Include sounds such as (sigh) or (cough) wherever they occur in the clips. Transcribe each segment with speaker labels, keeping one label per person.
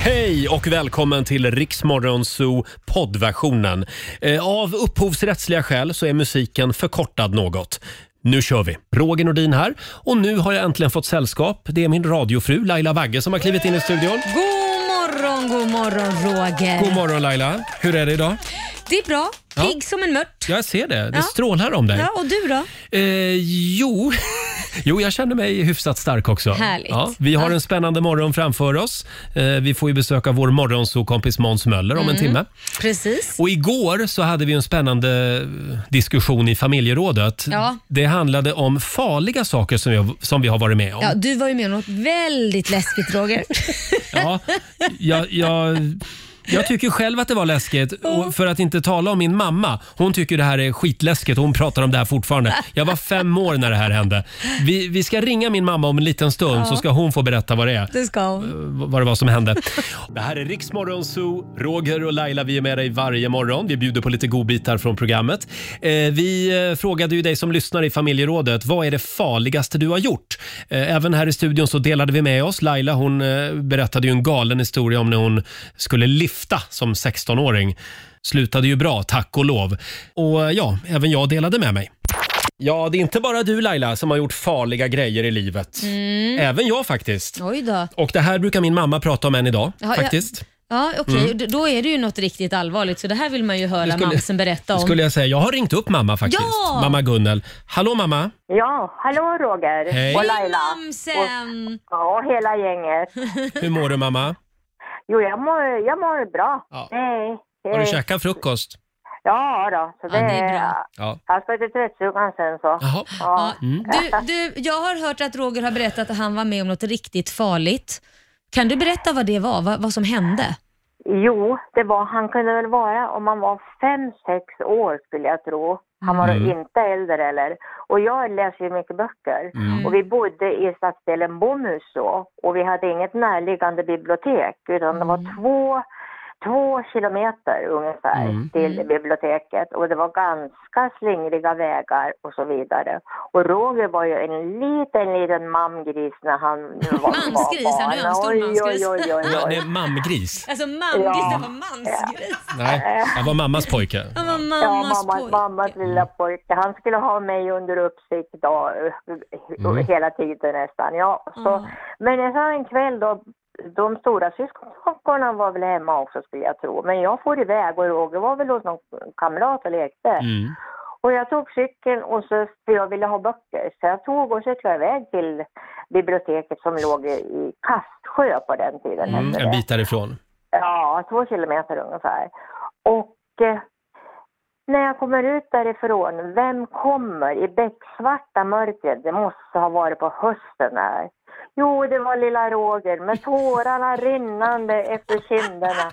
Speaker 1: Hej och välkommen till Riksmorgon Zoo poddversionen. Eh, Av upphovsrättsliga skäl så är musiken förkortad något. Nu kör vi! Roger Nordin här och nu har jag äntligen fått sällskap. Det är min radiofru Laila Bagge som har klivit in i studion.
Speaker 2: God morgon, god morgon Roger.
Speaker 1: God morgon Laila! Hur är det idag?
Speaker 2: Det är bra.
Speaker 1: Ja.
Speaker 2: Pigg som en mört.
Speaker 1: Jag ser det, det
Speaker 2: Ja.
Speaker 1: strålar om dig.
Speaker 2: Ja, och du då?
Speaker 1: Eh, jo. (laughs) jo, jag känner mig hyfsat stark också.
Speaker 2: Härligt.
Speaker 1: vi har
Speaker 2: Ja.
Speaker 1: en spännande morgon framför oss. Eh, vi får ju besöka vår morgonsokompis Måns Möller om en timme.
Speaker 2: Mm. Precis.
Speaker 1: Och igår så hade vi en spännande eh, diskussion i familjerådet.
Speaker 2: Ja.
Speaker 1: Det handlade om farliga saker som vi, som vi har varit med om.
Speaker 2: Ja, du var ju med om något väldigt läskigt Roger.
Speaker 1: Ja, jag, jag, jag tycker själv att det var läskigt. Och för att inte tala om min mamma. Hon tycker det här är skitläskigt och hon pratar om det här fortfarande. Jag var fem år när det här hände. Vi, vi ska ringa min mamma om en liten stund så ska hon få berätta vad det är. Eh,
Speaker 2: Det ska hon.
Speaker 1: Vad det var som hände. Det här är Riksmorgon Zoo. Roger och Laila, vi är med dig varje morgon. Vi bjuder på lite godbitar från programmet. Eh, vi eh, frågade ju dig som lyssnar i familjerådet, vad är det farligaste du har gjort? Eh, även här i studion så delade vi med oss. Laila hon eh, berättade ju en galen historia om när hon skulle lifta som 16-åring. Slutade ju bra, tack och lov. Och eh, ja, även jag delade med mig. Ja, det är inte bara du Laila som har gjort farliga grejer i livet. (laughs) Även jag faktiskt.
Speaker 2: Mm. Oj då.
Speaker 1: Och det här brukar min mamma prata om än idag
Speaker 2: Ja, jag-
Speaker 1: faktiskt. Mm.
Speaker 2: Ja, okej. D- Då är det ju något riktigt allvarligt, så det här vill man ju höra
Speaker 1: skulle-
Speaker 2: mamsen berätta om.
Speaker 1: Skulle jag säga. Jag har ringt upp mamma faktiskt.
Speaker 2: Ja!
Speaker 1: Mamma Gunnel. Hallå mamma.
Speaker 3: Ja, hallå Roger
Speaker 1: Hej.
Speaker 3: och Laila.
Speaker 2: Mamsen!
Speaker 3: Ja,
Speaker 2: (laughs)
Speaker 3: hela gänget.
Speaker 1: Hur mår du mamma?
Speaker 3: Jo, jag mår, jag mår bra.
Speaker 1: Ja.
Speaker 3: Nej,
Speaker 1: Har du
Speaker 3: eh,
Speaker 1: käkat frukost?
Speaker 3: Ja, då, så det,
Speaker 2: Ja, det är bra.
Speaker 1: Ja.
Speaker 3: Jag ska till tvättstugan sen så.
Speaker 1: Jaha. Mm.
Speaker 2: Ja. Du, du, jag har hört att Roger har berättat att han var med om något riktigt farligt. Kan du berätta vad det var? Vad, vad som hände?
Speaker 3: Jo, det var, han kunde väl vara om han var fem, sex år skulle jag tro. Han var
Speaker 1: Mm.
Speaker 3: inte äldre eller. Och jag läser ju mycket böcker.
Speaker 2: Mm.
Speaker 3: Och vi bodde i stadsdelen Bomhus då. Och vi hade inget närliggande bibliotek utan det
Speaker 2: Mm.
Speaker 3: var två, två kilometer ungefär
Speaker 2: Mm.
Speaker 3: till biblioteket. Och det var ganska slingriga vägar och så vidare. Och Roger var ju en liten, liten mamgris när han var
Speaker 2: Mansgris, han är en stor
Speaker 3: Oj,
Speaker 2: mansgris.
Speaker 3: Oj, oj, oj,
Speaker 1: Ma-
Speaker 3: oj.
Speaker 1: nej, Mammgris.
Speaker 2: Alltså mamgris,
Speaker 3: Ja.
Speaker 2: det var mansgris.
Speaker 1: Nej, jag var mammas pojke.
Speaker 2: Han var
Speaker 3: Ja,
Speaker 2: mammas
Speaker 3: mammas,
Speaker 2: pojke.
Speaker 3: mammas lilla pojke. Han skulle ha mig under uppsikt då,
Speaker 1: Mm.
Speaker 3: hela tiden nästan. Ja, så.
Speaker 2: Ja.
Speaker 3: Men så en kväll då, de stora syskonen var väl hemma också skulle jag tro. Men jag for iväg och Roger var väl hos någon kamrat och lekte.
Speaker 1: Mm.
Speaker 3: Och jag tog cykeln och så, för jag ville ha böcker, så jag tog och så cyklade jag iväg till biblioteket som låg i- i Kastsjö på den tiden.
Speaker 1: Mm,
Speaker 3: hette
Speaker 1: en
Speaker 3: det.
Speaker 1: bit därifrån.
Speaker 3: Ja, två kilometer ungefär. Och eh, när jag kommer ut därifrån, vem kommer i becksvarta mörkret? Det måste ha varit på hösten här. Jo, det var lilla Roger med tårarna rinnande efter kinderna.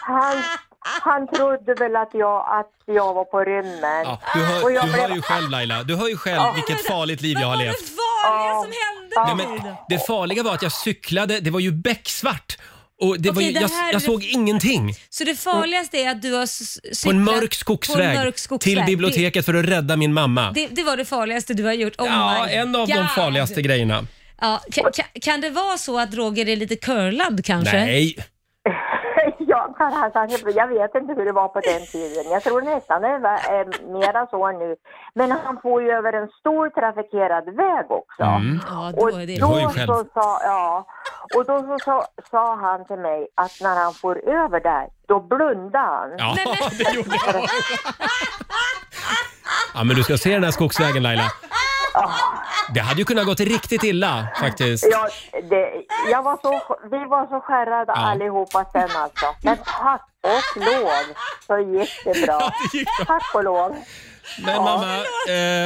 Speaker 3: Han, han trodde väl att jag, att jag var på rymmen.
Speaker 1: Ja, du, hör,
Speaker 3: Och jag
Speaker 1: du hör
Speaker 3: blev-
Speaker 1: ju själv Laila, du hör ju själv vilket farligt liv jag har levt.
Speaker 2: Vad var det farliga som
Speaker 1: Nej,
Speaker 2: hände med dig
Speaker 1: men
Speaker 2: då?
Speaker 1: det farliga var att jag cyklade, det var ju becksvart. Och det var
Speaker 2: Okej,
Speaker 1: ju,
Speaker 2: det
Speaker 1: jag,
Speaker 2: här-
Speaker 1: jag såg ingenting
Speaker 2: Så det farligaste är att du har s- cyklat
Speaker 1: på en mörk
Speaker 2: på en
Speaker 1: skogsväg
Speaker 2: mörk skogsväg.
Speaker 1: till biblioteket för att rädda min mamma.
Speaker 2: Det, det, det var det farligaste du har gjort. Oh
Speaker 1: Ja,
Speaker 2: my
Speaker 1: en av de
Speaker 2: God.
Speaker 1: farligaste grejerna.
Speaker 2: Ja, kan, kan, kan det vara så att Roger är lite curlad kanske?
Speaker 1: Nej,
Speaker 3: (laughs) Jag, kan, alltså, jag vet inte hur det var på den tiden. Jag tror nästan det är eh, mera så nu. Men han får ju över en stor trafikerad väg också.
Speaker 2: Mm. Ja, då
Speaker 3: Och
Speaker 2: är det
Speaker 1: Du hör ju
Speaker 3: då
Speaker 1: själv.
Speaker 3: så sa, ja, och då så sa, sa han till mig att när han får över där, då blundar han.
Speaker 1: Ja, (laughs) det gjorde jag. Ja, men du ska se den här skogsvägen Laila. Det hade ju kunnat gått riktigt illa faktiskt.
Speaker 3: Jag, det, jag var så, vi var så skärrade
Speaker 1: Ja.
Speaker 3: allihopa sen alltså. Men tack och lov så gick det bra.
Speaker 1: det gick bra.
Speaker 3: Tack och lov.
Speaker 1: Men mamma, eh,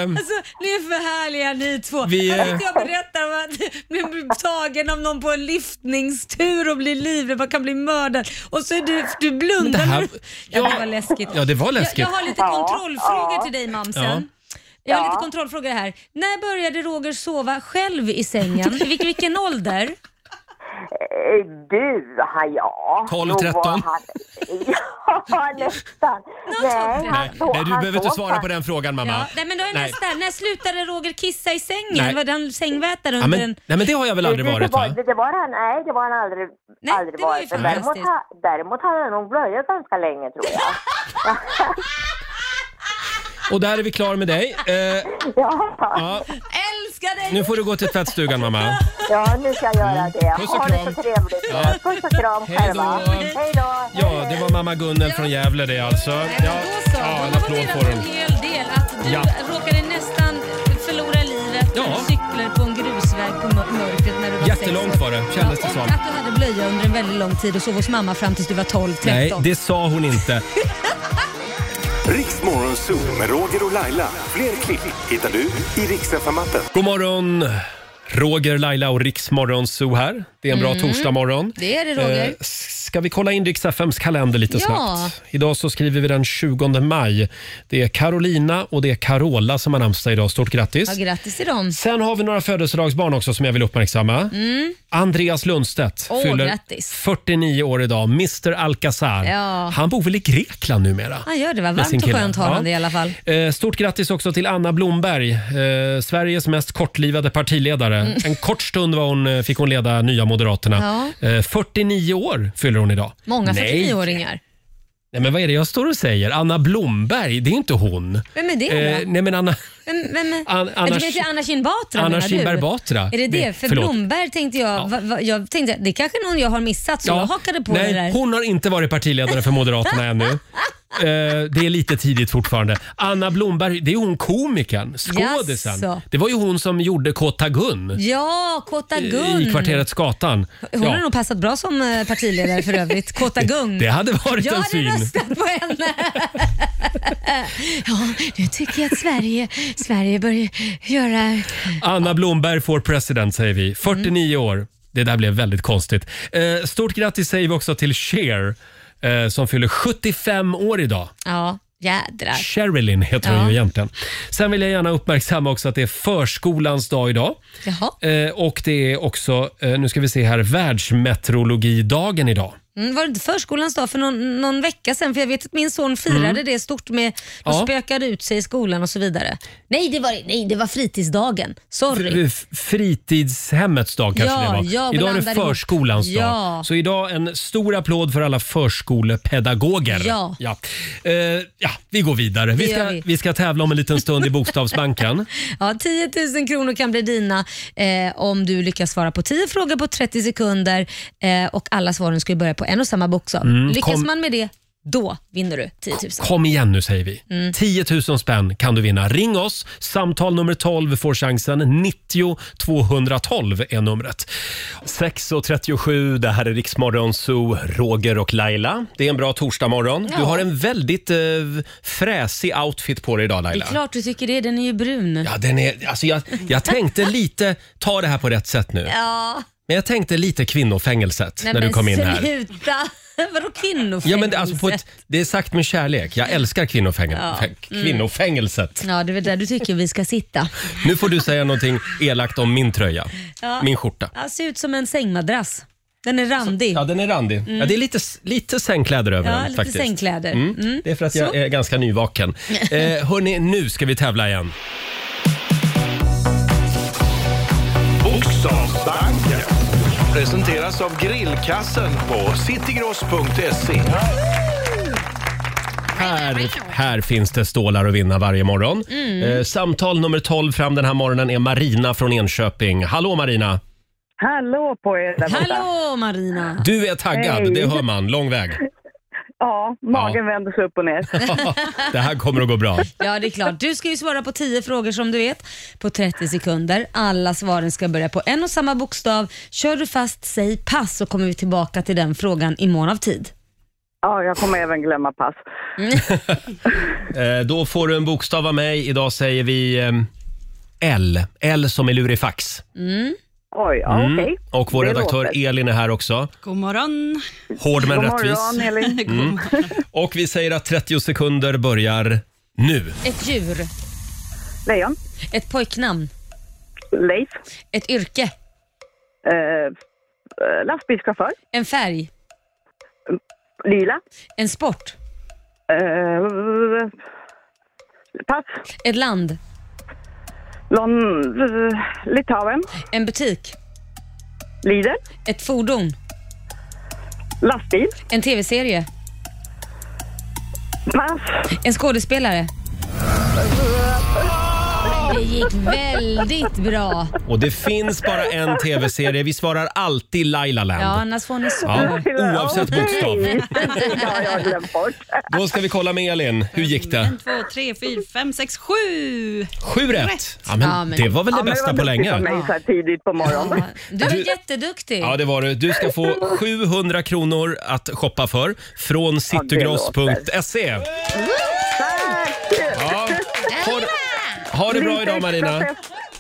Speaker 2: Alltså, ni är för härliga ni två.
Speaker 1: Vi,
Speaker 2: jag
Speaker 1: eh,
Speaker 2: vet, jag berättar om att (laughs) bli bli tagen av någon på en lyftningstur och bli livrädd, man kan bli mördad. Och så är du, du blundar.
Speaker 1: Men det här-
Speaker 2: när du- ja, det var läskigt.
Speaker 1: ja det var läskigt.
Speaker 2: Jag, jag har lite
Speaker 3: Ja,
Speaker 2: kontrollfrågor
Speaker 3: ja.
Speaker 2: till dig mamsen.
Speaker 1: Ja.
Speaker 2: Jag har
Speaker 3: Ja.
Speaker 2: lite kontrollfrågor här.
Speaker 1: (laughs)
Speaker 2: När började Roger sova själv i sängen? I vilken, vilken ålder?
Speaker 3: Eh, Du, ha, ja.
Speaker 1: 12,
Speaker 3: Nog var
Speaker 1: 13.
Speaker 3: han- (laughs) Ja, nästan. Nej, han
Speaker 1: Nej,
Speaker 3: såg-
Speaker 1: nej, du
Speaker 3: han
Speaker 1: behöver inte
Speaker 3: såg
Speaker 1: svara på
Speaker 3: faktiskt-
Speaker 1: den frågan mamma.
Speaker 2: Ja, nej, men då är
Speaker 1: Nej.
Speaker 2: nästa. När slutade Roger kissa i sängen?
Speaker 1: Nej.
Speaker 2: Var den sängvätare
Speaker 1: Ja,
Speaker 2: under
Speaker 1: men,
Speaker 2: en...
Speaker 1: nej men det har jag väl aldrig
Speaker 3: Det- det-
Speaker 1: varit
Speaker 3: det var-
Speaker 1: va?
Speaker 3: Det, det var han, nej, det var han aldrig,
Speaker 2: Nej,
Speaker 3: aldrig
Speaker 2: det var ju
Speaker 3: varit. Men däremot,
Speaker 2: fantastiskt.
Speaker 3: ha- däremot hade han nog blöjat ganska länge tror jag.
Speaker 1: Och där är vi klar med dig. Eh,
Speaker 3: ja. (laughs)
Speaker 1: ja,
Speaker 2: Älskar dig!
Speaker 1: nu får du gå till tvättstugan mamma.
Speaker 3: ja, nu ska jag göra det.
Speaker 1: Puss och
Speaker 3: ha det så
Speaker 1: kram.
Speaker 3: trevligt.
Speaker 1: Ja.
Speaker 3: Puss och kram
Speaker 1: Hej
Speaker 3: själva.
Speaker 1: då.
Speaker 3: Hej då.
Speaker 1: Ja, det var mamma Gunnel från Gävle det alltså.
Speaker 2: Nej, men
Speaker 1: Ja,
Speaker 2: då så.
Speaker 1: ja en
Speaker 2: då har vi
Speaker 1: applåd
Speaker 2: reda
Speaker 1: får
Speaker 2: på
Speaker 1: hon.
Speaker 2: en hel del. Att du
Speaker 1: Ja.
Speaker 2: råkade nästan förlora livet när
Speaker 1: Ja.
Speaker 2: du cyklade på en grusväg på mör- mörkret när du var
Speaker 1: Jättelångt
Speaker 2: sex år.
Speaker 1: var det, kändes det
Speaker 2: ja,
Speaker 1: som.
Speaker 2: Och att du hade blöja under en väldigt lång tid och sov hos mamma fram tills du var 12-13.
Speaker 1: Nej, det sa hon
Speaker 2: (laughs)
Speaker 1: inte.
Speaker 4: Riks Morgonzoo med Roger och Laila. Fler klipp hittar du i Riks FM-appen.
Speaker 1: God morgon, Roger, Laila och Riksmorgon Zoo här. Det är en bra torsdagmorgon.
Speaker 2: Mm. Det är det, Roger.
Speaker 1: Eh, s- ska vi kolla in Rix FMs kalender lite
Speaker 2: Ja.
Speaker 1: snabbt? Idag så skriver vi den 20 maj. Det är Carolina och det är Carola som har namnsdag idag. Stort grattis.
Speaker 2: Ja, grattis till dem. Mm.
Speaker 1: Sen har vi några födelsedagsbarn också som jag vill uppmärksamma. Andreas Lundstedt
Speaker 2: Åh,
Speaker 1: fyller
Speaker 2: grattis.
Speaker 1: 49 år idag. Mr Alcazar.
Speaker 2: Ja.
Speaker 1: Han bor väl i Grekland numera?
Speaker 2: Han gör det, var
Speaker 1: med sin
Speaker 2: varmt och
Speaker 1: kille.
Speaker 2: skönt har han det i
Speaker 1: Ja.
Speaker 2: alla fall.
Speaker 1: Eh, Stort grattis också till Anna Blomberg, eh, Sveriges mest kortlivade partiledare.
Speaker 2: Mm.
Speaker 1: En kort stund var hon, eh, fick hon leda Nya Moderaterna. Eh, 49 år fyller hon idag.
Speaker 2: Många
Speaker 1: Nej.
Speaker 2: 49-åringar.
Speaker 1: Nej, men vad är det jag står och säger? Anna Blomberg, det är inte hon.
Speaker 2: Vem är det då?
Speaker 1: Eh, nej, men Anna,
Speaker 2: Vem, vem är...
Speaker 1: An-
Speaker 2: Men
Speaker 1: Anna
Speaker 2: du vet ju
Speaker 1: Ki-
Speaker 2: Anna Kinberg Batra
Speaker 1: Anna
Speaker 2: menar du?
Speaker 1: Kinberg Batra.
Speaker 2: Är det
Speaker 1: Det-
Speaker 2: det? För
Speaker 1: förlåt.
Speaker 2: Blomberg tänkte jag, va, va, jag tänkte det är kanske någon jag har missat så jag hakade på
Speaker 1: nej,
Speaker 2: det där.
Speaker 1: Hon har inte varit partiledare för
Speaker 2: (laughs)
Speaker 1: Moderaterna ännu. Eh, det är lite tidigt fortfarande. Anna Blomberg, det är hon komikern, skådisen.
Speaker 2: Jaså.
Speaker 1: Det var ju hon som gjorde Kåta Gun.
Speaker 2: Ja, Kåta Gun.
Speaker 1: I kvarteret Skatan.
Speaker 2: Hon
Speaker 1: Ja.
Speaker 2: har nog passat bra som eh, partiledare för (laughs) övrigt. Kåta Gung.
Speaker 1: Det hade varit
Speaker 2: jag
Speaker 1: en
Speaker 2: hade
Speaker 1: syn.
Speaker 2: röstat på henne. (laughs) ja, nu tycker jag att Sverige, Sverige börjar göra...
Speaker 1: Anna Blomberg får president säger vi. 49
Speaker 2: Mm.
Speaker 1: år. Det där blev väldigt konstigt. Eh, stort grattis säger vi också till Cher eh, som fyller 75 år idag.
Speaker 2: Ja, jädrar.
Speaker 1: Sherilyn heter
Speaker 2: Ja.
Speaker 1: hon ju egentligen. Sen vill jag gärna uppmärksamma också att det är förskolans dag idag.
Speaker 2: Jaha.
Speaker 1: Eh, och det är också, eh, nu ska vi se här, världsmeteorologidagen idag.
Speaker 2: Mm, var det inte förskolans dag för någon, någon vecka sedan? För jag vet att min son firade det stort med och
Speaker 1: Ja.
Speaker 2: spökade ut sig i skolan och så vidare. Nej, det var, nej, det var fritidsdagen. Sorry.
Speaker 1: eh, F- Fritidshemmets dag kanske
Speaker 2: Ja,
Speaker 1: det
Speaker 2: ja,
Speaker 1: var. idag är det
Speaker 2: blandar ihop.
Speaker 1: förskolans
Speaker 2: Ja.
Speaker 1: dag. Så idag en stor applåd för alla förskolepedagoger.
Speaker 2: Ja.
Speaker 1: Ja. Eh, ja, vi går vidare. Vi
Speaker 2: Det
Speaker 1: ska,
Speaker 2: gör
Speaker 1: vi.
Speaker 2: vi.
Speaker 1: ska tävla om en liten stund
Speaker 2: (laughs)
Speaker 1: i Bokstavsbanken.
Speaker 2: Ja, 10 000 kronor kan bli dina eh, om du lyckas svara på 10 frågor på 30 sekunder eh, och alla svaren ska ju börja på en och samma bokstav. lyckas
Speaker 1: Mm, kom-
Speaker 2: man med det, då vinner du 10 000.
Speaker 1: Kom igen nu säger vi.
Speaker 2: Mm.
Speaker 1: 10 000 spänn kan du vinna. Ring oss. Samtal nummer 12 får chansen. 90 212 är numret. 6.37, det här är Riksmorgon Zoo, Roger och Laila. Det är en bra torsdagmorgon. Du
Speaker 2: Ja.
Speaker 1: har en väldigt eh, fräsig outfit på dig idag
Speaker 2: Det
Speaker 1: Laila.
Speaker 2: är klart du tycker det, den är ju brun.
Speaker 1: Ja, den är, alltså jag, jag tänkte lite, ta det här på rätt sätt nu.
Speaker 2: Ja,
Speaker 1: Men jag tänkte lite kvinnofängelset
Speaker 2: nej,
Speaker 1: när du
Speaker 2: men
Speaker 1: kom in här.
Speaker 2: Sluta! (laughs) Vadå kvinnofängelse?
Speaker 1: Ja, men det, alltså på ett, det är sagt med kärlek. Jag älskar kvinnofäng- fä-
Speaker 2: Mm.
Speaker 1: kvinnofängelset.
Speaker 2: Ja, det är väl där du tycker vi ska sitta.
Speaker 1: Nu får du säga någonting elakt om min tröja.
Speaker 2: Ja.
Speaker 1: Min skjorta.
Speaker 2: Ja, ser ut som en sängmadrass. Den är randig.
Speaker 1: Ja, den är randig. Ja, det är lite, lite sängkläder över
Speaker 2: Mm. Ja,
Speaker 1: den
Speaker 2: lite
Speaker 1: faktiskt.
Speaker 2: sängkläder.
Speaker 1: Mm.
Speaker 2: Mm.
Speaker 1: Det är för att jag
Speaker 2: Så.
Speaker 1: är ganska nyvaken.
Speaker 2: (laughs)
Speaker 1: Eh, hörni, nu ska vi tävla igen.
Speaker 5: Bokstavsbanken. Presenteras av grillkassen på citygross.se.
Speaker 1: Här, här finns det stålar att vinna varje morgon.
Speaker 2: Mm.
Speaker 1: Eh, samtal nummer 12 fram den här morgonen är Marina från Enköping. Hallå Marina!
Speaker 6: Hallå på er där borta.
Speaker 2: Hallå Marina!
Speaker 1: Du är taggad,
Speaker 6: Hej.
Speaker 1: det hör man. Lång väg.
Speaker 6: Ja, magen vänder sig upp och
Speaker 1: (laughs)
Speaker 6: ner.
Speaker 1: det här kommer att gå bra.
Speaker 2: Ja, det är klart. Du ska ju svara på 10 frågor som du vet på 30 sekunder. Alla svaren ska börja på en och samma bokstav. Kör du fast, säg pass så kommer vi tillbaka till den frågan i mån av tid.
Speaker 6: Ja, jag kommer även glömma pass.
Speaker 1: Eh, då får du en bokstav av mig. Idag säger vi eh, L. L som i lurifax.
Speaker 6: Oj, ja,
Speaker 1: Mm.
Speaker 6: okej.
Speaker 1: Och vår
Speaker 6: Det
Speaker 1: redaktör
Speaker 6: låter.
Speaker 1: Elin är här också.
Speaker 7: God morgon.
Speaker 1: Hård men
Speaker 6: God
Speaker 1: rättvis. Mm.
Speaker 6: morgon,
Speaker 7: (laughs)
Speaker 6: Elin.
Speaker 1: Och vi säger att 30 sekunder börjar nu.
Speaker 2: Ett djur,
Speaker 6: Lejon.
Speaker 2: ett pojknamn,
Speaker 6: Leif.
Speaker 2: ett yrke,
Speaker 6: Eh, eh, lastbilschaufför.
Speaker 2: En färg.
Speaker 6: Lila.
Speaker 2: En sport.
Speaker 6: Eh, pass.
Speaker 2: Ett land.
Speaker 6: Lon, Litauen.
Speaker 2: En butik.
Speaker 6: Lider.
Speaker 2: Ett fordon.
Speaker 6: Lastbil.
Speaker 2: En tv-serie.
Speaker 6: Pass.
Speaker 2: En skådespelare. Det gick väldigt bra.
Speaker 1: Och det finns bara en tv-serie. Vi svarar alltid Laila
Speaker 2: Ja,
Speaker 1: Land.
Speaker 2: annars får ni så.
Speaker 1: Ja, oavsett
Speaker 6: Okej.
Speaker 1: bokstav.
Speaker 6: Det har jag glömt bort.
Speaker 1: Då ska vi kolla med Elin. Hur gick det?
Speaker 7: En, (laughs) två, tre, fyra, fem, sex, sju.
Speaker 1: Sju rätt!
Speaker 7: Rätt.
Speaker 1: Ja, men
Speaker 2: Ja, men-
Speaker 1: det var väl
Speaker 6: Ja,
Speaker 1: det
Speaker 6: men
Speaker 1: bästa
Speaker 6: var
Speaker 1: på
Speaker 6: duktigt av
Speaker 1: länge?
Speaker 6: mig så här tidigt på morgonen.
Speaker 2: Ja, Du
Speaker 1: Du-
Speaker 2: är jätteduktig.
Speaker 1: Ja, det var du. Du ska få 700 kronor att shoppa för från citygross.se.
Speaker 6: Tack!
Speaker 1: Ja. Ha,
Speaker 2: (laughs)
Speaker 1: ha det bra idag Marina.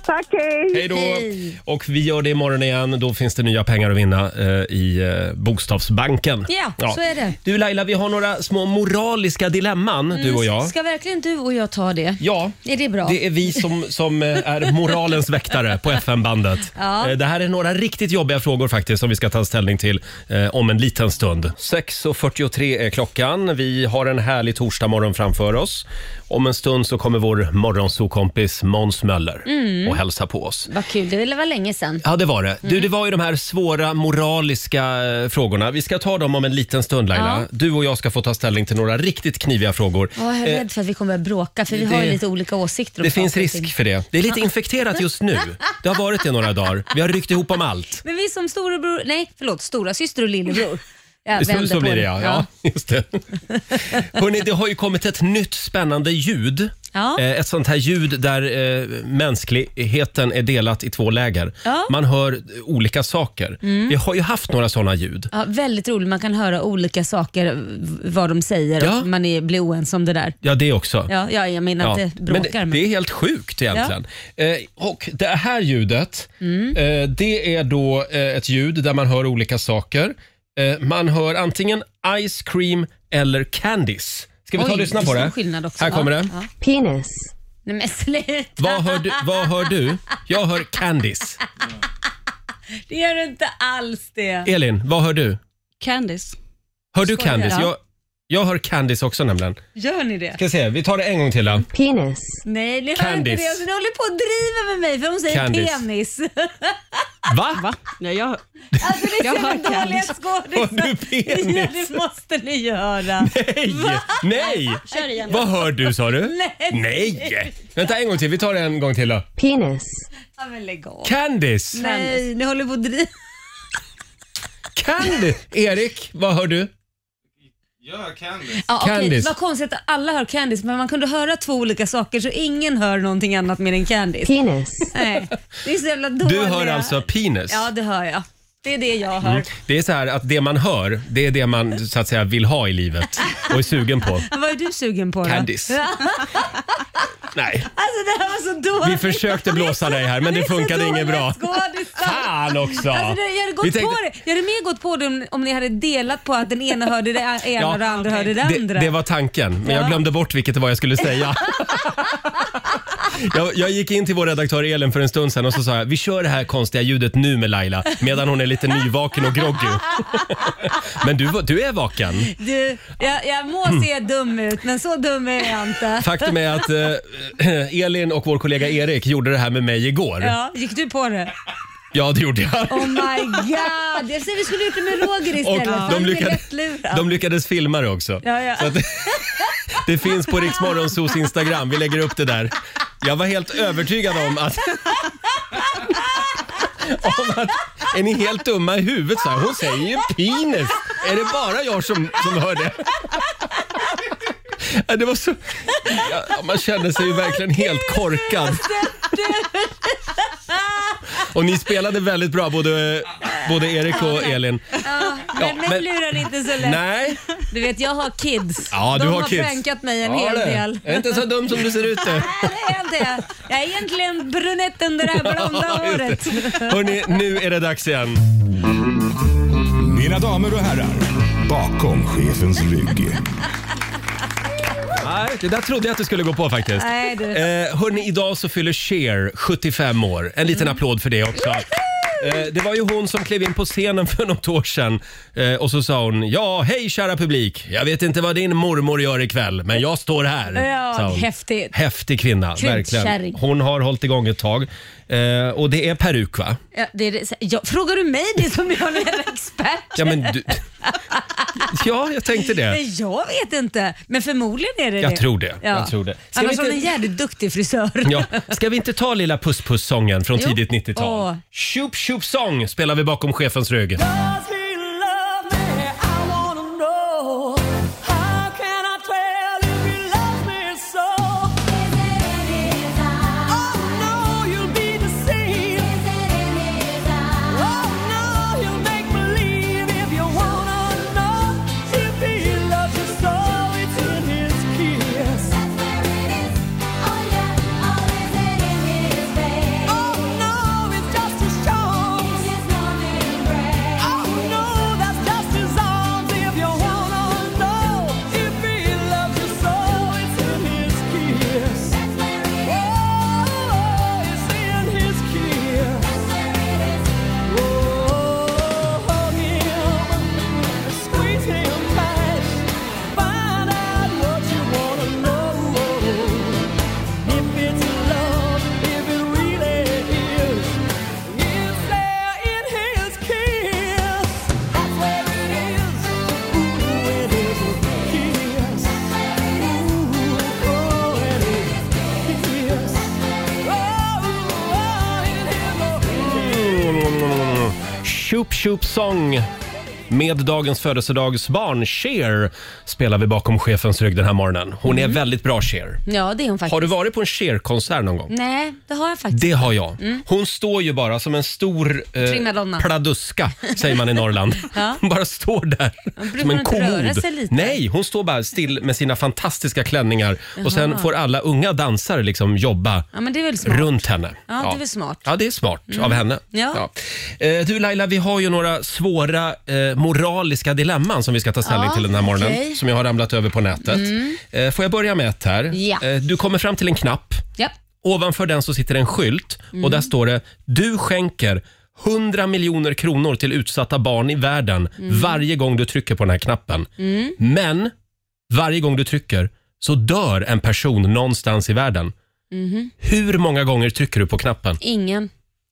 Speaker 6: Tack, hej!
Speaker 1: Hej då!
Speaker 2: Hej.
Speaker 1: Och vi gör det imorgon igen. Då finns det nya pengar att vinna eh, i eh, Bokstavsbanken.
Speaker 2: Ja, så är det.
Speaker 1: Du Laila, vi har några små moraliska dilemman du och jag.
Speaker 2: Mm, Ska verkligen du och jag ta det?
Speaker 1: Ja,
Speaker 2: Är det bra?
Speaker 1: det är vi som, som eh, är moralens väktare på FM-bandet.
Speaker 2: Ja.
Speaker 1: Eh, Det här är några riktigt jobbiga frågor faktiskt som vi ska ta ställning till eh, om en liten stund. 6.43 är klockan. Vi har en härlig torsdagmorgon framför oss. Om en stund så kommer vår morgonsokompis Måns Möller
Speaker 2: Mm.
Speaker 1: och hälsa på oss.
Speaker 2: Vad kul, det var länge sedan.
Speaker 1: Ja, det var det.
Speaker 2: Mm.
Speaker 1: Du, det var ju de här svåra moraliska eh, frågorna. Vi ska ta dem om en liten stund Laila.
Speaker 2: Ja.
Speaker 1: Du och jag ska få ta ställning till några riktigt kniviga frågor.
Speaker 2: Ja, jag är
Speaker 1: Eh,
Speaker 2: rädd för att vi kommer att bråka för vi
Speaker 1: det-
Speaker 2: har ju lite olika åsikter. om
Speaker 1: det finns
Speaker 2: saker och ting.
Speaker 1: risk för det. Det är lite infekterat
Speaker 2: (laughs)
Speaker 1: just nu. Det har varit det några dagar. Vi har ryckt ihop om allt.
Speaker 2: Men vi som storebror, nej förlåt, stora syster och lillebror. Jag
Speaker 1: Så,
Speaker 2: vänder
Speaker 1: så
Speaker 2: på
Speaker 1: blir det ja. ja
Speaker 2: (laughs)
Speaker 1: just det. Hörrni, det har ju kommit ett nytt spännande ljud.
Speaker 2: Ja.
Speaker 1: Eh, Ett sånt här ljud där eh, mänskligheten är delat i två läger.
Speaker 2: Ja. Mm.
Speaker 1: Man hör eh, olika saker. Vi har ju haft några såna ljud.
Speaker 2: Ja, väldigt roligt, man kan höra olika saker, v- vad de säger
Speaker 1: Ja.
Speaker 2: och man är, blir oense om det där.
Speaker 1: Ja, det också.
Speaker 2: Ja, ja, jag menar
Speaker 1: Ja,
Speaker 2: inte bråkar
Speaker 1: men
Speaker 2: men...
Speaker 1: det, det är helt sjukt egentligen. Eh, och det här ljudet,
Speaker 2: Mm.
Speaker 1: eh, det är då eh, ett ljud där man hör olika saker. Eh, man hör antingen ice cream eller candies. Ska vi ta och
Speaker 2: Oj,
Speaker 1: lyssna på
Speaker 2: det är
Speaker 1: det?
Speaker 2: stor skillnad också.
Speaker 1: Här kommer
Speaker 2: Ja,
Speaker 1: det.
Speaker 2: ja.
Speaker 8: Penis.
Speaker 2: Nej men sluta,
Speaker 1: Vad, hör du, vad hör du? Jag hör
Speaker 2: (laughs)
Speaker 1: candies.
Speaker 2: det gör inte alls det.
Speaker 1: Elin, vad hör du?
Speaker 7: Candice.
Speaker 1: Hör du
Speaker 2: Skojar.
Speaker 1: candies?
Speaker 2: Ja.
Speaker 1: Jag, jag hör candies också nämligen.
Speaker 2: Gör ni det?
Speaker 1: Ska se, vi tar det en gång till. Då.
Speaker 8: Penis.
Speaker 2: Nej, ni hör inte
Speaker 1: Candice.
Speaker 2: det. Alltså, ni håller på och driver med mig för hon säger
Speaker 1: Candice.
Speaker 2: penis. (laughs)
Speaker 1: Va?
Speaker 7: Va? Nej, jag...
Speaker 2: Alltså det är
Speaker 7: Jag
Speaker 2: så
Speaker 7: hör
Speaker 2: jävla dåliga
Speaker 7: Candice.
Speaker 1: Hör
Speaker 2: skådisar.
Speaker 1: du
Speaker 2: Ja,
Speaker 1: penis?
Speaker 2: det måste ni göra.
Speaker 1: Nej! Nej!
Speaker 7: Kör igen.
Speaker 1: Vad hör du sa du?
Speaker 2: Nej.
Speaker 1: Nej! Vänta en gång till, vi tar det en gång till då.
Speaker 8: Penis.
Speaker 2: Ja, men lägg av.
Speaker 1: Candice!
Speaker 2: Nej, ni håller på att driva.
Speaker 1: Candice! Erik, vad hör du?
Speaker 2: Ja, okej.
Speaker 1: Candice.
Speaker 2: Vad konstigt att alla hör Candice, men man kunde höra två olika saker så ingen hör någonting annat mer än Candice.
Speaker 8: Penis.
Speaker 2: Nej, det är så jävla dåliga.
Speaker 1: Du hör alltså penis.
Speaker 2: Ja, det hör jag. Det är det
Speaker 1: Mm.
Speaker 2: jag hör.
Speaker 1: Det är så här att det man hör, det är det man så att säga vill ha i livet och är sugen på.
Speaker 2: Vad är du sugen på då?
Speaker 1: Candice.
Speaker 2: (laughs)
Speaker 1: Nej,
Speaker 2: Alltså det här var så dåligt.
Speaker 1: vi försökte blåsa dig här men det funkade inget bra. Fan också!
Speaker 2: Alltså, det, jag, hade gått
Speaker 1: Vi tänkte-
Speaker 2: på det. jag hade mer gått på det om, om ni hade delat på att den ena hörde det ena
Speaker 1: Ja,
Speaker 2: och den andra hörde det
Speaker 1: Det,
Speaker 2: andra.
Speaker 1: det var tanken, men jag
Speaker 2: Ja.
Speaker 1: glömde bort vilket det var jag skulle säga. Jag, jag gick in till vår redaktör Elin för en stund sedan och så sa jag, vi kör det här konstiga ljudet nu med Laila medan hon är lite nyvaken och groggy. Men du, var- du är vaken.
Speaker 2: Du, jag, jag må se dum ut, men så dum är jag inte.
Speaker 1: Mm. Faktum är att eh, (clears throat) Elin och vår kollega Erik gjorde det här med mig igår. Ja,
Speaker 2: Ja, gick du på
Speaker 1: (laughs)
Speaker 2: det?
Speaker 1: det gjorde jag.
Speaker 2: Oh my god! Jag säger vi skulle gjort det med Roger
Speaker 1: Och
Speaker 2: istället. Han
Speaker 1: de,
Speaker 2: är
Speaker 1: lyckades,
Speaker 2: lättlurad.
Speaker 1: de lyckades filma det också.
Speaker 2: Ja, ja.
Speaker 1: Så att, (laughs) det finns på Riksmorgonsos Instagram. Vi lägger upp det där. Jag var helt övertygad om att... (laughs) om att är ni helt dumma i huvudet? Så här, hon säger ju penis. Är det bara jag som, som hör det? Ja, Det var så... Ja, man kände sig ju verkligen helt korkad. Och ni spelade väldigt bra, både, både Erik och Elin.
Speaker 2: Ja,
Speaker 1: Ja,
Speaker 2: men,
Speaker 1: men-
Speaker 2: men lurar inte så lätt.
Speaker 1: Nej,
Speaker 2: Du vet, jag har kids.
Speaker 1: Ja, du
Speaker 2: de
Speaker 1: har
Speaker 2: har,
Speaker 1: kids.
Speaker 2: prankat mig en
Speaker 1: Ja,
Speaker 2: hel
Speaker 1: det.
Speaker 2: del.
Speaker 1: Jag är inte så dum som du ser ut.
Speaker 2: (laughs)
Speaker 1: du.
Speaker 2: Nej, det är jag inte. Jag är egentligen brunett under det
Speaker 1: (laughs)
Speaker 2: här blonda håret.
Speaker 1: Hörni, nu är det dags igen.
Speaker 5: Mina damer och herrar, bakom chefens rygg.
Speaker 1: Nej, det där trodde jag att du skulle gå på faktiskt.
Speaker 2: Nej, du. Mm.
Speaker 1: Eh, hörni, idag så fyller Cher 75 år. En liten applåd för det också. Eh, Det var ju hon som klev in på scenen för något år sedan eh, och så sa hon “Ja, hej kära publik. Jag vet inte vad din mormor gör ikväll, men jag står här”.
Speaker 2: (laughs)
Speaker 1: sa
Speaker 2: Ja,
Speaker 1: hon.
Speaker 2: häftigt.
Speaker 1: Häftig kvinna, verkligen.
Speaker 2: Krutkärring.
Speaker 1: Hon har hållit igång ett tag. Eh, och det är peruk va?
Speaker 2: Ja, det är det. Ja, frågar du mig det som jag är expert?
Speaker 1: Ja, men
Speaker 2: (laughs)
Speaker 1: du... ja jag tänkte det.
Speaker 2: Nej, jag vet inte, men förmodligen är det
Speaker 1: Jag
Speaker 2: det.
Speaker 1: tror det. Jag tror det. Ska vi
Speaker 2: Annars
Speaker 1: inte-
Speaker 2: är hon en jävligt duktig frisör.
Speaker 1: Ja. Ska vi inte ta lilla puss-puss-sången från
Speaker 2: Jo.
Speaker 1: tidigt 90-tal?
Speaker 2: Åh.
Speaker 1: Tjup tjup sång spelar vi bakom chefens rygg.
Speaker 9: Oh, Oh, Oh, Oh,
Speaker 1: Tjup tjup sång med dagens födelsedagsbarn Cher spelar vi bakom chefens rygg den här morgonen. Hon är väldigt bra Cher.
Speaker 2: Ja, det är hon Mm. faktiskt.
Speaker 1: Har du varit på en Cher-konsert någon gång?
Speaker 2: Nej, det har jag faktiskt.
Speaker 1: Det har jag.
Speaker 2: Mm.
Speaker 1: Hon står ju bara som en stor eh,
Speaker 2: Primadonna.
Speaker 1: pladuska, säger man i Norrland.
Speaker 2: (laughs) Ja.
Speaker 1: Hon bara står där som
Speaker 2: hon
Speaker 1: en
Speaker 2: inte röra sig lite?
Speaker 1: Nej, hon står bara still med sina fantastiska klänningar och sen får alla unga dansare liksom jobba
Speaker 2: Ja, men det är väl smart.
Speaker 1: runt henne.
Speaker 2: Ja, det är väl smart. Mm.
Speaker 1: Ja, det är smart av henne.
Speaker 2: Ja.
Speaker 1: Ja. Eh, Du Laila, vi har ju några svåra eh, moraliska dilemman som vi ska ta ställning
Speaker 2: Ja,
Speaker 1: till den här morgonen.
Speaker 2: okej. Mm.
Speaker 1: Som jag har ramlat över på nätet. Eh, Får jag börja med ett här?
Speaker 2: Ja.
Speaker 1: Eh, Du kommer fram till en knapp.
Speaker 2: Ja.
Speaker 1: Ovanför den så sitter en skylt och
Speaker 2: Mm.
Speaker 1: där står det “Du skänker 100 miljoner kronor till utsatta barn i världen
Speaker 2: Mm.
Speaker 1: varje gång du trycker på den här knappen. Men varje gång du trycker så dör en person någonstans i världen. Hur många gånger trycker du på knappen?
Speaker 2: Mhm. Ingen.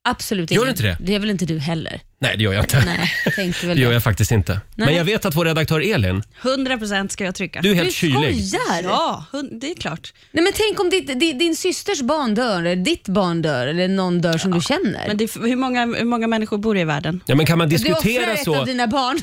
Speaker 2: Absolut
Speaker 1: Gör
Speaker 2: ingen.
Speaker 1: inte det?
Speaker 2: Det är väl inte du heller?
Speaker 1: Nej, det gör jag inte.
Speaker 2: Nej, tänkte väl
Speaker 1: Det gör
Speaker 2: det.
Speaker 1: jag faktiskt inte. Men
Speaker 2: Nej.
Speaker 1: jag vet att vår redaktör Elin,
Speaker 7: 100% ska jag trycka.
Speaker 1: du är helt
Speaker 2: Du
Speaker 1: kylig.
Speaker 2: skojar?
Speaker 7: Ja, hun- det är klart.
Speaker 2: Nej, men tänk om ditt, din, din systers barn dör, eller ditt barn dör, eller någon dör som du känner.
Speaker 7: Men det är, hur, många, hur många människor bor i världen?
Speaker 1: Ja, men kan man
Speaker 2: du offrar
Speaker 1: diskutera
Speaker 2: ett av
Speaker 1: så?
Speaker 2: dina
Speaker 1: (laughs)
Speaker 2: barn.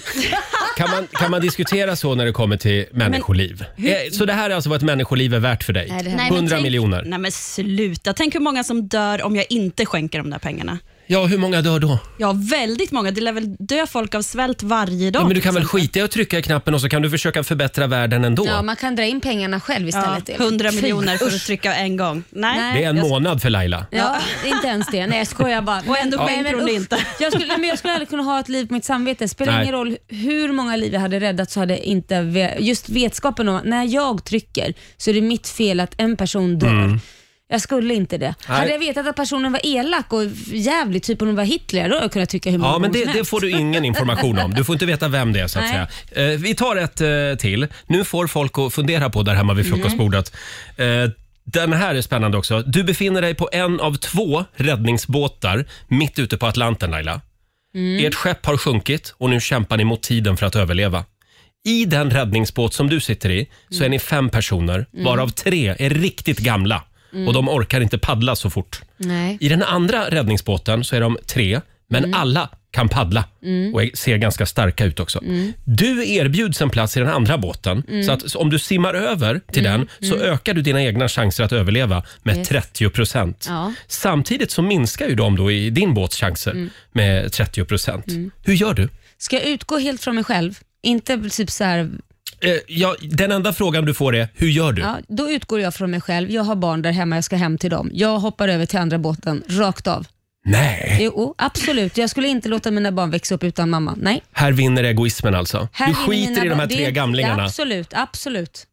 Speaker 1: Kan man, kan man diskutera så när det kommer till människoliv? Eh, Så det här är alltså vad ett människoliv är värt för dig?
Speaker 2: Nej, det här- Nej,
Speaker 7: men
Speaker 1: 100
Speaker 7: tänk-
Speaker 1: miljoner.
Speaker 7: Nej men sluta. Tänk hur många som dör om jag inte skänker de där pengarna.
Speaker 1: Ja, hur många dör då?
Speaker 7: Ja, väldigt många. Det lär väl dö folk av svält varje dag. liksom.
Speaker 1: Ja, men du
Speaker 7: till
Speaker 1: kan väl
Speaker 7: exempel.
Speaker 1: skita i att trycka i knappen och så kan du försöka förbättra världen ändå.
Speaker 2: Ja, man kan dra in pengarna själv istället.
Speaker 7: Ja,
Speaker 2: Elin.
Speaker 7: 100
Speaker 2: Fy.
Speaker 7: miljoner för att trycka en gång. Nej.
Speaker 2: Nej.
Speaker 1: Det är en
Speaker 7: jag-
Speaker 1: månad för Laila.
Speaker 2: Ja, (laughs) inte ens det. Nej, jag skojar bara.
Speaker 7: Och ändå skänker hon det
Speaker 2: usch.
Speaker 7: inte.
Speaker 2: (laughs) Jag skulle, men jag skulle aldrig kunna ha ett liv på mitt samvete. Spelar
Speaker 1: Nej.
Speaker 2: ingen roll hur många liv jag hade räddat så hade inte ve- just vetskapen om att när jag trycker så är det mitt fel att en person dör.
Speaker 1: Mm.
Speaker 2: Jag skulle inte det.
Speaker 1: Nej.
Speaker 2: Hade jag vetat att personen var elak och jävlig, typ om hon var Hitler, då hade jag kunnat trycka hur många
Speaker 1: Ja, men
Speaker 2: gånger
Speaker 1: det,
Speaker 2: som
Speaker 1: det
Speaker 2: helst.
Speaker 1: får du ingen
Speaker 2: (laughs)
Speaker 1: information om. Du får inte veta vem det är så att
Speaker 2: Nej.
Speaker 1: säga. Eh, vi tar ett eh, till. Nu får folk att fundera på där hemma vid
Speaker 2: Mm.
Speaker 1: frukostbordet. Eh, den här är spännande också. Du befinner dig på en av två räddningsbåtar mitt ute på Atlanten, Laila.
Speaker 9: Mm.
Speaker 1: Ert skepp har sjunkit och nu kämpar ni mot tiden för att överleva. I den räddningsbåt som du sitter i så är ni fem personer, varav tre är riktigt gamla och de orkar inte paddla så fort.
Speaker 2: Nej.
Speaker 1: I den andra räddningsbåten så är de tre, men alla kan paddla och är- ser ganska starka ut också. Du erbjuds en plats i den andra båten, så att om du simmar över till den så ökar du dina egna chanser att överleva med 30 procent.
Speaker 2: Ja.
Speaker 1: Samtidigt så minskar ju de då i din båts chanser
Speaker 2: Mm.
Speaker 1: med 30 procent. Hur gör du?
Speaker 2: Ska jag utgå helt från mig själv? Inte typ så här
Speaker 1: Eh, ja, den enda frågan du får är, hur gör du?
Speaker 2: Ja, då utgår jag från mig själv. Jag har barn där hemma, jag ska hem till dem. Jag hoppar över till andra båten, rakt av.
Speaker 1: Nej,
Speaker 2: Jo, absolut. Jag skulle inte låta mina barn växa upp utan mamma. Nej.
Speaker 1: här vinner egoismen alltså.
Speaker 2: Här
Speaker 1: du
Speaker 2: vinner
Speaker 1: skiter
Speaker 2: mina
Speaker 1: i de här
Speaker 2: barn. Det
Speaker 1: tre
Speaker 2: är-
Speaker 1: gamlingarna. Mm.
Speaker 2: Absolut, absolut.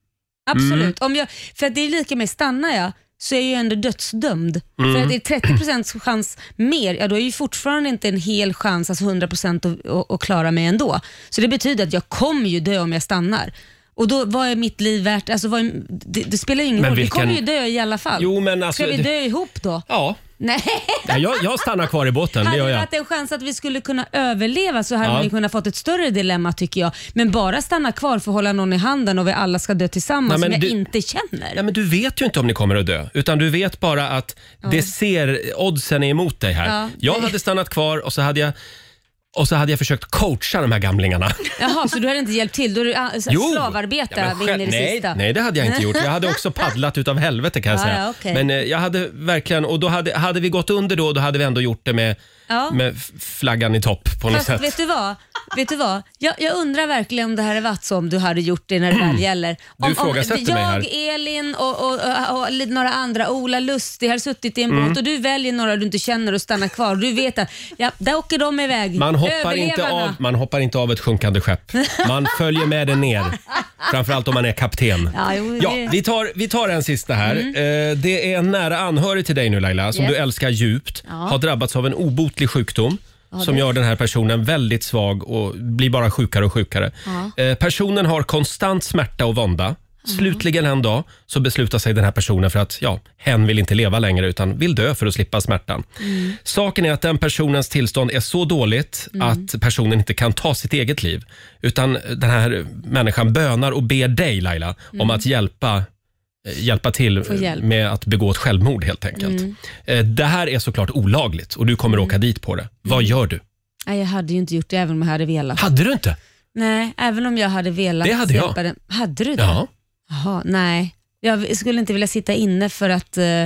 Speaker 2: Absolut. Om jag, för det är lika med, stannar jag så är jag ju ändå dödsdömd.
Speaker 1: Mm.
Speaker 2: För att det är 30% chans mer, ja då är ju fortfarande inte en hel chans, alltså 100% att- att, att klara mig ändå. Så det betyder att jag kommer ju dö om jag stannar. Och då, vad är mitt liv värt? Alltså, vad är, det, det spelar ju ingen
Speaker 1: Men
Speaker 2: roll,
Speaker 1: vilken-
Speaker 2: vi kommer ju dö i alla fall.
Speaker 1: Jo, men alltså-
Speaker 2: Ska vi dö ihop då?
Speaker 1: Ja,
Speaker 2: Nej.
Speaker 1: ja jag, jag stannar kvar i båten. Det
Speaker 2: Hade
Speaker 1: gör
Speaker 2: det
Speaker 1: jag.
Speaker 2: varit en chans att vi skulle kunna överleva så hade
Speaker 1: Ja.
Speaker 2: vi kunnat fått ett större dilemma tycker jag. Men bara stanna kvar för att hålla någon i handen och vi alla ska dö
Speaker 1: Nej,
Speaker 2: tillsammans som
Speaker 1: men
Speaker 2: jag
Speaker 1: du-
Speaker 2: inte känner.
Speaker 1: Nej, men du vet ju inte om ni kommer att dö, utan du vet bara att det ser, oddsen är emot dig här.
Speaker 2: Ja.
Speaker 1: Jag hade stannat kvar och så hade jag och så hade jag försökt coacha de här gamlingarna.
Speaker 2: Jaha, så du hade inte hjälpt till? Då är du ah, så- slavarbete
Speaker 1: Ja, men
Speaker 2: in i det
Speaker 1: nej,
Speaker 2: sista?
Speaker 1: Nej, det hade jag inte gjort. Jag hade
Speaker 2: (laughs)
Speaker 1: också paddlat utav helvete kan jag
Speaker 2: Ja,
Speaker 1: säga.
Speaker 2: ja, okej.
Speaker 1: Men eh, jag hade verkligen, och då hade, hade vi gått under då, då hade vi ändå gjort det med,
Speaker 2: Ja.
Speaker 1: med f- flaggan i topp på något
Speaker 2: Fast
Speaker 1: sätt.
Speaker 2: vet du vad? Vet du vad? Jag, jag undrar verkligen om det här är varit så om du hade gjort det när det
Speaker 1: (clears throat)
Speaker 2: väl gäller.
Speaker 1: Du
Speaker 2: Om,
Speaker 1: ifrågasätter
Speaker 2: om,
Speaker 1: mig här.
Speaker 2: Jag, Elin och, och, och, och lite några andra, Ola Lustig, har suttit i en
Speaker 1: Mm.
Speaker 2: båt och du väljer några du inte känner och stannar kvar. Du vet att ja, där åker de iväg.
Speaker 1: Man hoppar, inte
Speaker 2: Överlevarna.
Speaker 1: av, man hoppar inte av ett sjunkande skepp. Man
Speaker 2: (laughs)
Speaker 1: följer med det ner. Framförallt om man är kapten.
Speaker 2: Ja, jo, det- Mm.
Speaker 1: Ja, vi, tar, vi tar en sista här. Eh, det är en nära anhörig till dig nu Laila, som
Speaker 2: Yes.
Speaker 1: du älskar djupt, har drabbats av en obotlig sjukdom. som
Speaker 2: det-
Speaker 1: gör den här personen väldigt svag och blir bara sjukare och sjukare. Eh, personen har konstant smärta och vånda. Slutligen en dag så beslutar sig den här personen för att ja, hen vill inte leva längre utan vill dö för att slippa smärtan. Saken är att den personens tillstånd är så dåligt
Speaker 2: Mm.
Speaker 1: att personen inte kan ta sitt eget liv. Utan den här människan bönar och ber dig Laila om att hjälpa eh, hjälpa till eh,
Speaker 2: Mm. hjälp. Mm.
Speaker 1: med att begå ett självmord helt enkelt. Eh, Det här är såklart olagligt och du kommer åka dit på det.
Speaker 2: Mm.
Speaker 1: Vad gör du?
Speaker 2: Nej, jag hade ju inte gjort det även om jag hade velat.
Speaker 1: Hade du inte?
Speaker 2: Nej, även om jag hade velat.
Speaker 1: Det hade jag.
Speaker 2: släppa Den. Hade du det?
Speaker 1: Ja.
Speaker 2: Jaha, nej. Jag skulle inte vilja sitta inne för att... eh,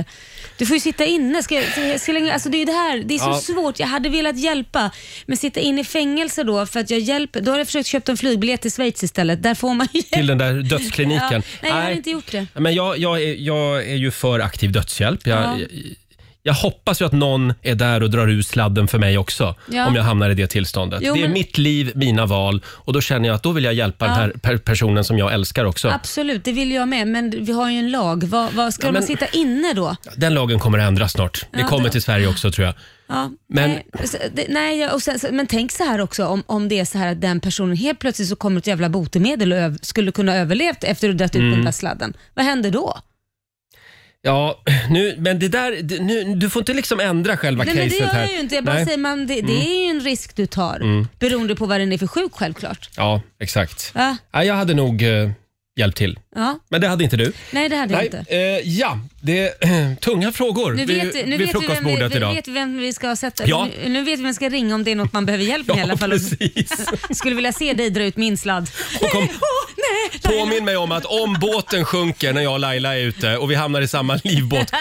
Speaker 2: du får ju sitta inne. Ska, ska, ska, länge- alltså det är ju det här, det är så
Speaker 1: Ja.
Speaker 2: svårt. Jag hade velat hjälpa, men sitta inne i fängelse då för att jag hjälper. Då har jag försökt köpa en flygbiljett till Schweiz istället. Där får man ju
Speaker 1: Till
Speaker 2: hjälp.
Speaker 1: den där dödskliniken.
Speaker 2: (laughs) Ja, nej, jag har inte gjort det.
Speaker 1: Men jag, jag, är, jag är ju för aktiv dödshjälp. Jag,
Speaker 2: Ja.
Speaker 1: jag, jag hoppas ju att någon är där och drar ur sladden för mig också.
Speaker 2: Ja.
Speaker 1: Om jag hamnar i det tillståndet.
Speaker 2: Jo,
Speaker 1: det är
Speaker 2: men-
Speaker 1: mitt liv, mina val och då känner jag att då vill jag hjälpa den här per personen som jag älskar också.
Speaker 2: Absolut, det vill jag med. Men vi har ju en lag. Vad, vad, ska
Speaker 1: Ja, men-
Speaker 2: man sitta inne då?
Speaker 1: Den lagen kommer att ändras snart. Det
Speaker 2: Ja,
Speaker 1: kommer
Speaker 2: då-
Speaker 1: till Sverige också tror jag.
Speaker 2: Ja,
Speaker 1: Men-
Speaker 2: nej, så- det- nej, jag- och sen, så- men tänk så här också om, om det är så här att den personen helt plötsligt så kommer ett jävla botemedel och öv, skulle kunna överlevt efter att du dött ut
Speaker 1: Mm.
Speaker 2: den där sladden. Vad händer då?
Speaker 1: Ja, nu, men det där, det- nu, du får inte liksom ändra själva
Speaker 2: Nej, men det
Speaker 1: caset
Speaker 2: gör
Speaker 1: här.
Speaker 2: jag ju inte. Jag bara
Speaker 1: Nej. Mm.
Speaker 2: säger, man, det, det är ju en risk du tar beroende på vad den är för sjuk självklart.
Speaker 1: Ja, exakt.
Speaker 2: Va?
Speaker 1: Ja, jag hade nog eh, hjälpt till,
Speaker 2: Ja.
Speaker 1: men det hade inte du.
Speaker 2: Nej, det hade jag
Speaker 1: Nej,
Speaker 2: inte.
Speaker 1: eh, ja, det är (clears throat) tunga frågor
Speaker 2: Nu vet, vi, nu,
Speaker 1: vid
Speaker 2: vet vi vem vi,
Speaker 1: frukostbordet
Speaker 2: vi
Speaker 1: idag.
Speaker 2: vet vem vi ska sätta.
Speaker 1: Ja.
Speaker 2: Nu, nu vet vi vem vi ska ringa om det är något man behöver hjälp med
Speaker 1: (laughs) Ja,
Speaker 2: i alla fall.
Speaker 1: precis.
Speaker 2: (laughs) Skulle vilja se dig dra ut min sladd.
Speaker 1: Och
Speaker 2: (laughs)
Speaker 1: kom,
Speaker 2: Nej,
Speaker 1: (laughs) påminn mig om att om båten sjunker när jag och Laila är ute och vi hamnar i samma livbåt,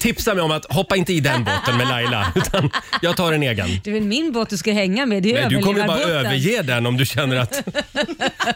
Speaker 1: tipsa mig om att hoppa inte i den båten med Laila, utan jag tar en egen.
Speaker 2: Det är väl min båt du ska hänga med? Det är
Speaker 1: Nej, du kommer ju bara
Speaker 2: överlevarbåten.
Speaker 1: överge den om du känner att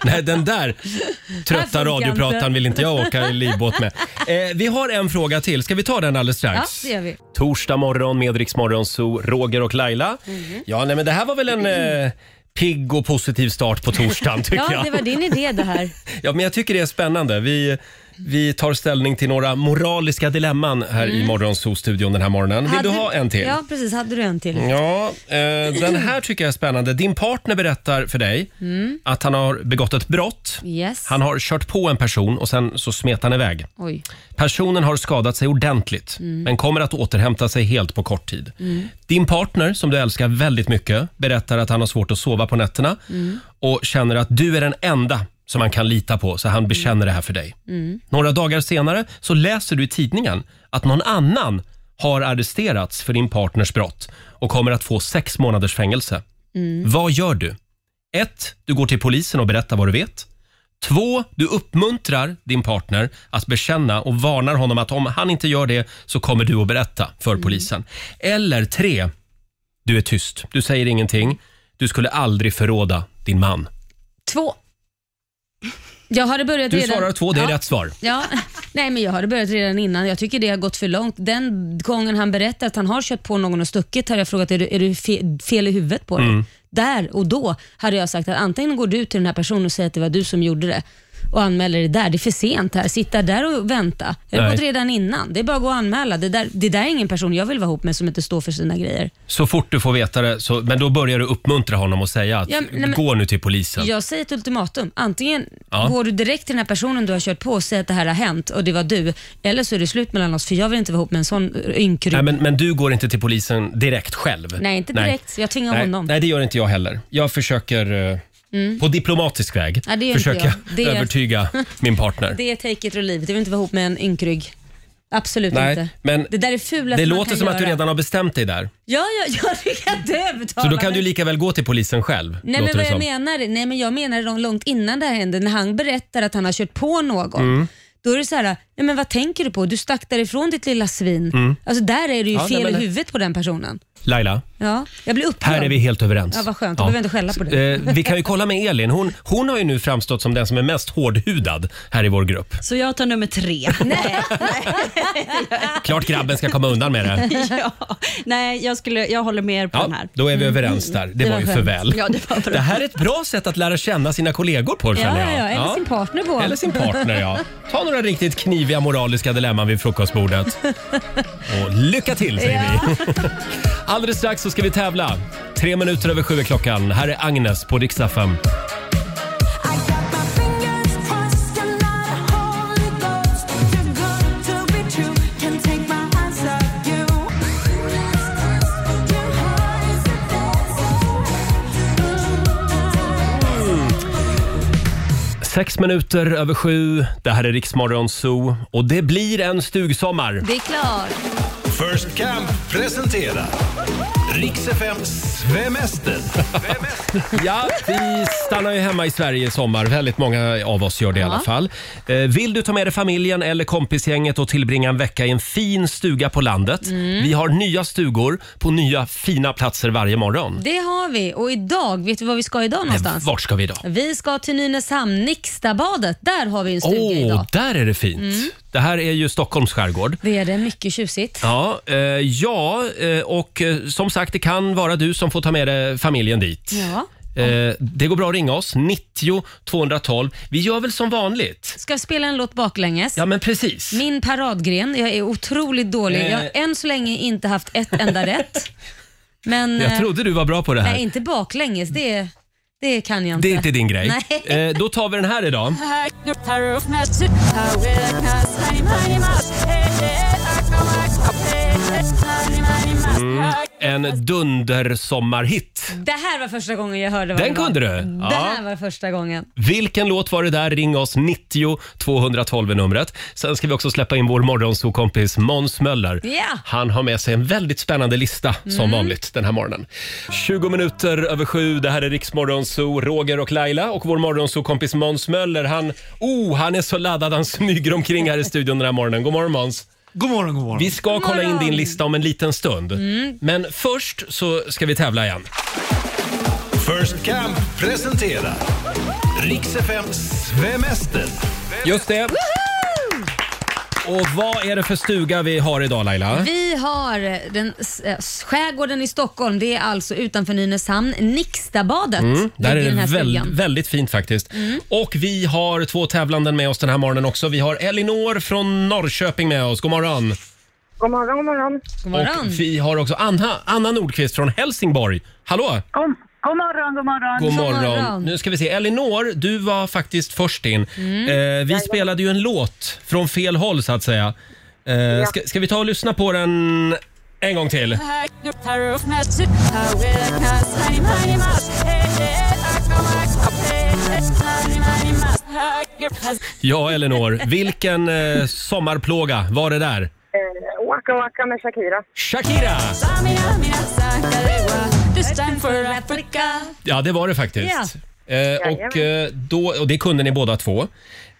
Speaker 1: Nej, den där trötta
Speaker 2: funkar inte.
Speaker 1: radioprataren vill inte jag åka i livbåt med. Eh, vi har en fråga till. Ska vi ta den alldeles
Speaker 2: Ja,
Speaker 1: strax?
Speaker 2: det gör vi.
Speaker 1: Torsdag morgon med Rix Morgon Zoo, Roger och Laila.
Speaker 2: Mm.
Speaker 1: Ja, nej, men det här var väl en eh, pigg och positiv start på torsdagen
Speaker 2: (laughs)
Speaker 1: tycker
Speaker 2: Ja,
Speaker 1: jag.
Speaker 2: det var din idé det här.
Speaker 1: Ja, men jag tycker det är spännande. Vi, vi tar ställning till några moraliska dilemman här i Morgon Zoo-studion den här morgonen. (laughs) Vill
Speaker 2: Mm. Hade-
Speaker 1: du ha en till? Mm,
Speaker 2: Ja, precis. Hade du en till?
Speaker 1: Ja, eh, den här tycker jag är spännande. Din partner berättar för dig att han har begått ett brott.
Speaker 2: Mm. Yes.
Speaker 1: Han har kört på en person och sen så smet han iväg.
Speaker 2: Oj.
Speaker 1: Personen har skadat sig ordentligt
Speaker 2: Mm.
Speaker 1: men kommer att återhämta sig helt på kort tid. Din partner, som du älskar väldigt mycket, berättar att han har svårt att sova på nätterna och känner att du är den enda som han kan lita på, så han bekänner det här för dig. Några dagar senare så läser du i tidningen att någon annan har arresterats för din partners brott och kommer att få sex månaders fängelse. Mm. Vad gör du? 1. Du går till polisen och berättar vad du vet. 2. Du uppmuntrar din partner att bekänna och varnar honom att om han inte gör det så kommer du att berätta för
Speaker 2: Mm.
Speaker 1: polisen. Eller 3. Du är tyst. Du säger ingenting. Du skulle aldrig förråda din man.
Speaker 2: Två. Jag hade börjat
Speaker 1: Du
Speaker 2: redan...
Speaker 1: svarar två, det är
Speaker 2: ja.
Speaker 1: rätt svar.
Speaker 2: Ja, nej men jag hade börjat redan innan. Jag tycker det har gått för långt. Den gången han berättar att han har kört på någon och stuckit har jag frågat, är du, är du fe, fel i huvudet
Speaker 1: Mm.
Speaker 2: på dig? Där och då hade jag sagt att antingen går du till den här personen och säger att det var du som gjorde det. och anmäler det där. Det är för sent här. Sitta där och vänta. Jag har
Speaker 1: Nej.
Speaker 2: gått redan innan. Det är bara att gå och anmäla. Det där, det där är ingen person jag vill vara ihop med som inte står för sina grejer.
Speaker 1: Så fort du får veta det, så, men då börjar du uppmuntra honom och säga att
Speaker 2: Ja, men- nej, men-
Speaker 1: gå nu till polisen.
Speaker 2: Jag säger ett ultimatum. Antingen
Speaker 1: Ja.
Speaker 2: går du direkt till den här personen du har kört på och säger att det här har hänt och det var du. Eller så är det slut mellan oss för jag vill inte vara ihop med en sån eh, ynkrygg.
Speaker 1: Nej,
Speaker 2: Nej,
Speaker 1: men, men du går inte till polisen direkt själv?
Speaker 2: inte direkt. Jag tvingar
Speaker 1: Nej.
Speaker 2: honom. Mm.
Speaker 1: Nej, det gör inte jag heller. Jag försöker eh, på diplomatisk väg
Speaker 2: Ja, det gör inte
Speaker 1: försöka
Speaker 2: jag. Det är- (laughs)
Speaker 1: övertyga min partner.
Speaker 2: Det är take it or leave it. Jag vill inte vara ihop med en ynkrygg. Absolut
Speaker 1: Nej,
Speaker 2: inte.
Speaker 1: men
Speaker 2: det där är fulast
Speaker 1: Det
Speaker 2: man
Speaker 1: låter
Speaker 2: kan
Speaker 1: som
Speaker 2: göra.
Speaker 1: att du redan har bestämt dig där.
Speaker 2: Ja, ja, (laughs) ja det kan du övertala
Speaker 1: Så då kan
Speaker 2: mig.
Speaker 1: du lika väl gå till polisen själv.
Speaker 2: Nej men
Speaker 1: låter
Speaker 2: vad
Speaker 1: det
Speaker 2: jag
Speaker 1: som.
Speaker 2: menar, nej men jag menar lång- långt innan det här hände, när han berättar att han har kört på någon.
Speaker 1: Mm.
Speaker 2: Då är det så här, nej men vad tänker du på? Du stack därifrån ditt lilla svin. Alltså där är det ju
Speaker 1: Mm. Ja, nej,
Speaker 2: fel
Speaker 1: men-
Speaker 2: i huvudet på den personen.
Speaker 1: Laila,
Speaker 2: Ja, jag blir upprörd.
Speaker 1: här är vi helt överens.
Speaker 2: Ja, vad skönt. Då behöver jag inte skälla på det.
Speaker 1: Eh,
Speaker 2: (laughs)
Speaker 1: vi kan ju kolla med Elin. Hon, hon har ju nu framstått som den som är mest hårdhudad här i vår grupp.
Speaker 7: Så jag tar
Speaker 1: (laughs)
Speaker 7: nummer tre.
Speaker 2: Nej,
Speaker 1: Klart grabben ska komma
Speaker 2: (laughs)
Speaker 1: undan med det.
Speaker 7: (laughs) ja. Nej, jag, skulle, jag håller med er på den
Speaker 1: Ja,
Speaker 7: här.
Speaker 1: då är vi överens där. Det,
Speaker 2: Mm.
Speaker 1: var
Speaker 2: var
Speaker 1: ju för
Speaker 2: skönt.
Speaker 1: väl.
Speaker 7: Ja, det var bra.
Speaker 1: Det här är ett bra sätt att lära känna sina kollegor på
Speaker 2: ja,
Speaker 1: känner jag.
Speaker 2: ja, eller
Speaker 1: Ja.
Speaker 2: sin partner på.
Speaker 1: Eller sin partner, ja. Ta några riktigt kniviga moraliska dilemman vid frukostbordet. Och lycka till, säger vi. Alldeles strax så ska vi tävla. Tre minuter över sju är klockan. Här är Agnes på Rix FM. Sex minuter över sju. Det här är Riksmorgon Zoo och det blir en stugsommar.
Speaker 2: Det är klart.
Speaker 8: First Camp presenterar Rix FMs svemester.
Speaker 1: Ja, vi stannar ju hemma i Sverige i sommar. Väldigt många av oss gör det i alla fall. Eh, Vill du ta med dig familjen eller kompisgänget och tillbringa en vecka i en fin stuga på landet?
Speaker 2: Mm.
Speaker 1: Vi har nya stugor på nya fina platser varje morgon.
Speaker 2: (laughs) Det har vi och idag, vet du var vi ska idag någonstans?
Speaker 1: Vart ska vi idag?
Speaker 2: Vi ska till Nynäshamn, Nixtabadet. Där har vi en
Speaker 1: Åh,
Speaker 2: stuga idag. Mm.
Speaker 1: där är det fint. Det här är ju Stockholms skärgård.
Speaker 2: Det är det, mycket tjusigt.
Speaker 1: Ja, eh, ja eh, och eh, som sagt, det kan vara du som får ta med dig familjen dit.
Speaker 2: Ja.
Speaker 1: Eh, det går bra att ringa oss, 90 212. Vi gör väl som vanligt?
Speaker 2: Ska jag spela en låt baklänges?
Speaker 1: Ja, men precis.
Speaker 2: Min paradgren. Jag är otroligt dålig. Jag har
Speaker 1: Eh.
Speaker 2: än så länge inte haft ett enda rätt. Men eh,
Speaker 1: Jag trodde du var bra på det här.
Speaker 2: nej, inte baklänges. Det, det kan jag inte.
Speaker 1: det är inte din grej.
Speaker 2: Nej.
Speaker 1: Eh, då tar vi den här idag.
Speaker 2: Mm.
Speaker 1: En dundersommarhit.
Speaker 2: Det här var första gången jag hörde vad
Speaker 1: Den
Speaker 2: det var. Mm.
Speaker 1: kunde du.
Speaker 2: Det
Speaker 1: Ja.
Speaker 2: här var första gången.
Speaker 1: Vilken låt var det där? Ring oss 90 212 är numret. Sen ska vi också släppa in vår morgonsokompis Måns Möller.
Speaker 2: Ja. Mm.
Speaker 1: Han har med sig en väldigt spännande lista som vanligt den här morgonen. 20 minuter över sju. Det här är Riksmorgonso, Roger och Laila och vår morgonsokompis Måns Möller. Han, oh, han är så laddad. Han smyger omkring här i studion den här morgonen. God morgon Måns.
Speaker 8: God morgon, god morgon.
Speaker 1: Vi ska kolla in din lista om en liten stund.
Speaker 2: Mm.
Speaker 1: Men först så ska vi tävla igen.
Speaker 8: First Camp presenterar Rix FMs svemester.
Speaker 1: Just det. Och vad är det för stuga vi har idag Laila?
Speaker 2: Vi har den, äh, skärgården i Stockholm. Det är alltså utanför Nynäshamn, Nixtabadet.
Speaker 1: Mm. Där
Speaker 2: ligger
Speaker 1: är
Speaker 2: den
Speaker 1: det
Speaker 2: här
Speaker 1: väl,
Speaker 2: stugan. Mm.
Speaker 1: väldigt fint faktiskt. Och vi har två tävlanden med oss den här morgonen också. Vi har Elinor från Norrköping med oss. God morgon.
Speaker 6: God morgon, god morgon.
Speaker 2: God
Speaker 1: Och
Speaker 2: morgon.
Speaker 1: vi har också Anna, Anna Nordqvist från Helsingborg. Hallå!
Speaker 6: God, god morgon, god morgon.
Speaker 1: God
Speaker 2: morgon.
Speaker 1: morgon. Nu ska vi se. Elinor, du var faktiskt först in. Eh, vi spelade ju en låt från fel håll så att säga. Eh, ska, ska vi ta och lyssna på den en gång till? Ja, Elinor. Vilken eh, sommarplåga var det där?
Speaker 6: Eh, Waka Waka med Shakira.
Speaker 1: Shakira! Ja, det var det faktiskt. Eh, och, eh, då, och det kunde ni båda två.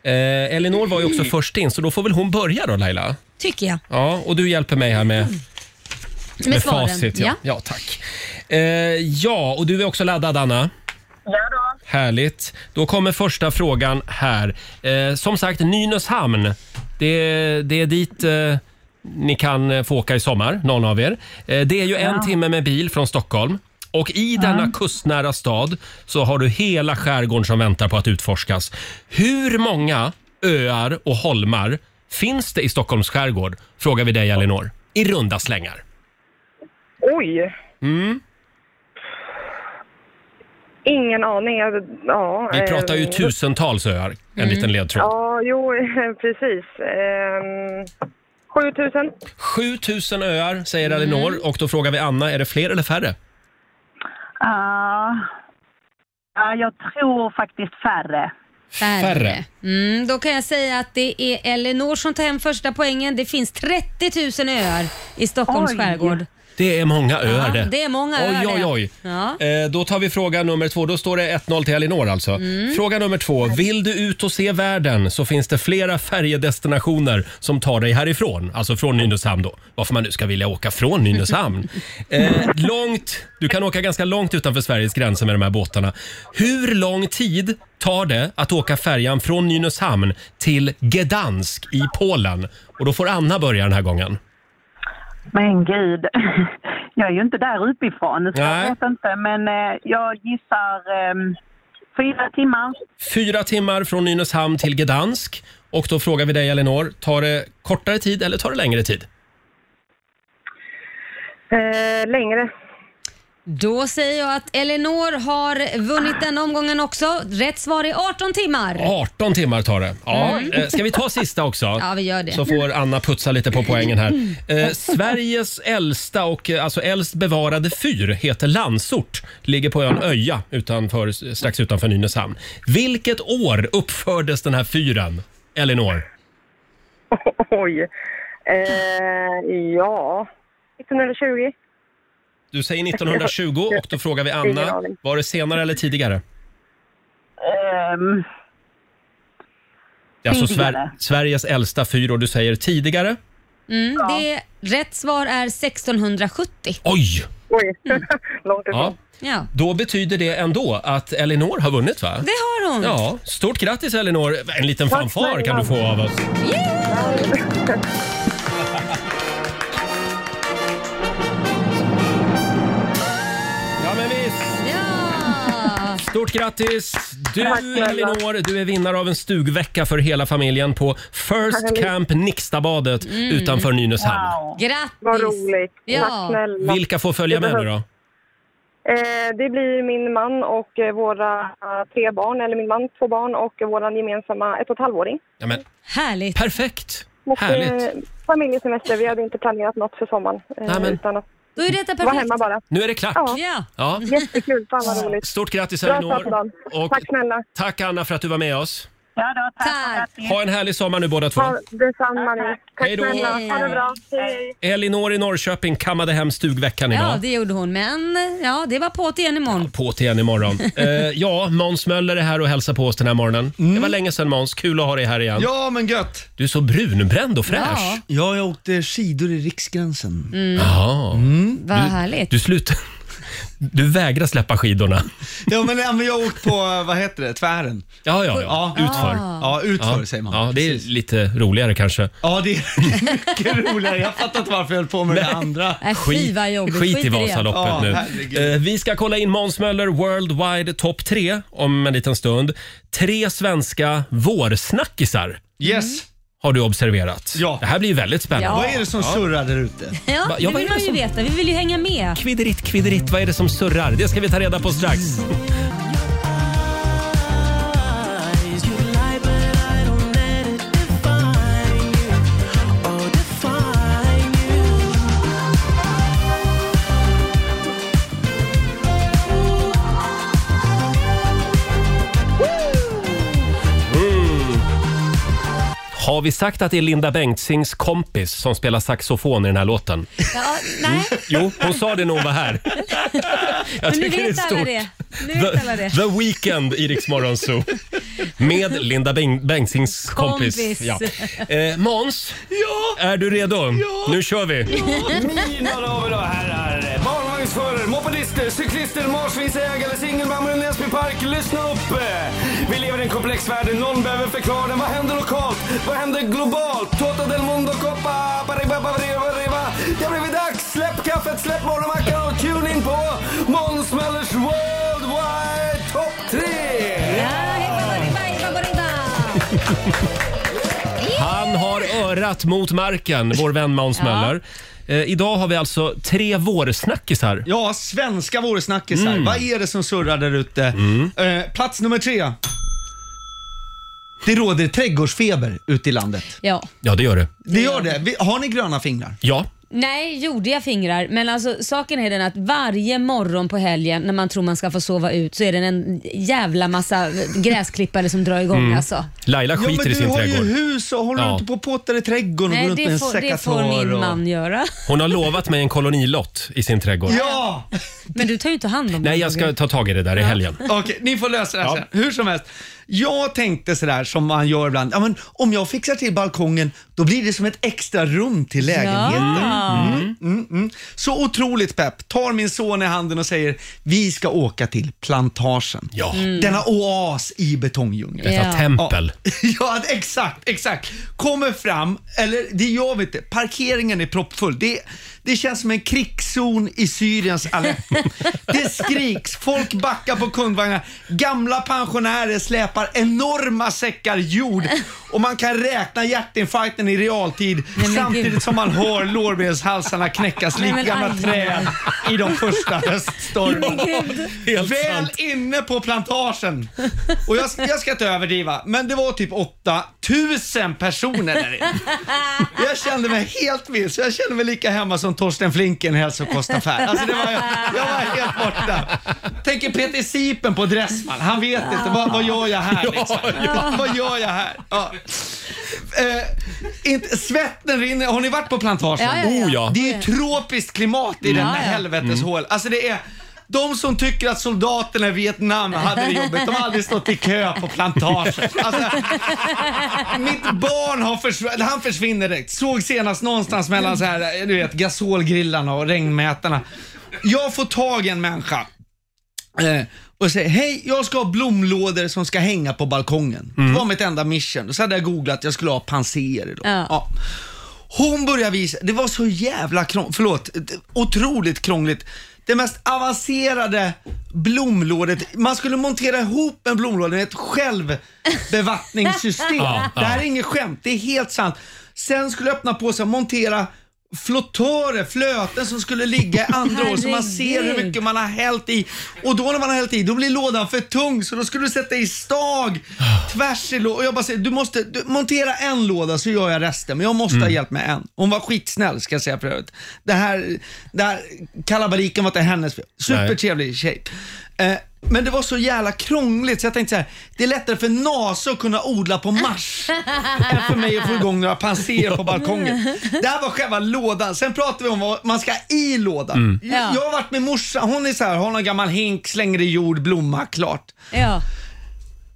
Speaker 1: Eh, Elinor var ju också först in, så då får väl hon börja då Laila?
Speaker 2: Tycker jag.
Speaker 1: Ja, och du hjälper mig här med,
Speaker 2: Med,
Speaker 1: med
Speaker 2: svaren.
Speaker 1: facit. Ja.
Speaker 2: Ja.
Speaker 1: Ja, tack. Eh, ja, och du är också laddad Anna.
Speaker 6: Ja då.
Speaker 1: Härligt. Då kommer första frågan här. Eh, som sagt, Nynäshamn. Det, det är dit eh, ni kan eh, få åka i sommar, någon av er. Eh, det är ju en timme med bil från Stockholm. Och i denna kustnära stad så har du hela skärgården som väntar på att utforskas. Hur många öar och holmar finns det i Stockholms skärgård? Frågar vi dig, Elinor. I runda slängar.
Speaker 6: Oj!
Speaker 1: Mm.
Speaker 6: Ingen aning. Jag- Ja,
Speaker 1: Vi
Speaker 6: eh,
Speaker 1: pratar ju tusentals öar. En liten ledtråd.
Speaker 6: Ja, jo, (laughs) precis. Ehm, 7000.
Speaker 1: 7000 öar säger Elinor och då frågar vi Anna, är det fler eller färre?
Speaker 10: Ja, ja, jag tror faktiskt färre.
Speaker 1: Färre.
Speaker 2: Mm, då kan jag säga att det är Elinor som tar hem första poängen. Det finns 30 000 öar i Stockholms
Speaker 10: Oj.
Speaker 2: skärgård.
Speaker 1: Det är många öar
Speaker 2: Ja,
Speaker 1: det.
Speaker 2: det är många öar
Speaker 1: Oj, oj,
Speaker 2: det.
Speaker 1: oj.
Speaker 2: Ja.
Speaker 1: Eh, då tar vi fråga nummer två. Då står det 1-0 till Elinor alltså. Fråga nummer två. Vill du ut och se världen så finns det flera färjedestinationer som tar dig härifrån. Alltså från Nynäshamn då. Varför man nu ska vilja åka från Nynäshamn. eh, långt, du kan åka ganska långt utanför Sveriges gränser med de här båtarna. Hur lång tid tar det att åka färjan från Nynäshamn till Gdansk i Polen? Och då får Anna börja den här gången.
Speaker 10: Men gud, jag är ju inte där uppifrån så
Speaker 1: Nej.
Speaker 10: jag vet inte. Men eh, jag gissar ehm, fyra timmar.
Speaker 1: Fyra timmar från Nynäshamn till Gdansk. Och då frågar vi dig, Elinor, tar det kortare tid eller tar det längre tid?
Speaker 6: Eh, längre.
Speaker 2: Då säger jag att Elinor har vunnit den omgången också. Rätt svar är 18 timmar.
Speaker 1: 18 timmar tar det. Ja. Eh, Ska vi ta sista också?
Speaker 2: Mm. (laughs) Ja, vi gör det.
Speaker 1: Så får Anna putsa lite på
Speaker 2: (laughs)
Speaker 1: poängen här. Eh, Sveriges äldsta och eh, alltså äldst bevarade fyr heter Landsort. Ligger på ön Öja utanför, strax utanför Nynäshamn. Vilket år uppfördes den här fyren, Elinor?
Speaker 6: (laughs) Oj. Eh, ja. 1920.
Speaker 1: Du säger 1920 och då frågar vi Anna,
Speaker 6: aning.
Speaker 1: var det senare eller tidigare?
Speaker 10: Ehm,
Speaker 1: Det är alltså Sver
Speaker 10: Tidigare.
Speaker 1: Sveriges äldsta fyr och du säger tidigare.
Speaker 2: Mm, det, rätt svar är 1670.
Speaker 1: Oj!
Speaker 6: Oj. Långt ifrån.
Speaker 1: Ja,
Speaker 2: Ja,
Speaker 1: då betyder det ändå att Elinor har vunnit va?
Speaker 2: det har hon.
Speaker 1: Ja, stort grattis Elinor! En liten fanfar kan du få av oss.
Speaker 6: (laughs)
Speaker 1: Ja men visst!
Speaker 2: Ja.
Speaker 1: Stort grattis! Du Elinor, du är vinnare av en stugvecka för hela familjen på First Camp Nixtabadet
Speaker 2: Mm.
Speaker 1: utanför Nynäshamn.
Speaker 10: wow.
Speaker 2: Grattis!
Speaker 6: Vad roligt.
Speaker 2: Ja.
Speaker 6: Tack snälla.
Speaker 1: Vilka får följa med nu då?
Speaker 6: Eh, det blir min man och eh, våra eh, tre barn, eller min man två barn och vår gemensamma ett och ett halvåring.
Speaker 1: Ja, men,
Speaker 2: Härligt.
Speaker 1: perfekt!
Speaker 6: Och,
Speaker 1: Härligt!
Speaker 6: eh, familjesemester. Vi hade inte planerat något för sommaren. Eh,
Speaker 1: Nej, men-
Speaker 6: Utan att
Speaker 2: Då är detta
Speaker 6: vara
Speaker 2: perfekt.
Speaker 6: hemma bara.
Speaker 1: Nu är det klart.
Speaker 6: Ja.
Speaker 2: Ja.
Speaker 1: Ja.
Speaker 6: Jättekul. Fan vad roligt.
Speaker 1: Stort grattis
Speaker 6: Bra start på
Speaker 1: Elinor.
Speaker 6: dagen.
Speaker 1: Och
Speaker 6: Tack snälla.
Speaker 1: tack Anna för att du var med oss.
Speaker 10: Ja, då, tack.
Speaker 2: Tack.
Speaker 10: och grattis.
Speaker 1: Ha en härlig sommar nu båda två.
Speaker 6: Ja, detsamma ni. Tack
Speaker 1: Hej då.
Speaker 6: snälla. Ha det bra. Hej.
Speaker 1: Elinor i Norrköping kammade hem stugveckan
Speaker 2: Ja,
Speaker 1: idag.
Speaker 2: det gjorde hon. Men ja, det var på igen imorgon.
Speaker 1: På till
Speaker 2: (laughs)
Speaker 1: igen imorgon. eh, ja, Måns Möller är här och hälsar på oss den här morgonen. Det var länge sedan Måns, kul att ha dig här igen.
Speaker 11: Mm. Ja, men gött!
Speaker 1: Du är så brunbränd och fräsch. Mm.
Speaker 11: Ja, jag åkte skidor i Riksgränsen.
Speaker 2: Mm.
Speaker 11: Mm.
Speaker 1: Ja.
Speaker 2: Vad härligt.
Speaker 1: Du slutar... (laughs) Du vägrar släppa skidorna.
Speaker 11: Ja, men, ja, men jag har åkt på, eh, vad heter det, tvären.
Speaker 1: Ja, ja, ja.
Speaker 11: Ja.
Speaker 1: Utför.
Speaker 11: Ja, utför
Speaker 1: Ja.
Speaker 11: säger man.
Speaker 1: ja, det är
Speaker 11: Precis.
Speaker 1: lite roligare kanske.
Speaker 11: ja, det är (laughs) mycket roligare. Jag fattar inte varför jag höll på med det
Speaker 2: (laughs)
Speaker 11: andra.
Speaker 2: Äh, fy vad jobbigt.
Speaker 1: skit i
Speaker 2: det.
Speaker 1: Vasaloppet
Speaker 11: Ja,
Speaker 1: nu.
Speaker 11: herregud.
Speaker 1: Eh, vi ska kolla in Måns Möller Worldwide Top 3 om en liten stund. Tre svenska vårsnackisar
Speaker 11: Yes.
Speaker 1: har du observerat.
Speaker 11: Ja.
Speaker 1: Det här blir ju väldigt spännande.
Speaker 11: Vad är det som surrar där ute?
Speaker 2: (laughs) Ja,
Speaker 1: Ja,
Speaker 2: det
Speaker 1: vad är
Speaker 2: vill
Speaker 1: det
Speaker 2: man ju
Speaker 1: som-
Speaker 2: veta. Vi vill ju hänga med.
Speaker 1: Kvideritt, kvideritt, vad är det som surrar? Det ska vi ta reda på strax.
Speaker 11: Mm.
Speaker 1: Har vi sagt att det är Linda Bengtzings kompis som spelar saxofon i den här låten?
Speaker 2: Ja, nej,
Speaker 1: Mm. Jo, hon sa det när hon var här. (laughs) Jag
Speaker 2: men nu
Speaker 1: tycker det är
Speaker 2: vet alla
Speaker 1: stort.
Speaker 2: det. Nu vet alla
Speaker 1: The,
Speaker 2: det.
Speaker 1: the Weeknd i Rix Morgon Zoo. Med Linda Beng- Bengtzings kompis.
Speaker 2: Kompis.
Speaker 1: Ja. Eh, Måns,
Speaker 11: Ja!
Speaker 1: är du redo? Nu kör vi!
Speaker 8: Mina damer och herrar, barnvagnsförare, mopedister, cyklister, marsvinsägare, singelmammor i Näsby park. Lyssna upp! Vi lever i en komplex värld, någon behöver förklara den. Vad händer lokalt? Vad händer globalt? Tota del mundo coppa, pariba, pariba, pariba. Det har blivit dags! Släpp kaffet, släpp morgonmackan och tune in på Måns Möllers Worldwide Top 3!
Speaker 1: Han har örat mot marken, vår vän Måns Möller. Eh, idag har vi alltså tre vårsnackisar.
Speaker 11: Ja, svenska vårsnackisar.
Speaker 1: Mm.
Speaker 11: Vad är det som surrar där ute? Eh, plats nummer tre. Det råder trädgårdsfeber ute i landet.
Speaker 2: Ja.
Speaker 1: Ja, det gör det.
Speaker 11: Det gör det. Vi- Har ni gröna fingrar?
Speaker 1: Ja.
Speaker 2: Nej, jordiga fingrar. Men alltså, saken är den att varje morgon på helgen när man tror man ska få sova ut så är det en jävla massa gräsklippare som drar igång
Speaker 1: Mm.
Speaker 2: alltså.
Speaker 1: Laila skiter i sin
Speaker 11: Du har
Speaker 1: trädgård.
Speaker 11: ju hus och håller
Speaker 1: Ja.
Speaker 11: inte på och pottar i trädgården och går
Speaker 2: Nej,
Speaker 11: runt med
Speaker 2: det
Speaker 11: en
Speaker 2: får, det
Speaker 11: säckat
Speaker 2: får
Speaker 11: hår.
Speaker 2: min
Speaker 11: och-
Speaker 2: man göra.
Speaker 1: Hon har lovat mig en kolonilott i sin trädgård.
Speaker 11: Ja!
Speaker 2: Men du tar ju inte hand om
Speaker 1: Nej,
Speaker 2: det,
Speaker 1: jag ska
Speaker 2: Roger.
Speaker 1: ta tag i det där i helgen.
Speaker 11: Okej, ni får lösa det här sen. Hur som helst. Jag tänkte sådär som man gör ibland. Ja, men om jag fixar till balkongen, då blir det som ett extra rum till lägenheten.
Speaker 9: Ja.
Speaker 11: Mm, mm, mm. Så otroligt pepp. Tar min son i handen och säger, vi ska åka till plantagen.
Speaker 1: Ja.
Speaker 9: Mm.
Speaker 11: Denna oas i betongdjungeln.
Speaker 9: Detta Ja. tempel.
Speaker 11: Ja. (laughs) Ja, exakt, exakt. Kommer fram, eller det gör vi inte. Parkeringen är proppfull. Det, det känns som en krigszon i Syriens
Speaker 9: (laughs)
Speaker 11: Aleppo. Det skriks, folk backar på kundvagnar. Gamla pensionärer släpar enorma säckar jord och man kan räkna hjärtinfarkten i realtid
Speaker 9: Nej, men gud.
Speaker 11: samtidigt som man hör lårbenshalsarna knäckas
Speaker 9: Nej,
Speaker 11: likt
Speaker 9: men
Speaker 11: gamla
Speaker 9: aj, aj,
Speaker 11: träd i de första höststormarna.
Speaker 9: Nej, men
Speaker 11: Väl inne på plantagen. Och jag, jag ska inte överdriva, men det var typ 8000 personer där inne. Jag kände mig helt vilse. Jag kände mig lika hemma som Torsten Flinck i en hälsokostaffär. Alltså det var, jag var helt borta. Tänker Peter Sipen på Dressman. Han vet inte. Vad, vad gör jag här liksom?
Speaker 9: Ja, ja.
Speaker 11: Vad- Vad gör jag här? Ja. Eh, inte, svetten rinner. Har ni varit på plantagen?
Speaker 9: Ja, ja, ja. Oh, ja. Mm.
Speaker 11: Det är ju tropiskt klimat i
Speaker 9: Ja,
Speaker 11: den
Speaker 9: ja.
Speaker 11: här helveteshål. Alltså det är... De som tycker att soldaterna i Vietnam hade det jobbigt, de har aldrig stått i kö på plantagen. Alltså, mitt barn har försvunnit, han försvinner direkt. Såg senast någonstans mellan så här, du vet, gasolgrillarna och regnmätarna. Jag får tag i en människa eh, och säger, hej, jag ska ha blomlådor som ska hänga på balkongen. Det var mitt enda mission. Så hade jag googlat, jag skulle ha panser idag.
Speaker 9: Ja.
Speaker 11: Ja. Hon började visa, det var så jävla krångligt, förlåt, det- otroligt krångligt. Det mest avancerade blomlådet, man skulle montera ihop en blomlåda med ett självbevattningssystem.
Speaker 9: (laughs) Ja, ja.
Speaker 11: Det här är inget skämt, det är helt sant. Sen skulle jag öppna påsen och montera flottörer, flöten som skulle ligga i andra år så man ser hur mycket man har hällt i. Och då när man har hällt i, då blir lådan för tung så då skulle du sätta i stag tvärs i lådan. Och jag bara säger, du måste du, montera en låda så gör jag resten. Men jag måste ha hjälp med en. Hon var skitsnäll ska jag säga för övrigt. Det här, det här kalabaliken var inte hennes fel. Supertrevlig tjej. Eh, men det var så jävla krångligt så jag tänkte så här, det är lättare för NASA att kunna odla på Mars än (laughs) (laughs) för mig att få igång några panser på balkongen. Det här var själva lådan. Sen pratade vi om vad man ska ha i lådan.
Speaker 9: Mm.
Speaker 11: Jag, jag har varit med morsan, hon är så här, har någon gammal hink, slänger i jord, blomma, klart.
Speaker 2: Ja.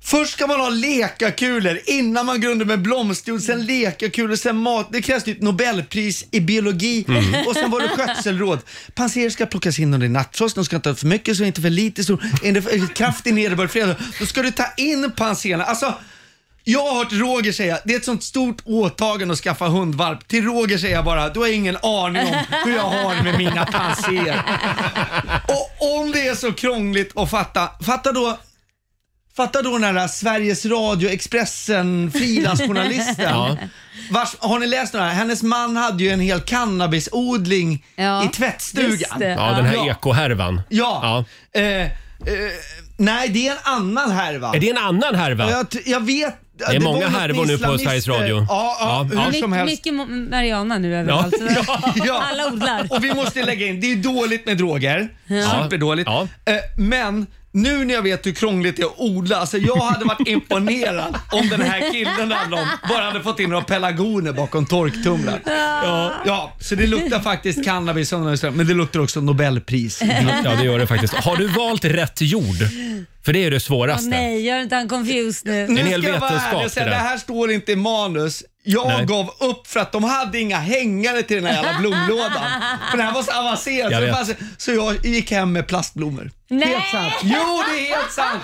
Speaker 11: Först ska man ha lekakulor innan man går under med blomsterjord, sen lekakulor, sen mat. Det krävs typ Nobelpris i biologi
Speaker 9: Mm.
Speaker 11: och sen var det skötselråd. Panser ska plockas in under nattfrost, de ska inte ha för mycket så inte för lite. Så är det för kraftig nederbörd fredag, då ska du ta in panserna. Alltså, jag har hört Roger säga, det är ett sånt stort åtagande att skaffa hundvalp. Till Roger säger jag bara, du har ingen aning om hur jag har det med mina panser. Och om det är så krångligt att fatta, fatta då Fatta då den här Sveriges Radio, Expressen, frilansjournalisten.
Speaker 9: Ja.
Speaker 11: Vars, har ni läst några? Hennes man hade ju en hel cannabisodling i
Speaker 1: Ja,
Speaker 11: tvättstugan.
Speaker 1: den här ekohärvan.
Speaker 11: Ja. Eh, eh, nej, det är en annan härva.
Speaker 1: Är det en annan härva?
Speaker 11: Jag, t- jag vet.
Speaker 1: Det är många
Speaker 11: var något
Speaker 1: härvor nu på
Speaker 11: islamister.
Speaker 1: Sveriges Radio.
Speaker 11: Ja, ja,
Speaker 1: Ja.
Speaker 11: hur
Speaker 2: My,
Speaker 11: som helst.
Speaker 2: mycket mo- Mariana nu överallt. (laughs)
Speaker 11: Ja.
Speaker 2: Alla odlar.
Speaker 11: Och vi måste lägga in, det är dåligt med droger.
Speaker 2: Ja.
Speaker 11: Superdåligt. Eh, Men nu när jag vet hur krångligt det är att odla, alltså jag hade
Speaker 2: (laughs)
Speaker 11: varit imponerad om den här killen det handlar om bara hade fått in några pelargoner bakom torktumlaren.
Speaker 9: Ja.
Speaker 11: ja, så det luktar faktiskt cannabis, som någon sa, men det luktar också Nobelpris.
Speaker 1: Ja, det gör det faktiskt. Har du valt rätt jord? För det är det
Speaker 2: Åh,
Speaker 1: svåraste.
Speaker 2: nej, gör inte han confused nu.
Speaker 11: Nu ska jag vara ärlig och säga, det här står inte i manus. Jag
Speaker 1: Nej.
Speaker 11: gav upp för att de hade inga hängare till den här jävla blomlådan. För det här var så avancerat.
Speaker 1: Jag
Speaker 11: så, det
Speaker 1: vet.
Speaker 11: fanns, så jag gick hem med plastblommor.
Speaker 9: Nej!
Speaker 11: Helt
Speaker 9: (laughs)
Speaker 11: sant. Jo, det är helt sant.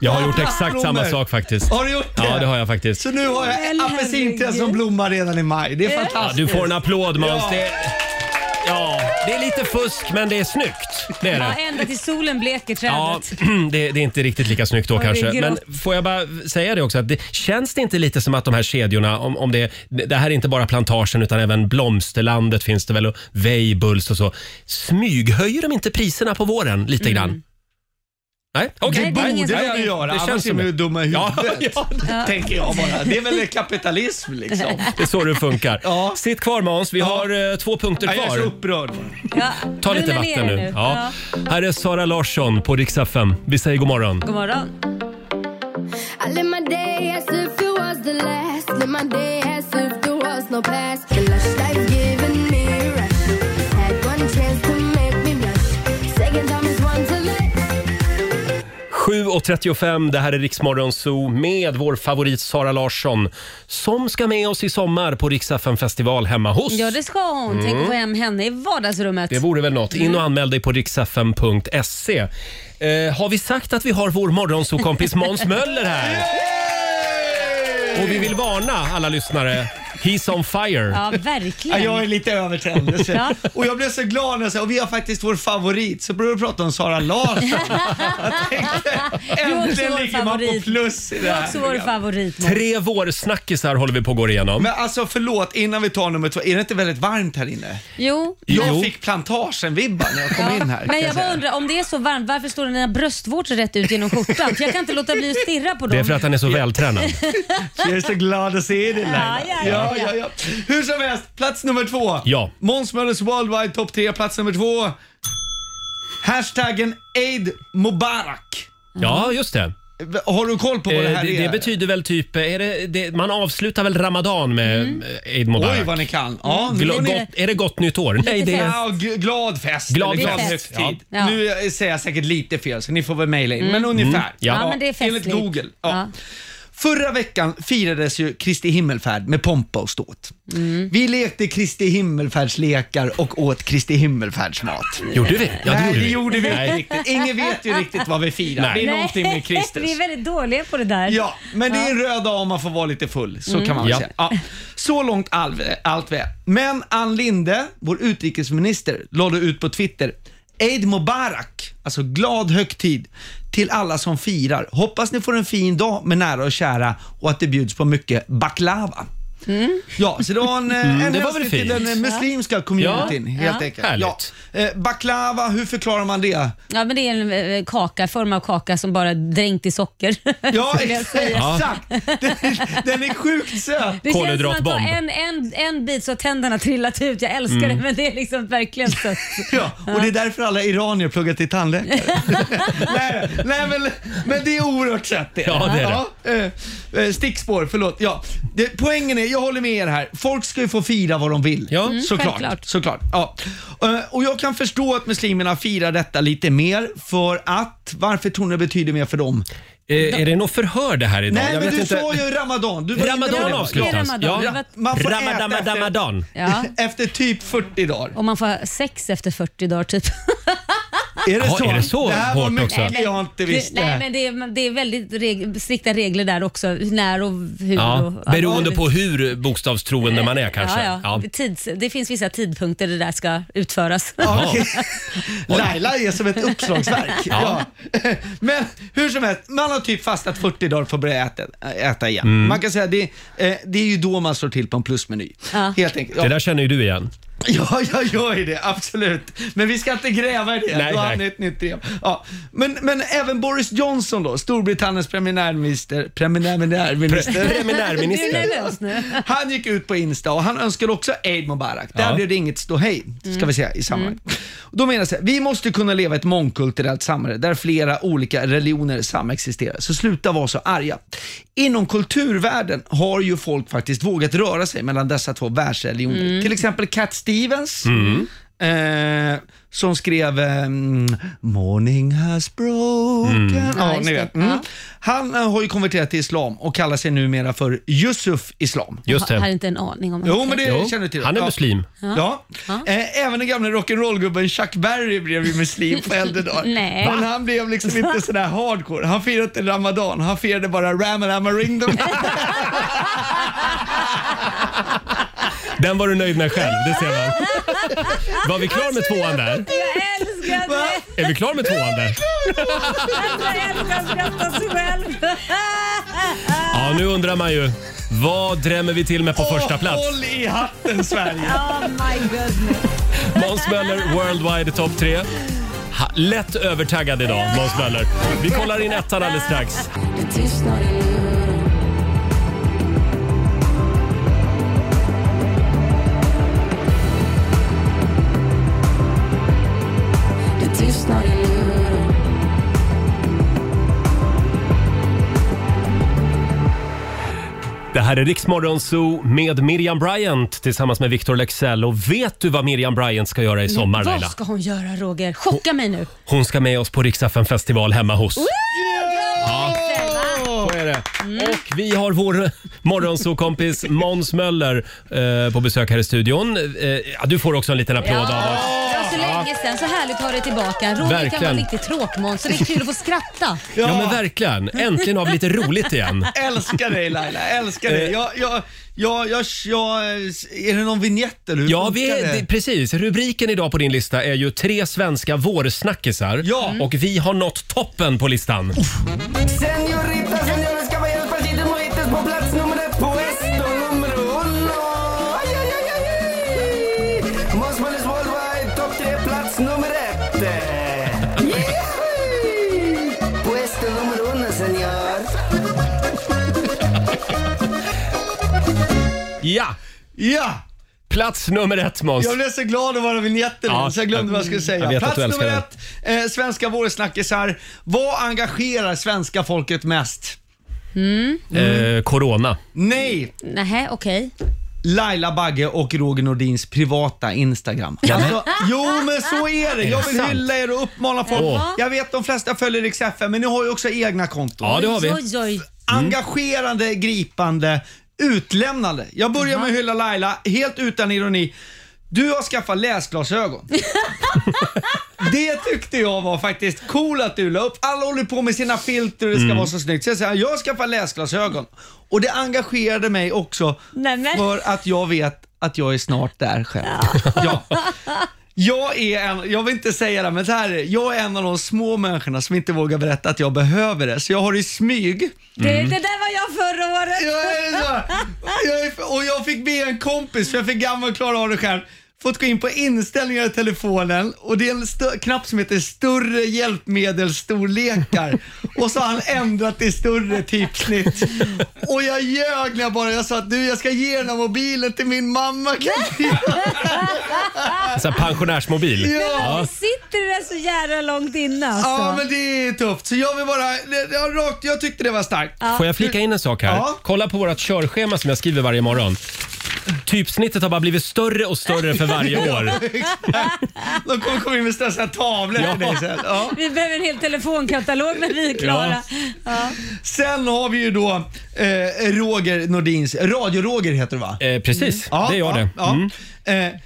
Speaker 1: Jag har gjort
Speaker 11: Ja,
Speaker 1: exakt samma
Speaker 11: blommor.
Speaker 1: sak faktiskt.
Speaker 11: Har du gjort det?
Speaker 1: Ja, det har jag faktiskt.
Speaker 11: Så nu har jag apelsinträd som blommar redan i maj. Det är
Speaker 1: Ja,
Speaker 11: fantastiskt.
Speaker 1: du får en applåd Måns.
Speaker 11: Ja.
Speaker 1: Det- Ja, det är lite fusk men det är snyggt. Det är
Speaker 2: Ja,
Speaker 1: det.
Speaker 2: ända till solen bleker trädet.
Speaker 1: Ja, (clears throat) det, det är inte riktigt lika snyggt då
Speaker 2: Ja, det är
Speaker 1: kanske. Men
Speaker 2: grått.
Speaker 1: får jag bara säga det också, att det, känns det inte lite som att de här kedjorna, om, om det, det här är inte bara plantagen utan även Blomsterlandet finns det väl och Weibulls och så. Smyghöjer de inte priserna på våren lite grann? Nej, okej.
Speaker 11: det borde
Speaker 1: Nej,
Speaker 11: de ju göra,
Speaker 1: Det känns
Speaker 11: annars är
Speaker 1: som
Speaker 11: de ju
Speaker 1: det.
Speaker 11: dumma i
Speaker 1: Ja,
Speaker 11: huvudet.
Speaker 1: (laughs) ja,
Speaker 11: Ja. Tänker jag bara. Det är väl kapitalism liksom.
Speaker 1: Det är så det funkar.
Speaker 11: (laughs)
Speaker 1: Sitt kvar Måns, vi har eh, två punkter
Speaker 11: Ja,
Speaker 1: kvar.
Speaker 11: jag är så upprörd.
Speaker 2: Ja,
Speaker 1: Ta lite
Speaker 2: lugna
Speaker 1: vatten
Speaker 2: ner er
Speaker 1: nu. Ja. Här är Sara Larsson på Rix FM. Vi säger god morgon.
Speaker 2: God morgon.
Speaker 9: I live my day as if it was the last. Live my day as if there was no past. The lush life giving me a rush. Had one chance to make me blush. Second time is one to let
Speaker 1: 7.35, det här är Riksmorgon Zoo med vår favorit Sara Larsson som ska med oss i sommar på Rix FM festival hemma hos.
Speaker 2: Ja, det ska hon. Tänk
Speaker 1: Mm.
Speaker 2: att få hem henne i vardagsrummet.
Speaker 1: Det vore väl något. In och
Speaker 2: Mm.
Speaker 1: anmäl dig på riksfm.se. Eh, har vi sagt att vi har vår morgonsokompis Måns
Speaker 2: (laughs)
Speaker 1: Möller här? Och vi vill varna alla lyssnare. He's on fire.
Speaker 2: Ja, verkligen.
Speaker 11: Ja, jag är lite (laughs) övertänd.
Speaker 2: Ja.
Speaker 11: Och jag blev så glad när jag sa, och vi har faktiskt vår favorit, så började vi prata om Sara Larsson.
Speaker 9: (laughs)
Speaker 2: Du är också
Speaker 11: Äntligen
Speaker 2: vår
Speaker 11: ligger man på
Speaker 2: favorit.
Speaker 11: plus i
Speaker 2: Du
Speaker 11: det
Speaker 2: är
Speaker 11: här.
Speaker 2: också vår favorit. Måns.
Speaker 1: (laughs) Tre vårsnackisar håller vi på att gå igenom.
Speaker 11: Men alltså förlåt, innan vi tar nummer två, är det inte väldigt varmt här inne?
Speaker 2: Jo.
Speaker 11: Jag fick plantagen-vibbar när jag kom in här. kan
Speaker 2: Men jag
Speaker 11: jag
Speaker 2: bara
Speaker 11: säga.
Speaker 2: undrar, om det är så varmt, varför står dina bröstvårtor rätt ut genom skjortan? För jag kan inte låta bli att stirra på dem.
Speaker 1: Det är för att han är så
Speaker 11: (laughs)
Speaker 1: vältränad.
Speaker 11: Jag är så glad att se dig Laila.
Speaker 2: Ja, ja,
Speaker 11: ja,
Speaker 2: ja,
Speaker 11: ja, ja. Hur som helst, plats nummer två.
Speaker 1: Ja.
Speaker 11: Måns Möllers Worldwide topp tre, plats nummer två. Hashtaggen Aid Mubarak.
Speaker 1: Ja, just det.
Speaker 11: Har du koll på vad det
Speaker 1: Eh,
Speaker 11: här
Speaker 1: det,
Speaker 11: är?
Speaker 1: det betyder väl typ, är det, det, man avslutar väl ramadan med
Speaker 2: Mm.
Speaker 1: eh, Eid Mubarak?
Speaker 11: Oj, vad ni kan. Ja, nu-
Speaker 1: Gla, gott, är det gott nytt år? Nej, det är...
Speaker 11: Ja, g- glad fest.
Speaker 1: Glad
Speaker 11: eller
Speaker 1: fest.
Speaker 11: högtid.
Speaker 1: Ja. Ja.
Speaker 11: Nu säger jag säkert lite fel så ni får väl mejla in.
Speaker 1: Mm.
Speaker 11: Men ungefär.
Speaker 1: Mm. Ja. Ja, men det är
Speaker 11: Enligt
Speaker 1: festligt.
Speaker 11: Google. Ja. Förra veckan firades ju Kristi himmelfärd med pompa och ståt.
Speaker 1: Mm.
Speaker 11: Vi lekte Kristi himmelfärdslekar och åt Kristi himmelfärdsmat.
Speaker 1: Gjorde vi? Ja, det
Speaker 11: Nej,
Speaker 1: gjorde
Speaker 11: det
Speaker 1: vi.
Speaker 11: gjorde vi
Speaker 1: Nej.
Speaker 11: inte riktigt. Ingen vet ju riktigt vad vi firar.
Speaker 1: Nej.
Speaker 11: Det är någonting
Speaker 2: (laughs)
Speaker 11: med Kristus.
Speaker 2: Vi är väldigt dåliga på det där.
Speaker 11: Ja, men det är en röd dag om man får vara lite full. Så
Speaker 2: Mm.
Speaker 11: kan man väl
Speaker 2: Ja.
Speaker 11: säga. Ja. Så långt all, allt väl. Men Ann Linde, vår utrikesminister, lade ut på Twitter Eid Mubarak, alltså glad högtid till alla som firar. Hoppas ni får en fin dag med nära och kära och att det bjuds på mycket baklava. Ja, så det var en, eh,
Speaker 1: Mm,
Speaker 11: en
Speaker 1: det var väl
Speaker 11: hälsning till
Speaker 1: fint.
Speaker 11: den eh, muslimska communityn
Speaker 2: Ja.
Speaker 11: helt
Speaker 2: Ja.
Speaker 11: enkelt.
Speaker 1: Härligt.
Speaker 11: Ja. Eh, Baklava, hur förklarar man det?
Speaker 2: Ja, men det är en eh, kaka, form av kaka som bara är dränkt i socker.
Speaker 11: Ja,
Speaker 2: (laughs) skulle jag säga.
Speaker 11: exakt! Den, den är sjukt söt.
Speaker 2: Det känns som att ta en, en, en bit så har tänderna trillat ut. Jag älskar
Speaker 11: Mm.
Speaker 2: det, men det är liksom verkligen sött.
Speaker 11: Ja, och det är därför alla iranier pluggar
Speaker 1: (laughs)
Speaker 11: till tandläkare. nej, nej men, men det är oerhört sött det.
Speaker 1: Ja, det är det.
Speaker 11: Ja, eh, eh, stickspår, förlåt. Ja, det, poängen är, jag håller med er här, folk ska ju få fira vad de vill. Ja,
Speaker 1: Mm,
Speaker 11: såklart.
Speaker 1: självklart.
Speaker 11: såklart ja. Eh, Och jag kan förstå att muslimerna firar detta lite mer för att, varför tror ni det betyder mer för dem?
Speaker 1: Eh, är det något förhör det här idag?
Speaker 11: Nej,
Speaker 1: Jag
Speaker 11: men
Speaker 1: vet
Speaker 11: du
Speaker 1: inte.
Speaker 11: sa ju ramadan. Du var inne på
Speaker 1: Ramadan
Speaker 11: det.
Speaker 1: avslutas. Ja.
Speaker 11: Man får
Speaker 1: Ramadan,
Speaker 11: äta efter,
Speaker 1: Ramadan.
Speaker 2: Ja.
Speaker 11: (laughs) efter typ 40 dagar.
Speaker 2: Om man får sex efter 40 dagar typ.
Speaker 11: Är det
Speaker 1: Ja,
Speaker 11: så?
Speaker 1: är det så
Speaker 11: det här var
Speaker 1: hårt
Speaker 11: mycket
Speaker 1: också?
Speaker 11: jag inte visste.
Speaker 2: Nej, men det är, det är väldigt reg strikta regler där också. När och hur.
Speaker 1: Ja,
Speaker 2: och,
Speaker 1: beroende på hur bokstavstroende man är kanske.
Speaker 2: Ja, ja. Tids, det finns vissa tidpunkter det där ska utföras.
Speaker 1: Ja,
Speaker 2: (laughs)
Speaker 1: okej.
Speaker 11: Laila är (laughs) som ett uppslagsverk.
Speaker 1: Ja.
Speaker 11: ja. (laughs) Men hur som helst, man har typ fastat 40 dagar för att börja äta, äta igen.
Speaker 1: Mm.
Speaker 11: Man kan säga det, eh, det är ju då man slår till på en plusmeny. Helt enkelt.
Speaker 1: Det
Speaker 11: Ja.
Speaker 1: där känner ju du igen.
Speaker 11: ja, jag gör ju det, absolut. Men vi ska inte gräva i det,
Speaker 1: Nej,
Speaker 11: då har
Speaker 1: nej.
Speaker 11: ni ett nytt drev. Ja. Men, men även Boris Johnson då, Storbritanniens premiärminister, premiärminister,
Speaker 1: Pre-
Speaker 11: (laughs)
Speaker 1: premiärminister. Du är nervös
Speaker 11: Han gick ut på Insta och han önskade också Eid Mubarak. Där
Speaker 1: Ja.
Speaker 11: blev det inget ståhej, ska
Speaker 1: Mm.
Speaker 11: vi säga, i sammanhanget. Då menar jag så här, vi måste kunna leva i ett mångkulturellt samhälle där flera olika religioner samexisterar. Så sluta vara så arga. Inom kulturvärlden har ju folk faktiskt vågat röra sig mellan dessa två världsreligioner.
Speaker 1: Mm.
Speaker 11: Till exempel Cat Stevens,
Speaker 1: Mm.
Speaker 11: eh, som skrev ehm, “Morning has broken”.
Speaker 1: Mm.
Speaker 11: Ja,
Speaker 1: Ja, just
Speaker 11: ni
Speaker 1: det.
Speaker 11: vet. Mm. Han eh, har ju konverterat till islam och kallar sig numera för Yusuf Islam.
Speaker 2: Jag har inte en aning om
Speaker 11: Jo, men det känner du till.
Speaker 1: han är
Speaker 11: Ja.
Speaker 1: muslim.
Speaker 11: Ja. Eh, även den gamla rock'n'roll-gubben Chuck Berry blev ju muslim på äldre (laughs) dagar.
Speaker 2: Nej.
Speaker 11: Men han blev liksom inte sådär hardcore. Han firade inte ramadan, han firade bara Ramadamaringdom.
Speaker 1: Den var du nöjd med själv, det ser man. Var vi klar med tvåan där?
Speaker 9: Jag älskar det!
Speaker 1: Är vi klar med tvåan där?
Speaker 9: Jag älskar att skratta sig själv.
Speaker 1: Ja, nu undrar man ju. Vad drämmer vi till med på första plats?
Speaker 11: Håll i hatten Sverige!
Speaker 9: (laughs) Oh my goodness.
Speaker 1: Måns Möller, Worldwide topp 3. Lätt övertaggad idag, Måns Möller. Vi kollar in ettan alldeles strax. Det här är Riksmorgon Zoo med Miriam Bryant tillsammans med Victor Lexell. Och vet du vad Miriam Bryant ska göra i sommar,
Speaker 2: Vad
Speaker 1: Laila?
Speaker 2: ska hon göra Roger? Chocka mig nu.
Speaker 1: Hon ska med oss på Riksdagen festival hemma hos. Ja, så är det. Och vi har vår morgonsokompis Måns Möller eh, på besök här i studion. Eh, ja, du får också en liten applåd av oss.
Speaker 2: Det var så länge sedan, så härligt att ha dig tillbaka. Roger kan vara
Speaker 1: Verkligen.
Speaker 2: en riktig tråkmåns så det är kul att få skratta.
Speaker 1: Ja. men verkligen. Äntligen har vi lite roligt igen.
Speaker 11: Älskar dig Laila, älskar
Speaker 1: Eh.
Speaker 11: dig. Jag, jag, jag, jag, jag, är det någon vignett eller hur
Speaker 1: Ja, vi
Speaker 11: funkar
Speaker 1: är, det, precis. Rubriken idag på din lista är ju tre svenska vårsnackisar. Ja. Och vi har nått toppen på listan.
Speaker 8: Señorita, señores, caballeros, pasitos, mojitos på plats nummer ett. Puesto nummer uno. Aj, aj, aj, aj, aj. Måns Möllers Worldwide, topp tre, plats nummer ett. Yay! Puesto nummer uno, señor.
Speaker 1: Ja!
Speaker 11: Ja!
Speaker 1: Plats nummer ett Måns.
Speaker 11: Jag blev så glad att vara vignetten
Speaker 1: Ja,
Speaker 11: ja, så jag glömde vad jag skulle
Speaker 1: jag
Speaker 11: säga.
Speaker 1: vet att
Speaker 11: Plats
Speaker 1: du älskar
Speaker 11: nummer ett, eh, svenska vårsnackisar. Vad engagerar svenska folket mest?
Speaker 2: Mm.
Speaker 1: Eh, corona.
Speaker 11: Nej!
Speaker 2: Nähä, okej.
Speaker 11: Laila Bagge och Roger Nordins privata Instagram. Alltså, jo men så är det.
Speaker 1: Är
Speaker 11: Jag
Speaker 1: det
Speaker 11: vill
Speaker 1: sant?
Speaker 11: hylla er och uppmana folk.
Speaker 1: Åh.
Speaker 11: Jag vet de flesta följer Rix FM men ni har ju också egna konton.
Speaker 1: Ja, det har vi. Mm.
Speaker 2: Oj, oj.
Speaker 11: Engagerande, gripande, utlämnande. Jag börjar med att hylla Laila, helt utan ironi. Du har
Speaker 1: (laughs)
Speaker 11: skaffat läsglasögon. Det tyckte jag var faktiskt cool att du la upp. Alla håller på med sina filter och det ska
Speaker 1: Mm.
Speaker 11: vara så snyggt. Så jag säger, jag skaffar läsglasögon. Och det engagerade mig också
Speaker 2: men.
Speaker 11: för att jag vet att jag är snart där själv. Ja. Jag är en, jag vill inte säga det, men så här är det. Jag är en av de små människorna som inte vågar berätta att jag behöver det. Så jag har det i smyg.
Speaker 2: Det,
Speaker 1: Mm.
Speaker 2: det där var jag förra året.
Speaker 11: Jag är så, jag är, och jag fick be en kompis, för jag är för gammal och klarar av det själv, fått gå in på inställningar i telefonen och det är en stö- knapp som heter större hjälpmedelsstorlekar och så har han ändrat till större typsnitt. Och jag ljög när jag bara jag sa att du jag ska ge den här mobilen till min mamma.
Speaker 1: Så här pensionärsmobil.
Speaker 11: Ja.
Speaker 2: Sitter det där så jävla långt inne alltså?
Speaker 11: ja men det är tufft. Så jag vill bara, jag, rakt, jag tyckte det var starkt.
Speaker 1: Får jag flika in en sak här?
Speaker 11: Ja.
Speaker 1: Kolla på vårt körschema som jag skriver varje morgon. Typsnittet har bara blivit större och större för
Speaker 11: (laughs)
Speaker 1: varje år.
Speaker 11: De kommer komma in med stressiga tavlor till dig sen. Ja.
Speaker 2: Vi behöver en hel telefonkatalog när vi är klara. Ja.
Speaker 11: Sen har vi ju då eh, Roger Nordins, Radio-Roger heter det va?
Speaker 1: Eh, precis, det är jag det.
Speaker 11: Ja,
Speaker 1: Mm.
Speaker 11: Eh,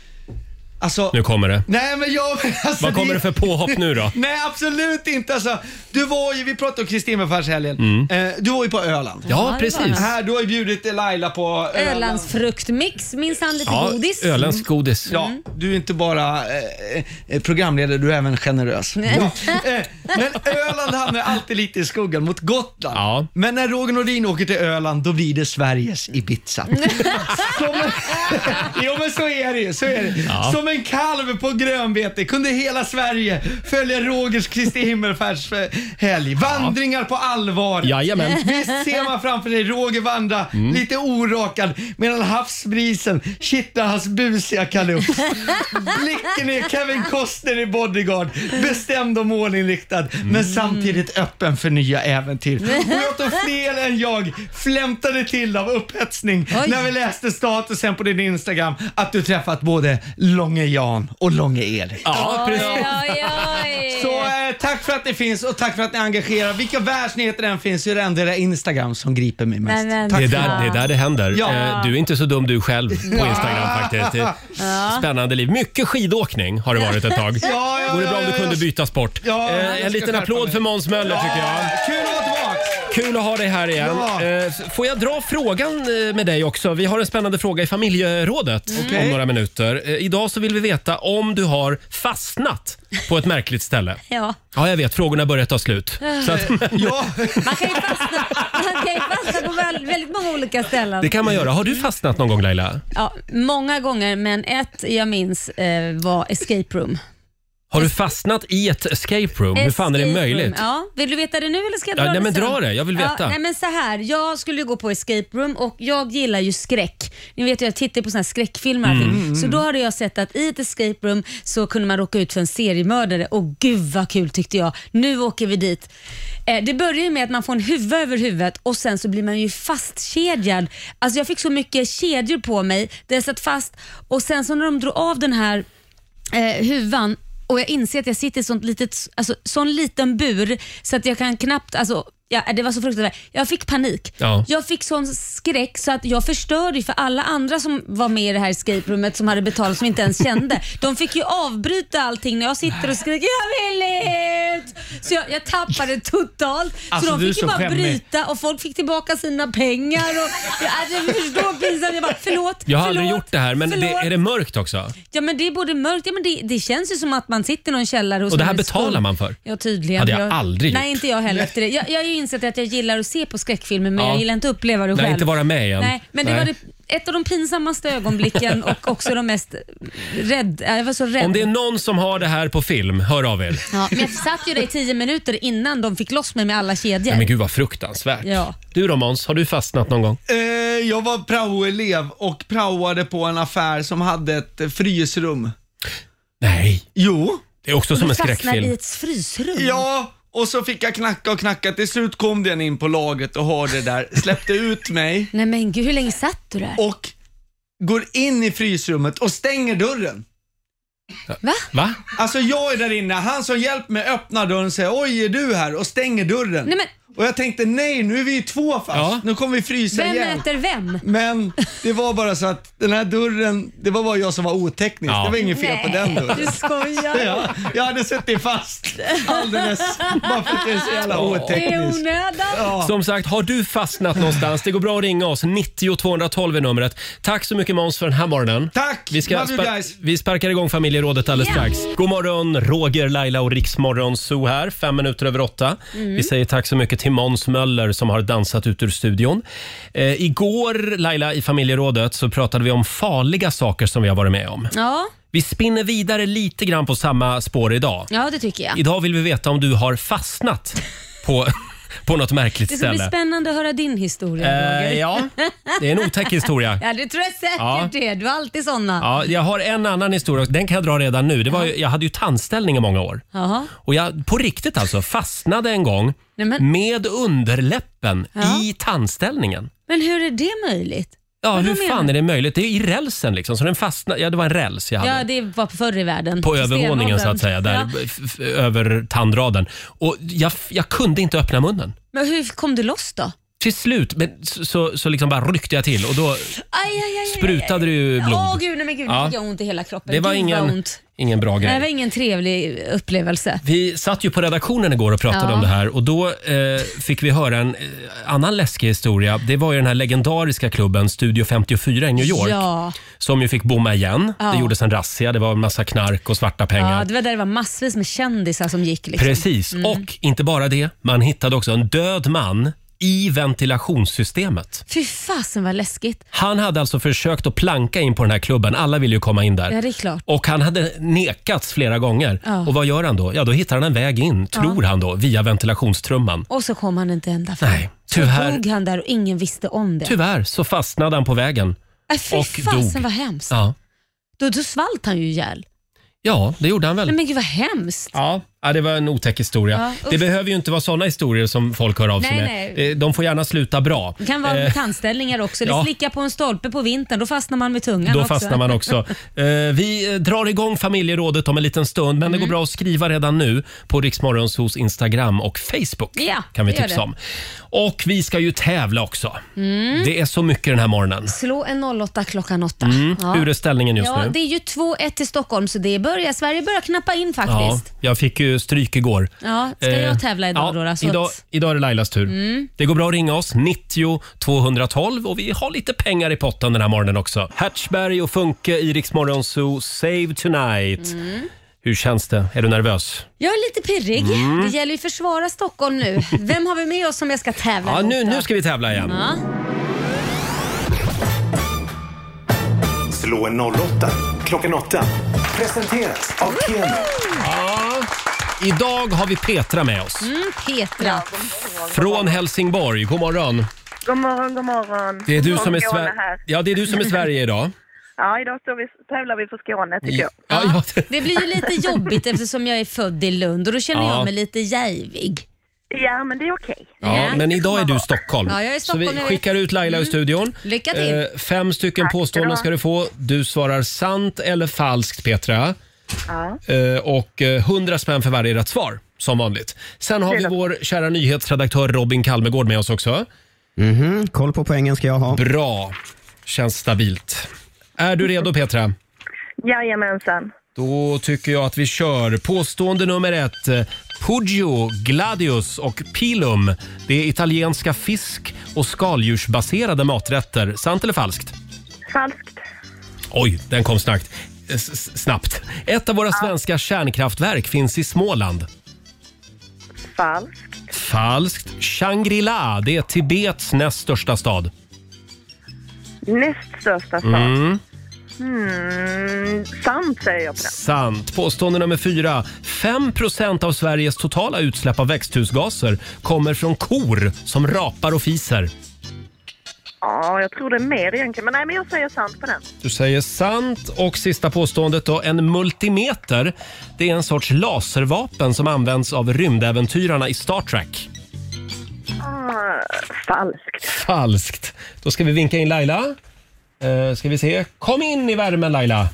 Speaker 11: alltså,
Speaker 1: Nu kommer det.
Speaker 11: nej men jag... (laughs) Alltså,
Speaker 1: Vad kommer det för påhopp nu då?
Speaker 11: (laughs) Nej absolut inte alltså. Du var ju, vi pratade om Kristin helgen. Eh, du var ju på Öland.
Speaker 1: Mm. Ja, precis.
Speaker 11: Här, du har ju bjudit Laila på Öland.
Speaker 2: Ölandsfruktmix, minns han lite
Speaker 1: Ja,
Speaker 2: godis? Mm.
Speaker 1: Öländsk godis.
Speaker 11: Ja, du är inte bara eh, eh, programledare, du är även generös. Ja. Eh, Men Öland hamnar alltid lite i skuggan mot Gotland.
Speaker 1: Ja.
Speaker 11: Men när Roger Nordin åker till Öland, då blir det Sveriges Ibiza. Som en, (laughs) jo men så är det ju. Så är det.
Speaker 1: Ja.
Speaker 11: Som en kalv på grönbete kunde hela Sverige följa Rogers Kristi himmelfärds eh, helg. Vandringar på allvar.
Speaker 1: Jajamän. Mm.
Speaker 11: Visst ser man framför sig Roger vandra, lite orakad, medan havsbrisen kittlar hans busiga kalufs. Blicken är Kevin Costner i Bodyguard, bestämd och målinriktad,
Speaker 2: Mm.
Speaker 11: men samtidigt öppen för nya äventyr. Och jag tog fel än jag flämtade till av upphetsning
Speaker 2: Oj.
Speaker 11: när vi läste statusen på din Instagram att du träffat både Långe Jan och Långe Erik.
Speaker 1: Ja, precis.
Speaker 2: Oj, oj.
Speaker 11: Så eh, tack för att ni finns och tack för att ni engagerar. Vilka världsnyheter den finns så är det ändå era Instagram som griper mig mest.
Speaker 2: Nej, men-
Speaker 11: tack
Speaker 1: Det är,
Speaker 11: för
Speaker 1: där, det är där det händer.
Speaker 11: Ja.
Speaker 1: Eh, Du är inte så dum du själv på Instagram faktiskt. Det är Spännande liv. Mycket skidåkning har det varit ett tag.
Speaker 11: Ja, ja,
Speaker 1: Vore bra
Speaker 11: ja,
Speaker 1: om du
Speaker 11: ja,
Speaker 1: kunde
Speaker 11: ja.
Speaker 1: byta sport.
Speaker 11: Ja,
Speaker 1: Eh,
Speaker 11: jag ska
Speaker 1: En liten
Speaker 11: skärpa
Speaker 1: applåd
Speaker 11: mig.
Speaker 1: för Måns Möller tycker jag.
Speaker 11: Kul att vara tillbaks!
Speaker 1: Kul att ha dig här igen.
Speaker 8: Ja.
Speaker 1: Eh, Får jag dra frågan eh, med dig också? Vi har en spännande fråga i familjerådet
Speaker 8: Mm.
Speaker 1: om
Speaker 8: Okej.
Speaker 1: några minuter. Eh, Idag så vill vi veta om du har fastnat på ett märkligt ställe.
Speaker 2: Ja.
Speaker 1: Ja, jag vet. Frågorna börjar ta slut.
Speaker 2: (laughs)
Speaker 1: Så att,
Speaker 11: ja.
Speaker 2: Man kan ju fastna på väl- väldigt många olika ställen.
Speaker 1: Det kan man göra. Har du fastnat någon gång Laila?
Speaker 2: Ja, många gånger, men ett jag minns eh, var escape room.
Speaker 1: Har du fastnat i ett escape room? Hur fan är det
Speaker 2: Escape room,
Speaker 1: möjligt?
Speaker 2: Ja. Vill du veta det nu eller ska jag
Speaker 1: Ja,
Speaker 2: dra
Speaker 1: nej,
Speaker 2: det
Speaker 1: men
Speaker 2: sen?
Speaker 1: dra det. Jag vill veta.
Speaker 2: Ja, nej, men så här. Jag skulle ju gå på escape room och jag gillar ju skräck. Ni vet ju, jag tittar på såna här skräckfilmer. och
Speaker 12: Mm.
Speaker 2: allting.
Speaker 12: Mm.
Speaker 2: Så då hade jag sett att i ett escape room så kunde man råka ut för en seriemördare och gud vad kul tyckte jag. Nu åker vi dit. Eh, Det börjar ju med att man får en huva över huvudet och sen så blir man ju fastkedjad. Alltså jag fick så mycket kedjor på mig där jag satt fast och sen så när de drog av den här eh, huvan och jag inser att jag sitter i sånt litet, alltså, sån liten bur så att jag kan knappt, alltså, ja, det var så fruktansvärt. Jag fick panik.
Speaker 12: Ja.
Speaker 2: Jag fick sån skräck så att jag förstörde ju för alla andra som var med i det här escape roomet som hade betalat som inte ens kände. De fick ju avbryta allting när jag sitter och skriker “Jag vill ut!” Så jag, jag tappade totalt.
Speaker 12: Alltså,
Speaker 2: så de
Speaker 12: du är
Speaker 2: fick ju
Speaker 12: så
Speaker 2: bara
Speaker 12: skämmig.
Speaker 2: bryta och folk fick tillbaka sina pengar. Och, jag, alltså, jag förstår pinsamt. Jag bara “Förlåt,
Speaker 1: Jag har aldrig
Speaker 2: förlåt,
Speaker 1: gjort det här, men det,
Speaker 2: förlåt."
Speaker 1: är det mörkt också?
Speaker 2: Ja men det är både mörkt, ja, men det, det känns ju som att man sitter i någon källare hos
Speaker 1: Och det här
Speaker 2: någon i
Speaker 1: betalar
Speaker 2: skuld.
Speaker 1: man för?
Speaker 2: Ja tydligen.
Speaker 1: Hade jag aldrig
Speaker 2: Nej
Speaker 1: gjort.
Speaker 2: inte jag heller efter det. Jag, jag har ju insett att jag gillar att se på skräckfilmer men
Speaker 1: Ja.
Speaker 2: jag gillar inte att uppleva det
Speaker 1: Nej,
Speaker 2: själv.
Speaker 1: inte vara med igen.
Speaker 2: Nej, men det
Speaker 1: Nej.
Speaker 2: var det, ett av de pinsammaste ögonblicken och också de mest rädd. äh, Jag var så rädd.
Speaker 1: Om det är någon som har det här på film, hör av er.
Speaker 2: ja, men jag satt ju där i tio minuter innan de fick loss mig med alla kedjor.
Speaker 1: Nej, men gud vad fruktansvärt.
Speaker 2: Ja.
Speaker 1: Du då Måns, har du fastnat någon gång?
Speaker 11: Eh, jag var praoelev och praoade på en affär som hade ett eh, frysrum.
Speaker 1: Nej.
Speaker 11: Jo.
Speaker 1: Det är också
Speaker 2: Och du fastnade i ett frysrum.
Speaker 11: Ja, och så fick jag knacka och knacka. Till slut kom den in på lagret och hörde det där, släppte ut mig,
Speaker 2: Nej men gud, hur länge satt du där?
Speaker 11: Och går in i frysrummet och stänger dörren.
Speaker 2: Va?
Speaker 1: Va?
Speaker 11: Alltså jag är där inne, han som hjälpt mig öppnar dörren och säger oj är du här och stänger dörren.
Speaker 2: Nej, men...
Speaker 11: Och jag tänkte nej nu är vi ju två fast, nu kommer vi frysa
Speaker 2: Vem
Speaker 11: igen.
Speaker 2: äter vem?
Speaker 11: Men det var bara så att den här dörren, det var bara jag som var oteknisk.
Speaker 8: Ja.
Speaker 11: Det var inget fel på
Speaker 8: Nej,
Speaker 11: den dörren.
Speaker 8: du skojar.
Speaker 11: Ja, jag hade suttit fast alldeles, bara för att det är så jävla
Speaker 2: Det är
Speaker 11: otekniskt.
Speaker 2: onödan.
Speaker 1: Som sagt, har du fastnat någonstans? Det går bra att ringa oss. 90 212 är numret. Tack så mycket Måns för den här morgonen.
Speaker 11: Tack!
Speaker 1: Vi,
Speaker 11: Love you guys.
Speaker 1: vi sparkar igång familjerådet alldeles
Speaker 11: Yeah.
Speaker 1: strax. God morgon, Roger, Laila och Riksmorgon Zoo här. Fem minuter över åtta.
Speaker 13: Mm.
Speaker 1: Vi säger tack så mycket till Måns Möller som har dansat ut ur studion. Eh, igår, Laila, i familjerådet så pratade vi om farliga saker som vi har varit med om.
Speaker 2: Ja.
Speaker 1: Vi spinner vidare lite grann på samma spår idag.
Speaker 2: ja, det tycker jag.
Speaker 1: Idag vill vi veta om du har fastnat på, (laughs) på något märkligt
Speaker 2: Det ska bli
Speaker 1: ställe.
Speaker 2: spännande att höra din historia,
Speaker 1: Eh,
Speaker 2: Roger. (laughs)
Speaker 1: ja. Det är en otäck historia.
Speaker 2: Ja, det tror jag säkert
Speaker 1: Ja.
Speaker 2: det. Du har alltid sådana.
Speaker 1: Ja, jag har en annan historia, den kan jag dra redan nu. Det var ju, jag hade ju tandställning i många år.
Speaker 2: Jaha.
Speaker 1: Och jag, på riktigt alltså, fastnade en gång
Speaker 2: Nej, men-
Speaker 1: med underläppen
Speaker 2: Ja.
Speaker 1: i tandställningen.
Speaker 2: Men hur är det möjligt?
Speaker 1: Ja,
Speaker 2: Vadå
Speaker 1: hur fan
Speaker 2: menar-
Speaker 1: är det möjligt? Det är i rälsen liksom. Så den fastnade, ja det var en räls jag hade.
Speaker 2: Ja, det var förr i världen.
Speaker 1: På övervåningen så
Speaker 2: Stenåldern.
Speaker 1: att säga, där,
Speaker 2: Ja.
Speaker 1: f- f- över tandraden. Och jag, jag kunde inte öppna munnen.
Speaker 2: Men hur kom du loss då?
Speaker 1: Till slut men, så- så, så liksom bara ryckte jag till och då
Speaker 2: Aj, aj, aj, aj,
Speaker 1: sprutade det ju blod.
Speaker 2: Åh gud, nej, men gud, nu
Speaker 1: Ja.
Speaker 2: fick jag ont i hela kroppen.
Speaker 1: Det var
Speaker 2: gud, vad
Speaker 1: ingen,
Speaker 2: ont.
Speaker 1: ingen bra
Speaker 2: Nej, det
Speaker 1: grej.
Speaker 2: var ingen trevlig upplevelse.
Speaker 1: Vi satt ju på redaktionen igår och pratade
Speaker 2: Ja.
Speaker 1: om det här och då eh, fick vi höra en eh, annan läskig historia. Det var ju den här legendariska klubben Studio 54 i New York
Speaker 2: Ja.
Speaker 1: som ju fick bomma igen.
Speaker 2: Ja.
Speaker 1: Det gjordes en razzia, det var en massa knark och svarta pengar.
Speaker 2: ja, det var där det var massvis med kändisar som gick. Liksom.
Speaker 1: Precis, och inte bara det. Man hittade också en död man i ventilationssystemet.
Speaker 2: Fy fasen vad läskigt.
Speaker 1: Han hade alltså försökt att planka in på den här klubben. Alla ville ju komma in där.
Speaker 2: Ja, det är klart.
Speaker 1: Och han hade nekats flera gånger.
Speaker 2: Ja.
Speaker 1: Och vad gör han då? Ja, då hittar han en väg in,
Speaker 2: Ja.
Speaker 1: tror han då, via ventilationstrumman.
Speaker 2: Och så kom han inte ända fram.
Speaker 1: Nej,
Speaker 2: Så
Speaker 1: tyvärr,
Speaker 2: dog han där och ingen visste om det.
Speaker 1: tyvärr så fastnade han på vägen.
Speaker 2: Äh, fy
Speaker 1: och
Speaker 2: fasen
Speaker 1: dog.
Speaker 2: vad hemskt.
Speaker 1: Ja.
Speaker 2: Då, då svalt han ju ihjäl.
Speaker 1: ja, det gjorde han väl.
Speaker 2: Nej, men gud vad hemskt.
Speaker 1: Ja, ja, det var en otäck historia.
Speaker 2: Ja, usch.
Speaker 1: det behöver ju inte vara såna historier som folk hör av sig
Speaker 2: Nej,
Speaker 1: med.
Speaker 2: nej.
Speaker 1: Eh, De får gärna sluta bra.
Speaker 2: Det kan vara
Speaker 1: Eh,
Speaker 2: med tandställningar också. Eller
Speaker 1: ja.
Speaker 2: slicka på en stolpe på vintern, då fastnar man med tungan
Speaker 1: Då
Speaker 2: också.
Speaker 1: fastnar man också.
Speaker 2: (laughs)
Speaker 1: Eh, vi eh, drar igång familjerådet om en liten stund, men det
Speaker 2: Mm.
Speaker 1: går bra att skriva redan nu på Riksmorgons hos Instagram och Facebook.
Speaker 2: Ja,
Speaker 1: kan vi
Speaker 2: det gör
Speaker 1: tipsa
Speaker 2: det.
Speaker 1: om. Och vi ska ju tävla också.
Speaker 2: Mm.
Speaker 1: Det är så mycket den här morgonen.
Speaker 2: Slå en 08 klockan 8.
Speaker 1: Mm. Hur är ställningen just
Speaker 2: ja,
Speaker 1: nu?
Speaker 2: Det är ju 2-1 till Stockholm, så det börjar, Sverige börjar knappa in faktiskt.
Speaker 1: Ja, jag fick ju ju stryk igår.
Speaker 2: Ja, ska jag
Speaker 1: Eh,
Speaker 2: tävla idag då? då? Så
Speaker 1: idag,
Speaker 2: att-
Speaker 1: idag är det Lailas tur.
Speaker 2: Mm.
Speaker 1: Det går bra att ringa oss, 90 212 och vi har lite pengar i potten den här morgonen också. Hatchberg och Funke i Rix Morgon Zoo, Save Tonight.
Speaker 2: Mm.
Speaker 1: Hur känns det? Är du nervös?
Speaker 2: Jag är lite pirrig.
Speaker 1: Mm.
Speaker 2: Det gäller ju att försvara Stockholm
Speaker 1: (laughs)
Speaker 2: nu. Vem har vi med oss som jag ska tävla
Speaker 1: Ja,
Speaker 2: mot
Speaker 1: nu,
Speaker 2: då?
Speaker 1: nu ska vi tävla igen.
Speaker 2: Ja. Mm.
Speaker 4: Slå en 08 klockan 8. Presenteras av Keno.
Speaker 1: Ja. Idag har vi Petra med oss.
Speaker 2: Mm, Petra.
Speaker 1: Från Helsingborg. God morgon.
Speaker 12: God morgon, god morgon.
Speaker 1: Det är du som är,
Speaker 12: Skåne
Speaker 1: Sver-
Speaker 12: här.
Speaker 1: ja, det är, du som är Sverige idag.
Speaker 12: Ja, idag står vi, tävlar vi för Skåne tycker
Speaker 1: Ja,
Speaker 12: jag.
Speaker 1: ja.
Speaker 2: Det blir ju lite
Speaker 1: (laughs)
Speaker 2: jobbigt eftersom jag är född i Lund och då känner
Speaker 1: Ja.
Speaker 2: jag mig lite jävig.
Speaker 12: Ja, men det är okej.
Speaker 1: Ja, men idag är du Stockholm.
Speaker 2: Ja, jag är Stockholm, jag
Speaker 1: Så vi
Speaker 2: vet. Mm.
Speaker 1: skickar ut Laila ur studion.
Speaker 2: Lycka till.
Speaker 1: Eh, fem stycken
Speaker 12: Tack ska du
Speaker 1: påståenden
Speaker 12: ha.
Speaker 1: ska du få. Du svarar sant eller falskt, Petra.
Speaker 12: Ja.
Speaker 1: Eh, och eh, 100 spänn för varje rätt svar, som vanligt. Sen har vi vår kära nyhetsredaktör Robin Kalmegård med oss också.
Speaker 13: Mhm, koll på poängen ska jag ha.
Speaker 1: Bra. Känns stabilt. Är du redo, Petra?
Speaker 12: (laughs) Jajamensan.
Speaker 1: Då tycker jag att vi kör. Påstående nummer ett. eh, Puggio, Gladius och Pilum. Det är italienska fisk och skaldjursbaserade maträtter. Sant eller falskt?
Speaker 12: Falskt.
Speaker 1: Oj, den kom snabbt. Eh, s- s- snabbt. Ett av våra svenska kärnkraftverk finns i Småland.
Speaker 12: Falskt.
Speaker 1: Falskt. Shangri-La, det är Tibets näst största stad.
Speaker 12: Näst största stad.
Speaker 1: Mm.
Speaker 12: Hmm, sant säger jag på den.
Speaker 1: Sant. Påstående nummer fyra. 5 av Sveriges totala utsläpp av växthusgaser kommer från kor som rapar och fiser.
Speaker 12: Ja, jag tror det är mer egentligen. Men nej, men jag säger sant på den.
Speaker 1: Du säger sant. Och sista påståendet då. En multimeter, det är en sorts laservapen som används av rymdäventyrarna i Star Trek.
Speaker 12: Ah, falskt.
Speaker 1: Falskt. Då ska vi vinka in Laila. Uh, ska vi se. Kom in i värmen Laila.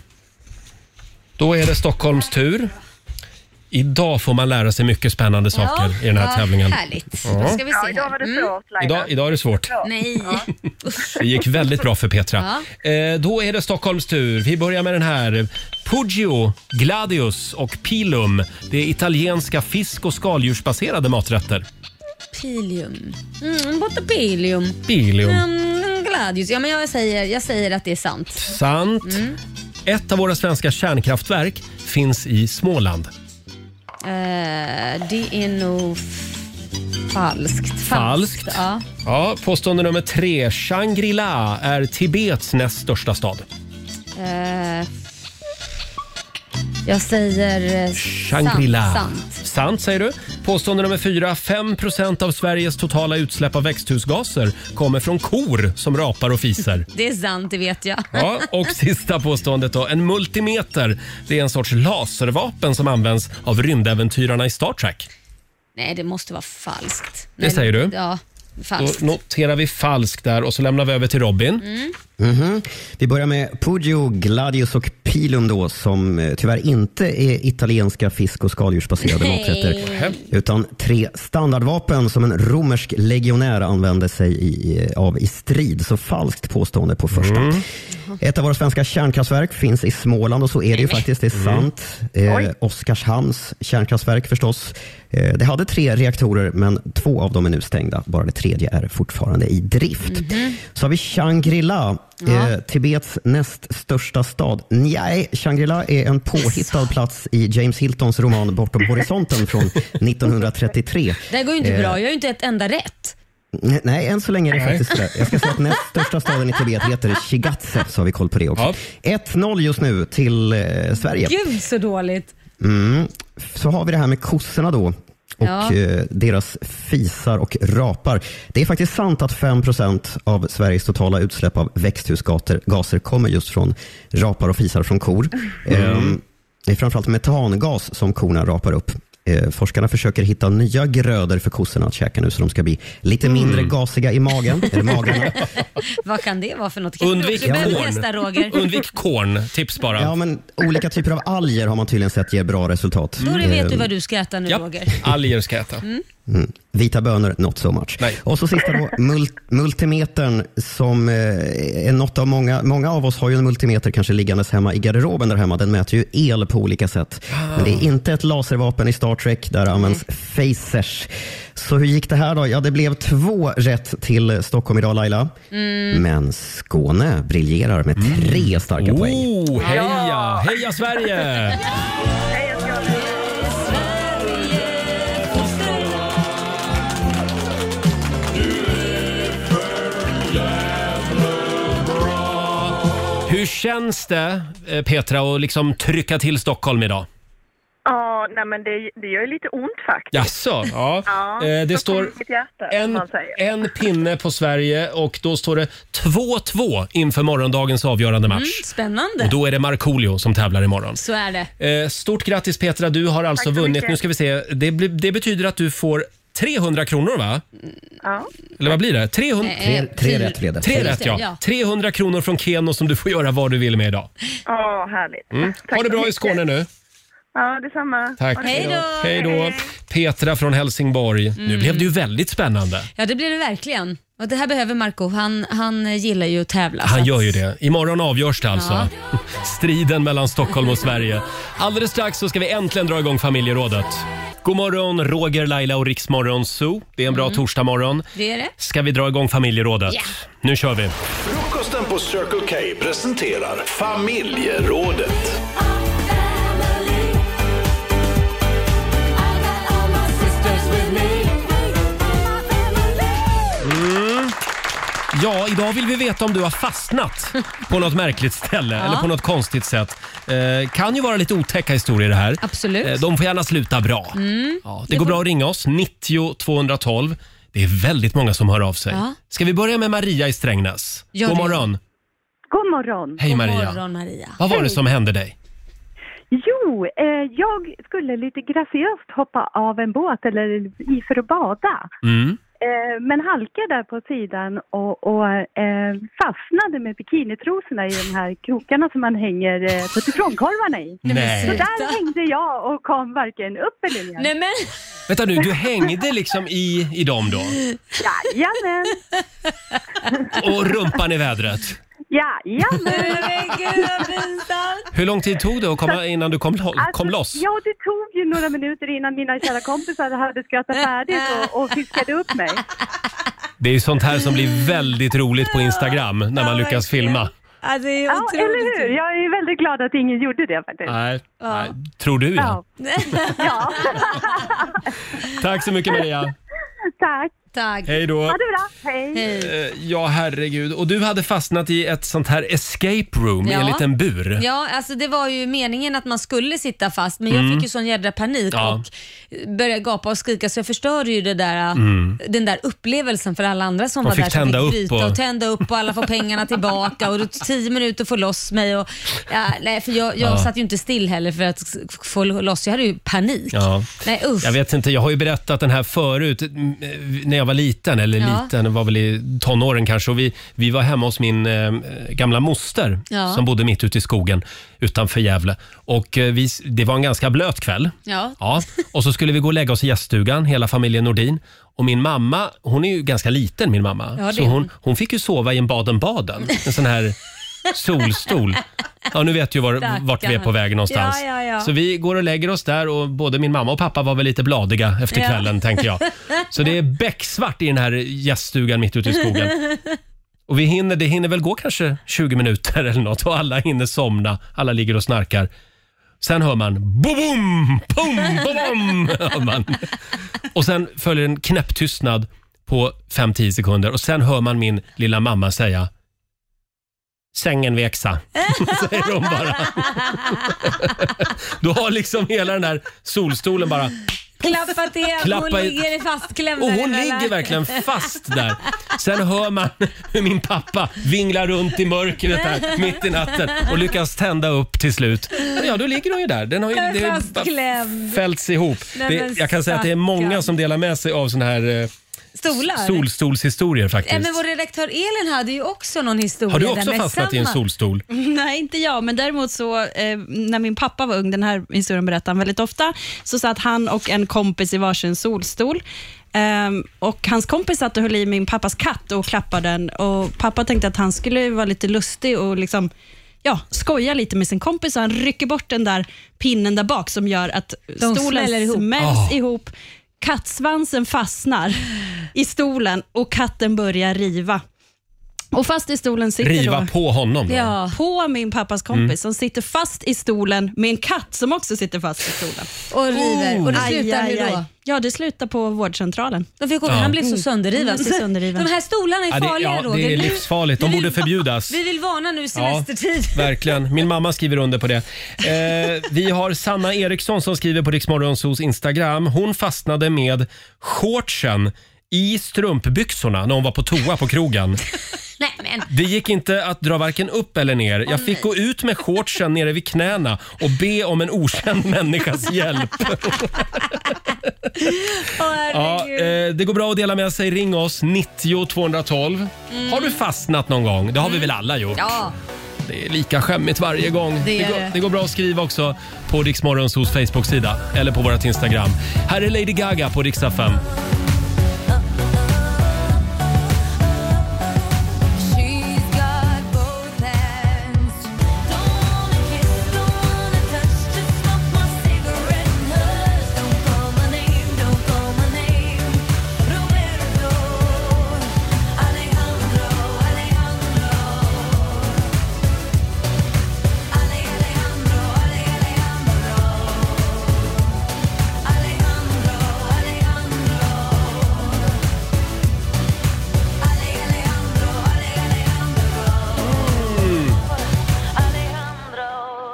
Speaker 1: Då är det Stockholms tur. Idag får man lära sig mycket spännande saker i den här
Speaker 2: vad
Speaker 1: tävlingen.
Speaker 2: Härligt.
Speaker 1: Ja.
Speaker 2: Då ska vi se
Speaker 12: Ja,
Speaker 2: Mm.
Speaker 12: idag var det svårt, Laila.
Speaker 1: Idag, idag är det svårt.
Speaker 2: Nej.
Speaker 1: Det gick väldigt bra för Petra. Eh, då är det Stockholms tur. Vi börjar med den här. Puggio, Gladius och Pilum. Det är italienska fisk och skaldjursbaserade maträtter.
Speaker 2: Pilium. Mm, borta pilium.
Speaker 1: Pilium.
Speaker 2: Mm, gladius. Ja, men jag, säger, jag säger att det är sant.
Speaker 1: Sant.
Speaker 2: Mm.
Speaker 1: Ett av våra svenska kärnkraftverk finns i Småland.
Speaker 2: Eh, det är nog f- falskt.
Speaker 1: Falskt.
Speaker 2: Ja.
Speaker 1: Ja, påstående nummer tre. Shangri-La är Tibets näst största stad.
Speaker 2: Eh, jag säger eh,
Speaker 1: Shangri-La.
Speaker 2: Sant. sant.
Speaker 1: Sant säger du. Påstående nummer fyra. 5 av Sveriges totala utsläpp av växthusgaser kommer från kor som rapar
Speaker 2: (laughs)
Speaker 1: och fiser.
Speaker 2: Det är sant, det vet jag.
Speaker 1: Ja,
Speaker 2: (laughs)
Speaker 1: och sista påståendet då. En multimeter, det är en sorts laservapen som används av rymdäventyrarna i Star Trek.
Speaker 2: Nej, det måste vara falskt.
Speaker 1: Det
Speaker 2: Nej,
Speaker 1: säger du?
Speaker 2: Ja, falskt.
Speaker 1: Då noterar vi falskt där och så lämnar vi över till Robin.
Speaker 13: Mhm. Vi börjar med Puggio, Gladius och Pilum då, som eh, tyvärr inte är italienska fisk och skaldjursbaserade
Speaker 2: Nej.
Speaker 13: maträtter. Utan tre standardvapen som en romersk legionär använde sig i, i- av i strid. Så falskt påstående på första. Ett av våra svenska kärnkraftverk finns i Småland och så är det ju faktiskt. Det är
Speaker 14: Mm.
Speaker 13: sant. Eh, Oskarshamns kärnkraftverk förstås. Eh, det hade tre reaktorer, men två av dem är nu stängda. Bara det tredje är fortfarande i drift. Så har vi Shangri-La, eh, Tibets näst största stad. Nej, Shangri-La är en påhittad plats i James Hiltons roman Bortom horisonten från 1933.
Speaker 2: Det här går ju inte
Speaker 13: Eh,
Speaker 2: bra. Jag har ju inte ett enda rätt.
Speaker 13: Nej, nej, än så länge är det
Speaker 2: Nej.
Speaker 13: faktiskt sådär. Jag ska säga att näst största staden i Tibet heter Shigatse, så har vi koll på det också. 1-0 just nu till eh, Sverige.
Speaker 2: Gud så dåligt.
Speaker 13: Mm. Så har vi det här med kossorna då och
Speaker 2: Ja.
Speaker 13: eh, deras fisar och rapar. Det är faktiskt sant att 5 av Sveriges totala utsläpp av växthusgaser gaser kommer just från rapar och fisar från kor.
Speaker 14: Mm.
Speaker 13: Ehm, det är framförallt metangas som korna rapar upp. Eh, forskarna försöker hitta nya grödor för kossorna att käka nu så de ska bli lite
Speaker 2: Mm.
Speaker 13: mindre gasiga i magen. Eller
Speaker 2: (laughs)
Speaker 13: magarna.
Speaker 2: (laughs) Vad kan det vara för något? Kan
Speaker 1: Undvik
Speaker 2: du behöver testa,
Speaker 1: korn.
Speaker 2: Roger.
Speaker 1: Undvik korn. Tips bara.
Speaker 13: Ja, men olika typer av alger har man tydligen sett ger bra resultat.
Speaker 2: Då vet du
Speaker 13: Ehm,
Speaker 2: vad du ska äta nu, Roger.
Speaker 1: Alger ska jag äta.
Speaker 2: Mm.
Speaker 13: Mm. Vita bönor, not so much. Och så sista då, mul- multimetern som eh, är något av många, många av oss har ju en multimeter kanske liggandes hemma i garderoben där hemma. Den mäter ju el på olika sätt. Men det är inte ett laservapen i Star Trek, där används phasers. Så hur gick det här då? Ja, det blev två rätt till Stockholm idag Laila.
Speaker 2: Mm.
Speaker 13: Men Skåne briljerar med tre starka poäng.
Speaker 1: Oh, heja! Heja Sverige! Hur känns det, eh, Petra, att liksom trycka till Stockholm idag?
Speaker 12: Ja, nej men det, det gör ju lite ont faktiskt.
Speaker 1: Jaså? Ja.
Speaker 12: Ja,
Speaker 1: Eh, det
Speaker 12: så
Speaker 1: står
Speaker 12: kommer mitt hjärta,
Speaker 15: Eh,
Speaker 12: som
Speaker 1: en,
Speaker 12: man säger.
Speaker 1: en pinne på Sverige och då står det 2-2 inför morgondagens avgörande
Speaker 2: Mm,
Speaker 1: match.
Speaker 2: spännande.
Speaker 1: Och då är det Markoolio som tävlar imorgon.
Speaker 2: Så är det.
Speaker 1: Eh, Stort grattis Petra, du har alltså
Speaker 2: så
Speaker 1: vunnit.
Speaker 2: mycket.
Speaker 1: Nu ska vi se. Det, blir- det betyder att du får 300 kronor va?
Speaker 12: Ja.
Speaker 1: Eller vad blir det? 300...
Speaker 12: Eh, Tre- tre rätt blev det.
Speaker 1: Tre rätt,
Speaker 12: Ja.
Speaker 1: ja. 300 kronor från Keno som du får göra vad du vill med idag.
Speaker 12: Ja, härligt.
Speaker 1: Mm.
Speaker 12: Tack
Speaker 1: Ha det
Speaker 12: så
Speaker 1: bra i
Speaker 12: mycket.
Speaker 1: Skåne nu.
Speaker 12: Ja, detsamma.
Speaker 1: Tack.
Speaker 12: Ha det bra.
Speaker 1: Hej då. Petra från Helsingborg. Nu
Speaker 2: Mm.
Speaker 1: blev det ju väldigt spännande.
Speaker 2: Ja, det blir det verkligen. Och det här behöver Marco. Han, han gillar ju att tävla. så
Speaker 1: Han
Speaker 2: att-
Speaker 1: gör ju det. Imorgon avgörs det alltså. (laughs) Striden mellan Stockholm och Sverige. Alldeles strax så ska vi äntligen dra igång familjerådet. God morgon, Roger, Laila och Riksmorgon Zoo. Det är en bra
Speaker 2: Mm.
Speaker 1: torsdagmorgon.
Speaker 2: Det är det.
Speaker 1: Ska vi dra igång familjerådet?
Speaker 2: Ja.
Speaker 1: Nu kör vi! Mm.
Speaker 14: Frukosten på Circle K presenterar familjerådet.
Speaker 1: Mm. Ja, idag vill vi veta om du har fastnat på något märkligt ställe
Speaker 2: Ja.
Speaker 1: eller på något konstigt sätt. Eh, kan ju vara lite otäcka historier det här.
Speaker 2: Absolut.
Speaker 1: Eh, de får gärna sluta bra.
Speaker 2: Mm.
Speaker 1: Ja, det går bra att ringa oss, 90 212. Det är väldigt många som hör av sig.
Speaker 16: Ja.
Speaker 1: Ska vi börja med Maria i Strängnäs?
Speaker 16: Ja,
Speaker 1: God
Speaker 16: det-
Speaker 1: morgon!
Speaker 16: God morgon.
Speaker 1: Hej, God Maria. morgon,
Speaker 16: Maria.
Speaker 1: Vad var det som hände dig?
Speaker 16: Jo, eh, jag skulle lite graciöst hoppa av en båt eller i för att bada.
Speaker 1: Mm.
Speaker 16: Eh, men halkade där på sidan och, och eh, fastnade med bikinitrosorna i de här krokarna som man hänger eh, puttifrånkorvarna i.
Speaker 1: Nej.
Speaker 16: Så där hängde jag och kom varken upp eller ner. Nej, men...
Speaker 1: Vänta nu, du hängde liksom i, i dem då?
Speaker 16: Jajamän!
Speaker 1: Och rumpan i vädret.
Speaker 16: Jajamän!
Speaker 2: Herregud, vad pinsamt!
Speaker 1: Hur lång tid tog det att komma innan du kom, lo-
Speaker 16: Alltså,
Speaker 1: kom loss?
Speaker 16: Ja, det tog ju några minuter innan mina kära kompisar hade skrattat färdigt och, och fiskade upp
Speaker 7: (laughs)
Speaker 16: mig.
Speaker 1: Det är ju sånt här som blir väldigt roligt på Instagram när man lyckas filma.
Speaker 16: ja, eller hur? Jag är väldigt glad att ingen gjorde det faktiskt.
Speaker 1: Nej,
Speaker 16: Ja.
Speaker 1: nej. Tror du ja.
Speaker 16: Ja.
Speaker 7: (laughs)
Speaker 16: (laughs) ja.
Speaker 1: Tack så mycket Maria.
Speaker 16: Tack.
Speaker 2: Tack.
Speaker 1: Hej då.
Speaker 16: Ha det bra. Hej.
Speaker 1: Eh, Ja, herregud. Och du hade fastnat i ett sånt här escape room i en liten bur.
Speaker 2: Ja, alltså det var ju meningen att man skulle sitta fast, men jag
Speaker 1: Mm.
Speaker 2: fick ju sån jädra panik
Speaker 1: Ja.
Speaker 2: och började gapa och skrika så jag förstörde ju det där, äh,
Speaker 1: Mm.
Speaker 2: den där upplevelsen för alla andra som
Speaker 1: De
Speaker 2: var
Speaker 1: fick
Speaker 2: där. som
Speaker 1: tända upp
Speaker 2: bryta
Speaker 1: och-
Speaker 2: och tända upp och alla får pengarna tillbaka
Speaker 1: (laughs)
Speaker 2: och det tog tio minuter att få loss mig. Och, ja, nej, för jag, jag
Speaker 1: Ja.
Speaker 2: satt ju inte still heller för att s- få loss, jag hade ju panik.
Speaker 1: Ja.
Speaker 2: Nej usch.
Speaker 1: Jag vet inte, jag har ju berättat den här förut mm, eh, när jag var liten, eller
Speaker 2: Ja.
Speaker 1: liten, var väl i tonåren kanske. Och vi, vi var hemma hos min eh, gamla moster
Speaker 2: Ja.
Speaker 1: som bodde mitt ute i skogen utanför Gävle. Och eh, vi, s- det var en ganska blöt kväll.
Speaker 2: Ja.
Speaker 1: Ja, och så skulle vi gå och lägga oss i gäststugan, hela familjen Nordin. Och min mamma, hon är ju ganska liten min mamma.
Speaker 2: Ja, det
Speaker 1: så
Speaker 2: är
Speaker 1: hon,
Speaker 2: hon.
Speaker 1: hon fick ju sova i en Baden-Baden, en sån här solstol. Ja, nu vet ju var,
Speaker 2: Stackarn.
Speaker 1: vart vi är på väg någonstans.
Speaker 2: Ja, ja, ja.
Speaker 1: Så vi går och lägger oss där och både min mamma och pappa var väl lite bladiga efter
Speaker 2: Ja.
Speaker 1: kvällen tänker jag. Så det är becksvart i den här gäststugan mitt ute i skogen. Och vi hinner, det hinner väl gå kanske 20 minuter eller något och alla hinner somna. Alla ligger och snarkar. Sen hör man bo-bom, pom, bo-bom, (laughs) hör man. Och sen följer en knäpptystnad på 5-10 sekunder och sen hör man min lilla mamma säga Sängen växa, (laughs) säger hon bara. (laughs) Då har liksom hela den här solstolen bara...
Speaker 2: Klappa till,
Speaker 1: (laughs) Klappa
Speaker 2: hon
Speaker 1: i-
Speaker 2: ligger fastklämd
Speaker 1: Och
Speaker 2: där
Speaker 1: hon
Speaker 2: emellan. (laughs)
Speaker 1: ligger verkligen fast där. Sen hör man hur min pappa vinglar runt i mörkret där mitt i natten och lyckas tända upp till slut. Ja, då ligger hon ju där. Den har ju, det har ju bara
Speaker 2: Fastklämd.
Speaker 1: fällts ihop.
Speaker 2: Nej,
Speaker 1: Det,
Speaker 2: men
Speaker 1: jag kan säga att det är många som delar med sig av sån här eh,
Speaker 2: stolar.
Speaker 1: solstolshistorier faktiskt.
Speaker 2: Ja, men vår redaktör Elin hade ju också någon historia.
Speaker 1: Har du också
Speaker 2: där med
Speaker 1: fastnat i en
Speaker 2: samma-
Speaker 1: solstol?
Speaker 7: (laughs) Nej, inte jag, men däremot så eh, när min pappa var ung, den här historien berättar han väldigt ofta, så satt han och en kompis i varsin solstol. Ehm, och Hans kompis satt och höll i min pappas katt och klappade den och pappa tänkte att han skulle vara lite lustig och liksom Ja, skoja lite med sin kompis och han rycker bort den där pinnen där bak som gör att
Speaker 2: De
Speaker 7: stolen
Speaker 2: smäller ihop.
Speaker 7: smälls
Speaker 2: Ah.
Speaker 7: ihop. Kattsvansen fastnar i stolen och katten börjar riva. Och fast i stolen sitter
Speaker 1: Riva
Speaker 7: då...
Speaker 1: på honom då?
Speaker 7: Ja. På min pappas kompis
Speaker 1: Mm.
Speaker 7: som sitter fast i stolen med en katt som också sitter fast i stolen.
Speaker 2: Och river. Och det slutar hur då?
Speaker 7: Ja, det slutar på vårdcentralen.
Speaker 2: De fick åka. Han blev så sönderriven.
Speaker 1: (laughs)
Speaker 7: Mm. Han blev sönderriven.
Speaker 2: De här stolarna
Speaker 1: Ja,
Speaker 2: är
Speaker 1: det-
Speaker 2: farliga
Speaker 1: ja,
Speaker 2: Roger.
Speaker 1: det är
Speaker 2: Nu-
Speaker 1: livsfarligt. De
Speaker 2: vi vill-
Speaker 1: borde förbjudas.
Speaker 2: Vi vill varna nu i semestertid. (laughs)
Speaker 1: verkligen. Min mamma skriver under på det. Eh, vi har Sanna Eriksson som skriver på Riksmorgonsos Instagram. Hon fastnade med shortsen i strumpbyxorna när hon var på toa på krogen.
Speaker 2: Nej, men.
Speaker 1: Det gick inte att dra varken upp eller ner. Jag fick gå ut med shortsen nere vid knäna och be om en okänd människas hjälp. Ja,
Speaker 2: herregud.
Speaker 1: eh, det går bra att dela med sig. Ring oss, 90 212.
Speaker 2: Mm.
Speaker 1: Har du fastnat någon gång? Det har vi väl alla
Speaker 2: (laughs)
Speaker 1: gjort?
Speaker 2: Ja.
Speaker 1: Det är lika skämmigt varje gång.
Speaker 2: Det är
Speaker 1: går,
Speaker 2: det.
Speaker 1: det går bra att skriva också på Riksmorgonsos Facebook-sida eller på vårt Instagram. Här är Lady Gaga på Riksa 5.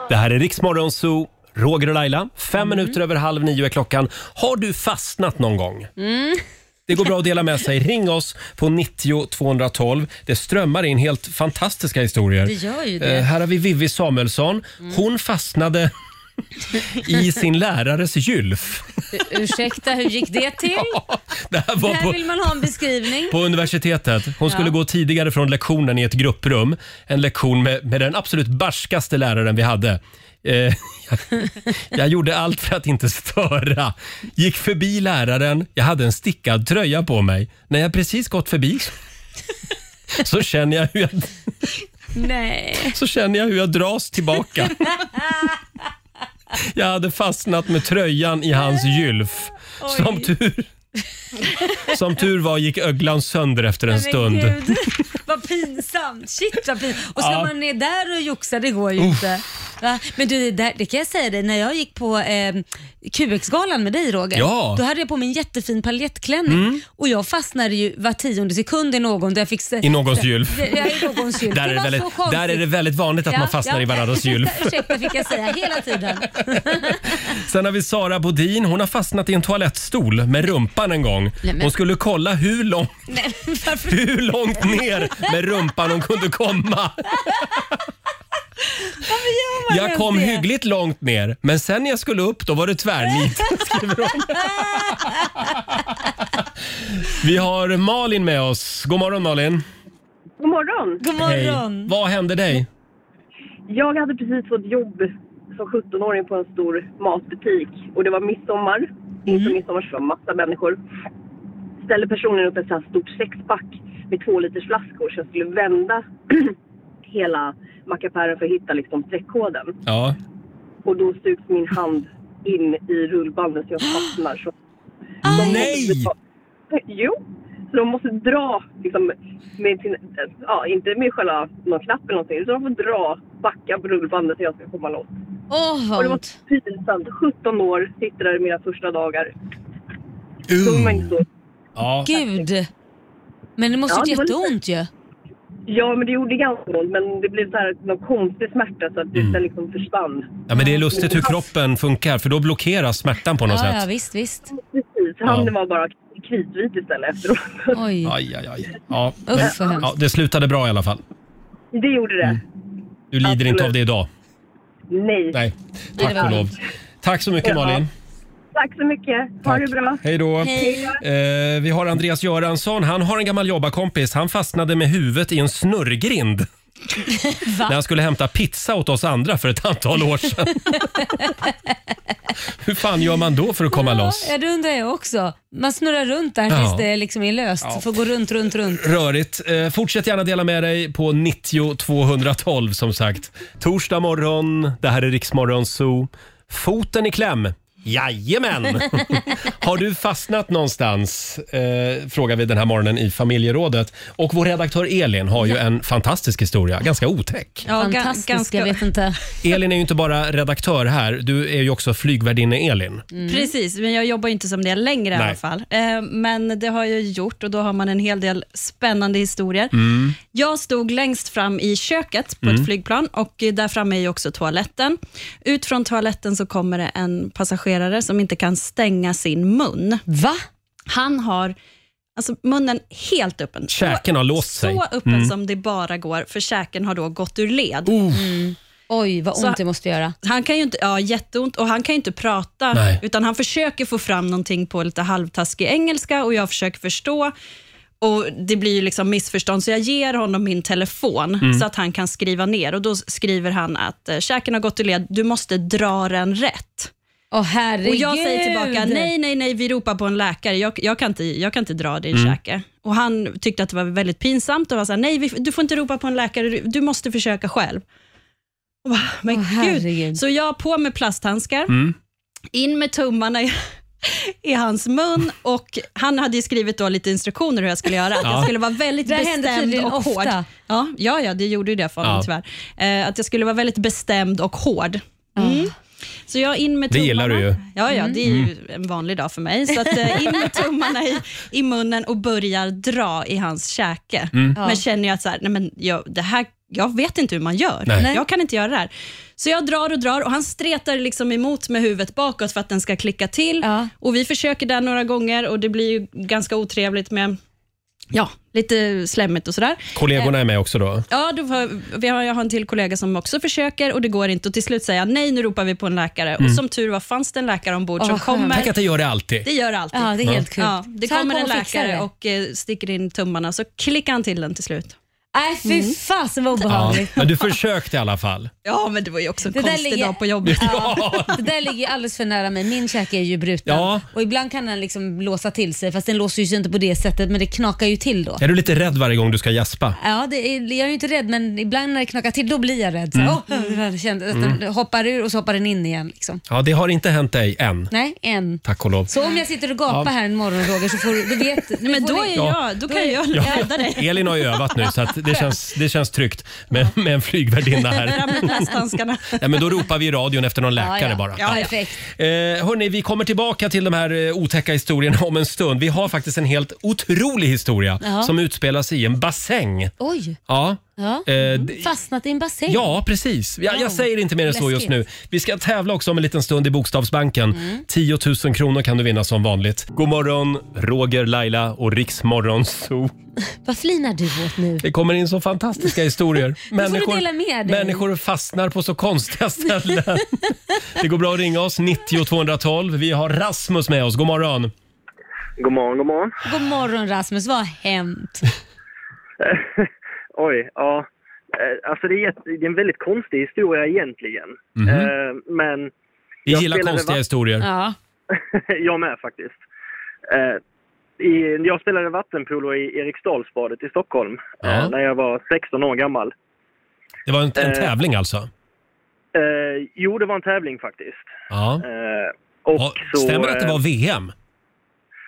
Speaker 1: Det här är Riksmorgonso. Roger och Laila, fem
Speaker 2: Mm.
Speaker 1: minuter över halv nio är klockan. Har du fastnat någon gång?
Speaker 2: Mm.
Speaker 1: Det går bra att dela med sig. Ring oss på 90 212. Det strömmar in helt fantastiska historier.
Speaker 2: Det gör ju det. Mm.
Speaker 1: Eh, här har vi Vivi Samuelsson. Hon fastnade i sin lärares gylf.
Speaker 2: U- Ursäkta, hur gick
Speaker 1: (laughs)
Speaker 2: det till?
Speaker 1: Det här var
Speaker 2: det här
Speaker 1: på,
Speaker 2: vill man ha en beskrivning.
Speaker 1: på universitetet. Hon skulle
Speaker 2: Ja.
Speaker 1: gå tidigare från lektionen i ett grupprum. En lektion med, med den absolut barskaste läraren vi hade. Eh, (laughs) jag, jag gjorde allt för att inte störa. Gick förbi läraren. Jag hade en stickad tröja på mig. När jag precis gått förbi så känner jag hur jag,
Speaker 2: Nej.
Speaker 1: så känner jag, hur jag dras tillbaka. Jag hade fastnat med tröjan i hans gylf. Som tur, som tur var gick öglan sönder efter en
Speaker 2: Men
Speaker 1: stund.
Speaker 2: Gud, (laughs) vad pinsamt. Shit vad pinsamt. Och ska
Speaker 1: Ja.
Speaker 2: man ner där och joxa, det går ju
Speaker 1: Uff.
Speaker 2: inte. Va? Men du, det där, det kan jag säga dig, när jag gick på eh, QX-galan med dig Roger,
Speaker 15: Ja.
Speaker 2: då hade jag på mig en jättefin paljettklänning
Speaker 1: Mm.
Speaker 2: och jag fastnade ju var tionde sekund i någon. Där jag fick, se-
Speaker 1: I någons gylf.
Speaker 2: Ja, i någons gylf.
Speaker 1: Där, är
Speaker 2: det
Speaker 1: det
Speaker 2: var
Speaker 1: väldigt,
Speaker 2: så konstigt.
Speaker 1: där är det väldigt vanligt att
Speaker 2: Ja,
Speaker 1: man fastnar
Speaker 2: ja.
Speaker 1: i varandras gylf.
Speaker 2: (laughs) Ursäkta fick jag säga hela
Speaker 1: (laughs)
Speaker 2: tiden.
Speaker 1: Sen har vi Sara Bodin. Hon har fastnat i en toalettstol med rumpan en gång.
Speaker 2: Nej, men-
Speaker 1: Hon skulle kolla hur, lång,
Speaker 2: Nej, varför?
Speaker 1: hur långt ner med rumpan hon kunde komma.
Speaker 2: Varför gör man
Speaker 1: Jag
Speaker 2: ens
Speaker 1: kom
Speaker 2: Oh det?
Speaker 1: hyggligt långt ner, men sen när jag skulle upp då var det tvärnit. Vi har Malin med oss. God morgon Malin.
Speaker 15: God morgon!
Speaker 2: God
Speaker 1: Hej. Vad hände dig?
Speaker 15: Jag hade precis fått jobb som 17-åring på en stor matbutik och det var midsommar.
Speaker 1: Mm.
Speaker 15: Inför midsommar så var det massa människor. Ställer personen upp ett så här stort sexpack med två liters flaskor så jag skulle vända (clears throat) hela mackapären för att hitta liksom streckkoden.
Speaker 1: Ja.
Speaker 15: Och då sugs min hand in i rullbandet
Speaker 2: (gasps)
Speaker 15: så jag fastnar. Så de
Speaker 1: Nej!
Speaker 15: (laughs) Jo! Så de måste dra, liksom, med sin, ja, inte med själva någon knapp eller någonting, utan de får dra, backa på rullbandet så jag ska komma loss.
Speaker 2: Åh,
Speaker 15: och
Speaker 2: vad
Speaker 15: det var
Speaker 2: ont.
Speaker 15: så pinsamt. 17 år, sitter där i mina första dagar. Tung men inte så.
Speaker 2: (laughs)
Speaker 1: Ja.
Speaker 2: Gud. Men det måste
Speaker 15: Ja,
Speaker 2: gjort
Speaker 15: det var lite-
Speaker 2: jätteont ju.
Speaker 15: Ja, men det gjorde ganska ont, men det blev så här någon konstig smärta så att det mm. liksom försvann. Alltså,
Speaker 1: Ja, men det är lustigt hur kroppen funkar för då blockeras smärtan på något
Speaker 15: Ja,
Speaker 1: sätt.
Speaker 15: ja,
Speaker 2: Visst, visst.
Speaker 15: Precis, handen
Speaker 1: Ja.
Speaker 15: var bara kritvit istället efteråt.
Speaker 2: Oj.
Speaker 1: Aj, aj, aj. Ja,
Speaker 15: Usch, vad
Speaker 1: men,
Speaker 15: hemskt.
Speaker 1: ja, det slutade bra i alla fall.
Speaker 15: Det gjorde det.
Speaker 1: Du lider inte av det idag.
Speaker 15: Nej.
Speaker 1: Mm. Nej,
Speaker 15: Nej, det
Speaker 1: tack
Speaker 15: var
Speaker 1: och lov.
Speaker 15: skönt.
Speaker 1: Tack så mycket
Speaker 15: Ja.
Speaker 1: Malin.
Speaker 6: Tack så mycket. Ha det bra.
Speaker 1: Hej då. Eh, vi har Andreas Göransson. Han har en gammal jobbarkompis. Han fastnade med huvudet i en snurrgrind när han skulle hämta pizza åt oss andra för ett antal år
Speaker 15: (laughs)
Speaker 1: sedan. Hur fan gör man då för att komma loss?
Speaker 2: Ja, det undrar jag också. Man snurrar runt där
Speaker 1: Ja.
Speaker 2: tills det liksom är löst.
Speaker 1: Ja.
Speaker 2: Får gå runt, runt, runt.
Speaker 1: Rörigt. Eh, fortsätt gärna dela med dig på 90 212 som sagt. Torsdag morgon, det här är Riksmorgon Zoo. Foten i kläm.
Speaker 7: (laughs)
Speaker 1: Jajamän! Har du fastnat någonstans? Eh, frågar vi den här morgonen i familjerådet. Och vår redaktör Elin har ju en fantastisk historia, ganska otäck.
Speaker 2: Ja, Fantastiskt,
Speaker 7: ganska-
Speaker 2: jag vet inte.
Speaker 1: Elin är ju inte bara redaktör här, du är ju också flygvärdinne Elin.
Speaker 2: Mm.
Speaker 7: Precis, men jag jobbar ju inte som det längre i
Speaker 1: Nej.
Speaker 7: alla fall. Eh, Men det har jag ju gjort och då har man en hel del spännande historier.
Speaker 17: Mm.
Speaker 7: Jag stod längst fram i köket på
Speaker 17: Mm.
Speaker 7: ett flygplan och eh, där framme är ju också toaletten. Ut från toaletten så kommer det en passagerare som inte kan stänga sin mun.
Speaker 2: Va?
Speaker 7: Han har alltså, munnen helt öppen.
Speaker 1: Käken har låst sig.
Speaker 7: Så öppen
Speaker 1: Mm.
Speaker 7: som det bara går, för käken har då gått ur led. Mm.
Speaker 2: Oj, vad
Speaker 7: Så-
Speaker 2: ont det måste göra.
Speaker 7: Han kan ju inte, ja, jätteont och han kan ju inte prata,
Speaker 2: Nej.
Speaker 7: utan han försöker få fram någonting på lite halvtaskig engelska och jag försöker förstå. Och Det blir ju liksom missförstånd, så jag ger honom min telefon
Speaker 17: Mm.
Speaker 7: så att han kan skriva ner. Och Då skriver han att eh, käken har gått ur led, du måste dra den rätt.
Speaker 2: Åh herregud.
Speaker 7: Och jag säger tillbaka, nej, nej, nej, vi ropar på en läkare. Jag, jag, kan, inte, jag kan inte dra din
Speaker 17: Mm.
Speaker 7: käke. Och han tyckte att det var väldigt pinsamt och var så här, nej, vi, du får inte ropa på en läkare, du, du måste försöka själv. Och bara, men gud. Så jag på med plasthandskar,
Speaker 17: Mm.
Speaker 7: in med tummarna i, i hans mun och han hade ju skrivit då lite instruktioner hur jag skulle göra. Att
Speaker 17: Ja.
Speaker 7: jag skulle vara väldigt
Speaker 2: Det här händer
Speaker 7: bestämd
Speaker 2: tydligen
Speaker 7: och
Speaker 2: ofta.
Speaker 7: hård. Ja, ja, ja, det gjorde ju det för honom
Speaker 1: Ja.
Speaker 7: tyvärr. Eh, att jag skulle vara väldigt bestämd och hård. Mm. Så jag in med
Speaker 1: Det gillar
Speaker 7: tummarna.
Speaker 1: du ju.
Speaker 7: Ja, ja,
Speaker 1: Mm.
Speaker 7: det är ju
Speaker 1: Mm.
Speaker 7: en vanlig dag för mig. Så att, eh, in med tummarna i, i munnen och börjar dra i hans käke.
Speaker 17: Mm. Ja.
Speaker 7: Men känner jag att så här, nej, men jag, det här, jag vet inte hur man gör.
Speaker 17: Nej. Nej.
Speaker 7: Jag kan inte göra det här. Så jag drar och drar och han stretar liksom emot med huvudet bakåt för att den ska klicka till. Och Vi försöker där några gånger och det blir ju ganska otrevligt med ja, lite slemmigt och sådär.
Speaker 1: Kollegorna är med också då.
Speaker 7: Ja, då har, vi har, jag har en till kollega som också försöker och det går inte. Och Till slut säger jag nej, nu ropar vi på en läkare.
Speaker 1: Mm.
Speaker 7: Och Som tur var fanns det en läkare ombord
Speaker 1: Åh,
Speaker 7: som
Speaker 1: vad skönt.
Speaker 7: kommer.
Speaker 1: Tänk att det gör det alltid.
Speaker 7: Det gör det alltid.
Speaker 1: Ja, det är helt sjukt.
Speaker 7: Ja, det
Speaker 2: Så han
Speaker 7: kommer en
Speaker 2: kommer och fixar
Speaker 7: läkare
Speaker 2: det.
Speaker 7: och eh, sticker in tummarna så klickar han till den till slut.
Speaker 2: Nej, fy
Speaker 7: Mm.
Speaker 2: fasen vad
Speaker 1: Ja.
Speaker 2: obehagligt.
Speaker 1: Men du försökte i alla fall.
Speaker 7: Ja, men det var ju också en
Speaker 2: Det där
Speaker 7: konstig
Speaker 2: ligger-
Speaker 7: dag på jobbet.
Speaker 1: (laughs)
Speaker 2: Ja. Det där ligger ju alldeles för nära mig. Min käke är ju bruten
Speaker 1: Ja.
Speaker 2: och ibland kan den liksom låsa till sig fast den låser ju sig inte på det sättet men det knakar ju till då.
Speaker 1: Är du lite rädd varje gång du ska gäspa?
Speaker 2: Ja, det är, jag är ju inte rädd men ibland när det knakar till då blir jag rädd. Så,
Speaker 1: Mm.
Speaker 2: åh, jag kände att den
Speaker 1: Mm.
Speaker 2: hoppar ur och så hoppar den in igen. Liksom.
Speaker 1: Ja, det har inte hänt dig än.
Speaker 2: Nej, än.
Speaker 1: Tack och lov.
Speaker 2: Så om jag sitter och gapar
Speaker 1: Ja.
Speaker 2: här en morgon Roger så får du, du
Speaker 7: (laughs)
Speaker 2: vet. nu
Speaker 7: men
Speaker 2: får
Speaker 7: då
Speaker 2: ni-
Speaker 7: är jag- då kan
Speaker 2: är-
Speaker 7: jag rädda dig.
Speaker 1: Elin har ju övat nu så att det, känns, det känns tryggt med, med en flygvärdinna
Speaker 7: (laughs)
Speaker 1: här.
Speaker 7: Ramlar
Speaker 1: (laughs)
Speaker 7: plasthandskarna.
Speaker 1: Nej, men då ropar vi i radion efter någon läkare bara.
Speaker 7: Ja, ja.
Speaker 1: Eh, hörni, vi kommer tillbaka till de här eh, otäcka historierna om en stund. Vi har faktiskt en helt otrolig historia
Speaker 2: Ja. Oh.
Speaker 1: som utspelar sig i en bassäng.
Speaker 2: (laughs) Oj,
Speaker 1: Ja.
Speaker 2: ja.
Speaker 1: Eh, d-
Speaker 2: fastnat i en bassäng.
Speaker 1: Ja, precis. Jag, jag säger inte mer än så
Speaker 2: Läskigt. Mm.
Speaker 1: just nu. Vi ska tävla också om en liten stund i Bokstavsbanken. 10 000 kronor kan du vinna som vanligt. God morgon, Roger, Laila och Riksmorgon Zoo.
Speaker 2: Vad flinar du åt nu?
Speaker 1: Det kommer in så
Speaker 2: (laughs)
Speaker 1: fantastiska historier.
Speaker 2: får du dela med dig.
Speaker 1: människor fastnar på så
Speaker 2: (laughs)
Speaker 1: konstiga ställen. det går bra att ringa oss, 90 212. Vi har Rasmus med oss. God morgon.
Speaker 18: God morgon, god morgon.
Speaker 2: God morgon Rasmus, vad har hänt?
Speaker 18: Eh, (laughs) Oj, ja. Eh, Alltså det är, jätte- det är en väldigt konstig historia egentligen.
Speaker 1: Mhm.
Speaker 18: Eh, Men...
Speaker 1: Vi
Speaker 18: jag
Speaker 1: gillar
Speaker 18: spelade
Speaker 1: konstiga
Speaker 18: va-
Speaker 1: historier.
Speaker 2: Ja.
Speaker 18: (laughs) jag med faktiskt. Eh, I, jag spelade vattenpolo i Eriksdalsbadet i Stockholm eh,
Speaker 1: Ja.
Speaker 18: när jag var 16 år gammal.
Speaker 1: Det var en, en
Speaker 18: Eh.
Speaker 1: tävling alltså?
Speaker 18: Eh, Jo, det var en tävling faktiskt.
Speaker 1: Ja.
Speaker 18: Eh, Och
Speaker 1: Ja,
Speaker 18: så,
Speaker 1: Stämmer det att det
Speaker 18: eh,
Speaker 1: var VM?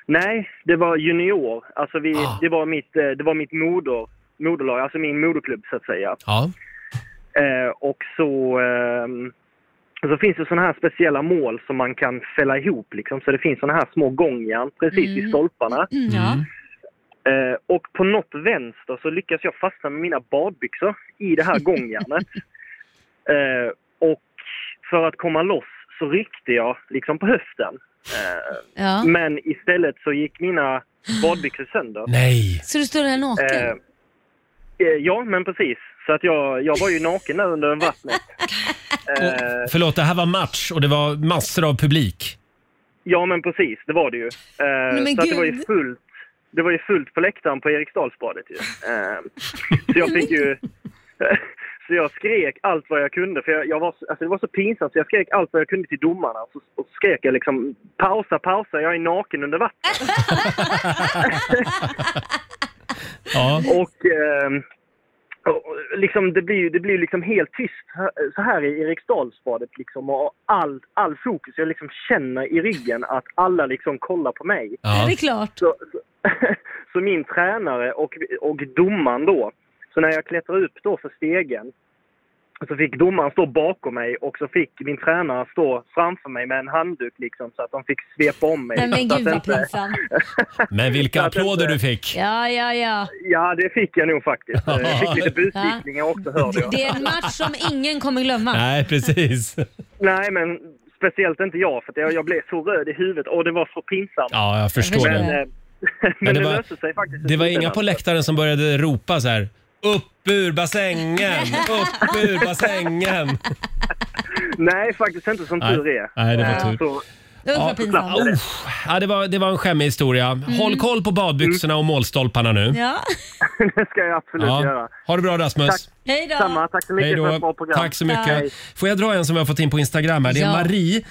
Speaker 18: Nej, det var junior. Alltså vi, det, var mitt, eh, det var mitt moder, moderlag, alltså min moderklubb så att säga.
Speaker 1: Ja.
Speaker 18: Eh, och så, ehm, så finns det sådana här speciella mål som man kan fälla ihop liksom. Så det finns sådana här små gångjärn precis i stolparna.
Speaker 2: Mm,
Speaker 1: Mm.
Speaker 18: Eh, och på något vänster så lyckas jag fastna med mina badbyxor i
Speaker 2: (laughs)
Speaker 18: det här gångjärnet. eh, och för att komma loss så ryckte jag liksom på höften. Eh,
Speaker 2: Ja.
Speaker 18: Men istället så gick mina badbyxor sönder.
Speaker 1: Nej!
Speaker 2: Så du står där naken?
Speaker 18: Eh, eh, ja, men precis. Så att jag, jag var ju naken där under vattnet. Eh,
Speaker 1: Förlåt, det här var match och det var massor av publik.
Speaker 18: Ja, men precis, det var det ju. Eh,
Speaker 2: Nej, men
Speaker 18: så att det var ju
Speaker 2: gud.
Speaker 18: fullt. Det var ju fullt på läktaren på Eriksdalsbadet ju. Eh, så jag fick ju... (laughs) Så jag skrek allt vad jag kunde, för jag, jag var, så- alltså det var så pinsamt så jag skrek allt vad jag kunde till domarna. Så, och så skrek jag liksom pausa, pausa, jag är naken under vattnet. Och, ehm, och och liksom, det blir ju det blir ju liksom helt tyst hö- så här i Eriksdalsbadet liksom och all, all fokus, jag liksom känner i ryggen att alla liksom kollar på mig.
Speaker 2: Ja. Det är klart.
Speaker 18: Så, så, (laughs) så min tränare och, och domaren då, så när jag klättrar upp då för stegen så fick domaren stå bakom mig och så fick min tränare stå framför mig med en handduk liksom så att de fick svepa om mig.
Speaker 2: Nej, men
Speaker 18: Så att
Speaker 2: gud vad
Speaker 18: inte-
Speaker 2: pinsamt.
Speaker 18: (laughs)
Speaker 1: Men vilka applåder du fick!
Speaker 2: Ja, ja, ja.
Speaker 18: Ja, det fick jag
Speaker 1: (laughs)
Speaker 18: nog faktiskt. Eh, Jag fick lite busvinkningar också hörde jag.
Speaker 2: Det är en match som ingen kommer glömma.
Speaker 1: Nej, precis.
Speaker 18: Nej, men speciellt inte jag för att jag, jag blev så röd i huvudet och det var så pinsamt.
Speaker 1: Ja, jag förstår
Speaker 18: men,
Speaker 1: det.
Speaker 18: eh, (laughs) Men,
Speaker 1: Men det
Speaker 18: det,
Speaker 1: var-
Speaker 18: löste sig faktiskt. i
Speaker 1: Det var inga
Speaker 18: slutändan.
Speaker 1: på läktaren som började ropa så här upp ur bassängen, upp ur bassängen.
Speaker 18: (laughs) Nej, faktiskt inte som
Speaker 1: Nej.
Speaker 18: tur är.
Speaker 1: Nej, det var
Speaker 18: Eh,
Speaker 1: tur.
Speaker 18: så-
Speaker 1: Ja, oh, ja, det, var, det var en skämmig historia. Håll koll på badbyxorna och målstolparna nu.
Speaker 2: Ja.
Speaker 18: det ska jag absolut
Speaker 1: Ja.
Speaker 18: göra.
Speaker 1: Ha det bra Rasmus.
Speaker 18: Tack.
Speaker 2: Hej då.
Speaker 18: Samma, tack så mycket
Speaker 1: Hej då.
Speaker 18: för ett bra program.
Speaker 1: Tack så mycket.
Speaker 18: Hej.
Speaker 1: Får jag dra en som vi har fått in på Instagram här? Det är
Speaker 2: Ja. Mm.
Speaker 1: Marie.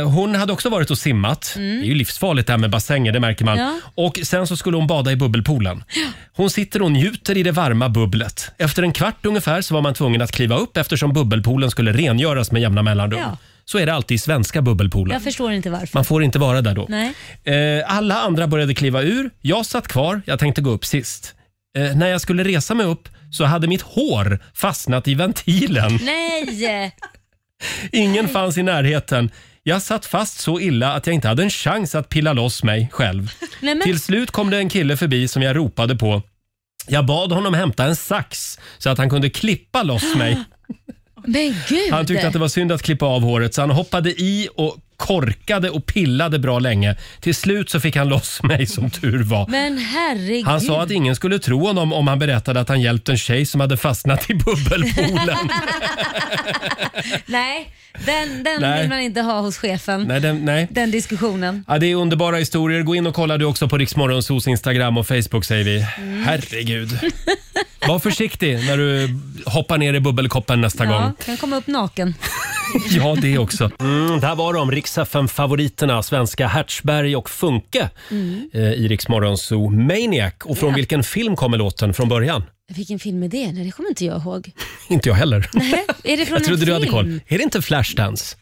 Speaker 1: Eh, hon hade också varit och simmat. Det är ju livsfarligt det här med bassänger, det märker man.
Speaker 2: Ja.
Speaker 1: Och sen så skulle hon bada i bubbelpoolen. Hon sitter och njuter i det varma bubblet. Efter en kvart ungefär så var man tvungen att kliva upp eftersom bubbelpoolen skulle rengöras med jämna mellanrum.
Speaker 2: Ja.
Speaker 1: Så är det alltid i svenska bubbelpoolen.
Speaker 2: Jag förstår inte varför.
Speaker 1: Man får inte vara där då.
Speaker 2: Nej.
Speaker 1: Eh, Alla andra började kliva ur. Jag satt kvar. Jag tänkte gå upp sist. Eh, När jag skulle resa mig upp så hade mitt hår fastnat i ventilen.
Speaker 2: Nej!
Speaker 1: Ingen fanns i närheten. Jag satt fast så illa att jag inte hade en chans att pilla loss mig själv.
Speaker 2: Nej, men-
Speaker 1: Till slut kom det en kille förbi som jag ropade på. Jag bad honom hämta en sax så att han kunde klippa loss mig.
Speaker 2: Men gud!
Speaker 1: Han tyckte att det var synd att klippa av håret så han hoppade i och korkade och pillade bra länge. Till slut så fick han loss mig som tur var.
Speaker 2: Men herregud.
Speaker 1: Han sa att ingen skulle tro honom om han berättade att han hjälpt en tjej som hade fastnat i (laughs) bubbelpoolen.
Speaker 2: Nej, den, den
Speaker 1: Nej.
Speaker 2: vill man inte ha hos chefen.
Speaker 1: nej, den, nej.
Speaker 2: Den diskussionen.
Speaker 1: Ja, det är underbara historier. Gå in och kolla du också på Riksmorgonsos Instagram och Facebook säger vi.
Speaker 2: Mm.
Speaker 1: (laughs) Herregud. Var försiktig när du hoppar ner i bubbelkoppen nästa gång.
Speaker 2: Ja, kan komma upp naken.
Speaker 1: Ja, det också. (laughs) Mm, där var de, Rix favoriterna svenska Hertzberg och Funke
Speaker 2: Mm.
Speaker 1: eh, i Rix Morgonzoo Maniac. Och från
Speaker 2: Ja.
Speaker 1: vilken film kommer låten från början?
Speaker 2: Vilken film är det? Nej, det kommer inte jag ihåg.
Speaker 1: Inte jag heller.
Speaker 2: Nej, är det från
Speaker 1: Jag trodde
Speaker 2: en
Speaker 1: du hade
Speaker 2: film?
Speaker 1: koll. Är det inte Flashdance?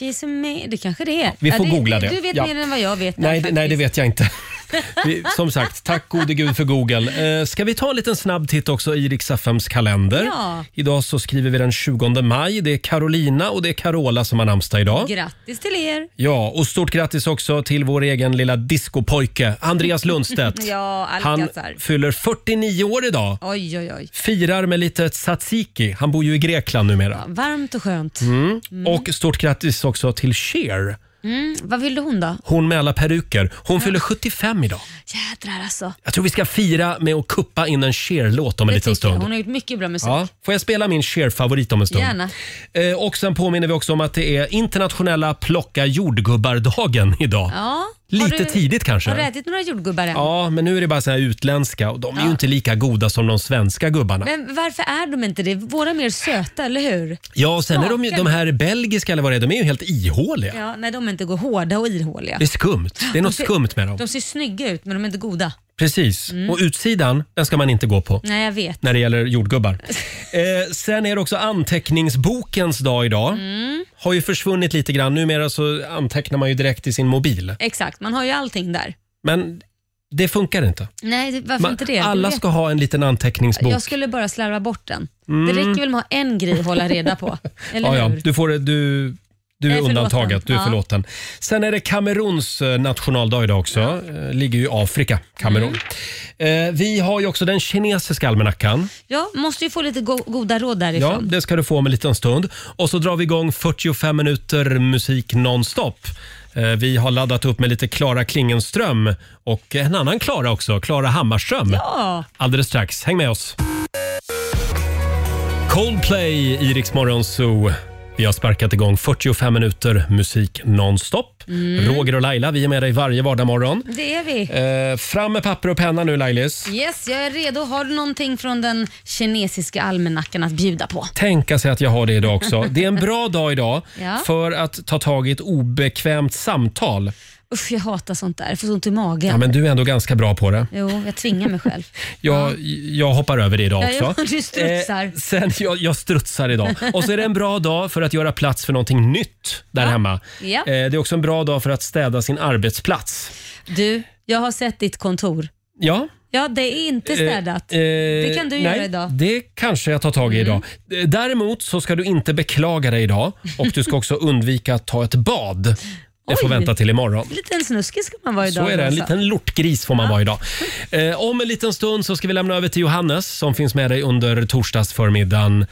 Speaker 2: She's a ma- det kanske det är.
Speaker 1: vi får
Speaker 2: det,
Speaker 1: googla det.
Speaker 2: Du vet
Speaker 1: Ja.
Speaker 2: mer än vad jag vet.
Speaker 1: Nej, det, nej, det vet jag inte. (laughs)
Speaker 2: (laughs)
Speaker 1: Vi, som sagt, tack gode gud för Google. Eh, ska vi ta en liten snabb titt också i Rix FMs kalender?
Speaker 2: Ja.
Speaker 1: Idag så skriver vi den 20 maj. Det är Carolina och det är Carola som har namnsdag idag.
Speaker 2: Grattis till er.
Speaker 1: Ja, och stort grattis också till vår egen lilla discopojke
Speaker 2: (laughs)
Speaker 1: Andreas Lundstedt.
Speaker 2: Ja,
Speaker 1: Han
Speaker 2: Alcazar.
Speaker 1: fyller 49 år idag.
Speaker 2: Oj, oj, oj.
Speaker 1: Firar med lite tzatziki. Han bor ju i Grekland numera.
Speaker 2: Varmt och skönt.
Speaker 1: Mm.
Speaker 2: Mm.
Speaker 1: Och stort grattis också till Cher.
Speaker 2: Mm. Vad fyllde hon då?
Speaker 1: Hon med alla peruker. Hon fyller 75 idag.
Speaker 2: Jädrar alltså.
Speaker 1: Jag tror vi ska fira med att kuppa in en Cher-låt om en
Speaker 2: Det
Speaker 1: liten
Speaker 2: tycker jag.
Speaker 1: stund.
Speaker 2: Hon har gjort mycket bra musik.
Speaker 1: Ja. Får jag spela min Cher-favorit om en stund?
Speaker 2: Gärna.
Speaker 1: Eh, och sen påminner vi också om att det är internationella plocka jordgubbar-dagen idag.
Speaker 2: Ja. Har
Speaker 1: Lite
Speaker 2: du-
Speaker 1: tidigt kanske.
Speaker 2: Har du ätit några jordgubbar än?
Speaker 1: Ja, men nu är det bara så här utländska och de är ju inte lika goda som de svenska gubbarna.
Speaker 2: Men varför är de inte det? Våra är mer söta, eller hur?
Speaker 1: Ja, och sen är de ju, de här belgiska eller vad det är, de är ju helt ihåliga.
Speaker 2: Ja, när de inte går hårda och ihåliga.
Speaker 1: Det är skumt. Det är något
Speaker 2: De ser-
Speaker 1: skumt med dem.
Speaker 2: De ser snygga ut, men de är inte goda.
Speaker 1: Precis.
Speaker 2: Mm.
Speaker 1: Och utsidan, den ska man inte gå på.
Speaker 2: Nej, jag vet.
Speaker 1: När det
Speaker 2: (laughs)
Speaker 1: gäller jordgubbar. Eh, sen är det också anteckningsbokens dag idag.
Speaker 2: Mm.
Speaker 1: Har ju försvunnit lite grann. Numera så antecknar man ju direkt i sin mobil.
Speaker 2: Exakt, man har ju allting där.
Speaker 1: Men det funkar inte.
Speaker 2: Nej, det- varför
Speaker 1: Man,
Speaker 2: inte det?
Speaker 1: Alla
Speaker 2: Jag vet.
Speaker 1: ska ha en liten anteckningsbok.
Speaker 2: Jag skulle bara slarva bort den.
Speaker 1: Mm.
Speaker 2: Det räcker väl med att ha en grej att hålla reda
Speaker 1: (laughs)
Speaker 2: på? Eller
Speaker 1: ja, ja.
Speaker 2: hur?
Speaker 1: Du, får, du, du
Speaker 2: Jag
Speaker 1: är
Speaker 2: är förlåten.
Speaker 1: undantaget, du är
Speaker 2: Ja.
Speaker 1: förlåten. Sen är det Kameruns eh, nationaldag idag också. Eh, Ligger ju i Afrika, Kamerun.
Speaker 2: Mm.
Speaker 1: Eh, Vi har ju också den kinesiska almanackan.
Speaker 2: Ja, måste ju få lite go- goda råd
Speaker 1: Ja,
Speaker 2: därifrån.
Speaker 1: det ska du få om en liten stund. Och så drar vi igång 45 minuter musik nonstop. Eh, Vi har laddat upp med lite Klara Klingenström och en annan Klara också, Klara Hammarström.
Speaker 2: Ja.
Speaker 1: Alldeles strax. Häng med oss. Coldplay i Rix Morgon Zoo. Vi har sparkat igång 45 minuter musik nonstop.
Speaker 2: Mm.
Speaker 1: Roger och Laila, vi är med dig varje vardagsmorgon.
Speaker 2: Det är vi.
Speaker 1: Eh, fram med papper och penna nu Lailis.
Speaker 2: Yes, jag är redo. Har du någonting från den kinesiska almanackan att bjuda på?
Speaker 1: Tänka sig att jag har det
Speaker 2: (laughs)
Speaker 1: idag också. Det är en bra dag idag
Speaker 2: Ja.
Speaker 1: för att ta tag i ett obekvämt samtal.
Speaker 2: Usch, jag hatar sånt där. Jag får så ont i magen.
Speaker 1: Ja, men du är ändå ganska bra på det.
Speaker 2: Jo, jag tvingar mig själv.
Speaker 1: Jag, jag hoppar över det idag
Speaker 2: Ja,
Speaker 1: också. Eh,
Speaker 2: ja, (laughs) du strutsar.
Speaker 1: sen, jag, jag
Speaker 2: (laughs)
Speaker 1: strutsar idag. Och så är det en bra dag för att göra plats för någonting nytt där hemma.
Speaker 2: Ja.
Speaker 1: Eh, det är också en bra dag för att städa sin arbetsplats.
Speaker 2: Du, jag har sett ditt kontor.
Speaker 1: Ja.
Speaker 2: Ja, det är inte städat.
Speaker 1: Eh, eh,
Speaker 2: det kan du
Speaker 1: nej,
Speaker 2: göra idag. Mm.
Speaker 1: Det kanske jag tar tag i idag. Eh, Däremot så ska du inte beklaga dig idag och du
Speaker 2: (laughs)
Speaker 1: ska också undvika att ta ett bad. Det får
Speaker 2: Oj.
Speaker 1: vänta till imorgon.
Speaker 2: Liten snuskig ska man vara idag.
Speaker 1: Så är det, en
Speaker 2: alltså.
Speaker 1: liten lortgris får man vara idag. Eh, om en liten stund så ska vi lämna över till Johannes som finns med dig under torsdagsförmiddagen.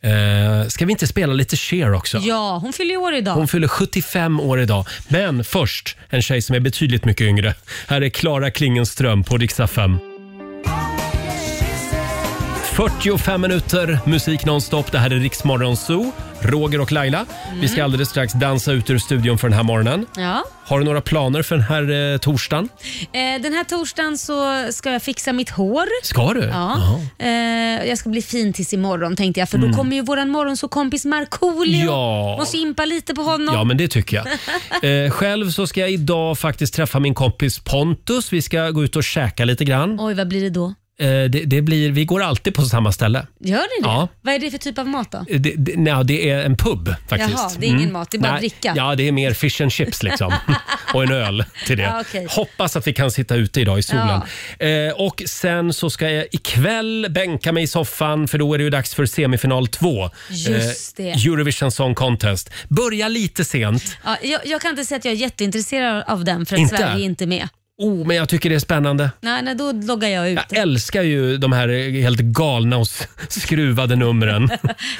Speaker 1: Eh, ska vi inte spela lite Cher också?
Speaker 2: Ja, hon fyller ju år idag.
Speaker 1: Hon fyller 75 år idag. Men först en tjej som är betydligt mycket yngre. Här är Klara Klingenström på Dix 5. 45 minuter musik nonstop. Det här är Riksmorgon Zoo, Roger och Laila. Vi ska alldeles strax dansa ut ur studion för den här morgonen.
Speaker 2: Mm. Ja.
Speaker 1: Har du några planer för den här eh, torsdagen?
Speaker 2: Eh, Den här torsdagen så ska jag fixa mitt hår.
Speaker 1: Ska du?
Speaker 2: Ja. Eh, Jag ska bli fin tills imorgon tänkte jag, för
Speaker 1: Mm.
Speaker 2: då kommer ju våran morgonsåkompis Markoolio.
Speaker 1: Ja.
Speaker 2: Måste impa lite på honom.
Speaker 1: Ja, men det tycker
Speaker 2: (laughs)
Speaker 1: jag. Eh, själv så ska jag idag faktiskt träffa min kompis Pontus. Vi ska gå ut och käka lite grann.
Speaker 2: Oj, vad blir det då?
Speaker 1: Eh, det, det blir, vi går alltid på samma ställe.
Speaker 2: Gör ni det?
Speaker 1: Ja.
Speaker 2: Vad är det för typ av mat då?
Speaker 1: Eh, Det, det, nej, det är en pub faktiskt. Mm.
Speaker 2: Jaha, det är ingen mat, det är bara
Speaker 1: nej,
Speaker 2: dricka.
Speaker 1: Ja, det är mer fish and
Speaker 2: (laughs)
Speaker 1: chips liksom. och en öl till det.
Speaker 2: Ja, okej.
Speaker 1: Hoppas att vi kan sitta ute idag i solen. Eh, och sen så ska jag ikväll bänka mig i soffan för då är det ju dags för semifinal 2.
Speaker 2: Just det.
Speaker 1: Eurovision Song Contest. Börja lite sent.
Speaker 2: Ja, jag, jag kan inte säga att jag är jätteintresserad av den för att
Speaker 1: Inte?
Speaker 2: Sverige är inte med.
Speaker 1: Oh, men jag tycker det är spännande.
Speaker 2: Nej, nej, då loggar jag ut.
Speaker 1: Jag älskar ju de här helt galna och s- skruvade numren.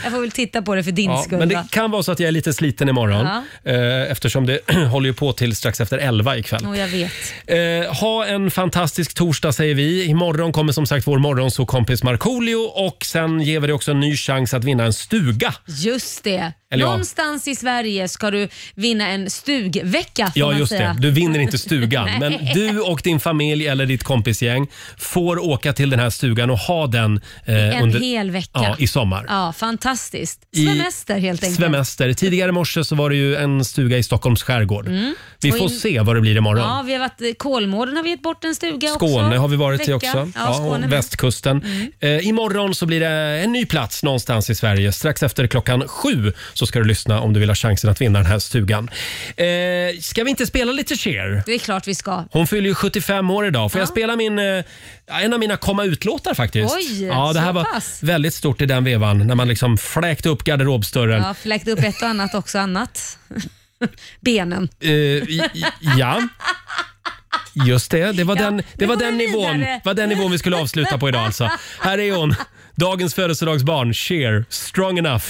Speaker 2: Jag får väl titta på det för din
Speaker 1: Ja,
Speaker 2: skull.
Speaker 1: men det
Speaker 2: va?
Speaker 1: kan vara så att jag är lite sliten imorgon eh, eftersom det (clears throat) håller ju på till strax efter 11 ikväll.
Speaker 2: Och jag vet.
Speaker 1: Eh, ha en fantastisk torsdag säger vi. Imorgon kommer som sagt vår morgonsåkompis Markoolio och sen ger vi dig också en ny chans att vinna en stuga.
Speaker 2: Just det.
Speaker 1: Eller ja.
Speaker 2: Någonstans i Sverige ska du vinna en stugvecka. får
Speaker 1: Ja,
Speaker 2: man
Speaker 1: just
Speaker 2: säga.
Speaker 1: det. Du
Speaker 2: (laughs)
Speaker 1: vinner inte stugan, men
Speaker 2: Nej.
Speaker 1: du och din familj eller ditt kompisgäng får åka till den här stugan och ha den eh,
Speaker 2: En hel vecka.
Speaker 1: Ja, i sommar.
Speaker 2: Ja, fantastiskt.
Speaker 1: I-
Speaker 2: Svemester helt enkelt.
Speaker 1: Svemester. Tidigare i morse så var det ju en stuga i Stockholms skärgård.
Speaker 2: Mm.
Speaker 1: Vi
Speaker 2: Och
Speaker 1: får
Speaker 2: in-
Speaker 1: se vad det blir imorgon.
Speaker 2: Ja, vi har varit, eh, Kolmården har vi gett bort en stuga också.
Speaker 1: Skåne har vi varit i
Speaker 2: Vecka.
Speaker 1: också.
Speaker 2: Ja,
Speaker 1: Ja,
Speaker 2: Skåne Mm.
Speaker 1: och västkusten. Eh, imorgon så blir det en ny plats någonstans i Sverige. Strax efter klockan sju så ska du lyssna om du vill ha chansen att vinna den här stugan. Eh, ska vi inte spela lite Cher?
Speaker 2: Det är klart vi ska.
Speaker 1: Hon fyller ju 75 år idag. Får jag spela min, eh, en av mina komma ut-låtar faktiskt?
Speaker 2: Oj,
Speaker 1: ja, det här
Speaker 2: så
Speaker 1: var
Speaker 2: pass.
Speaker 1: väldigt stort i den vevan när man liksom fläkte upp garderobsdörren.
Speaker 2: Ja, fläkt upp ett och annat också annat. (laughs) Benen.
Speaker 1: Eh, i- i- ja. Just det, det var den, det var den, nivån,
Speaker 2: vidare.
Speaker 1: var den nivån vi skulle avsluta på idag alltså. Här är hon, dagens födelsedagsbarn, Cher, Strong Enough.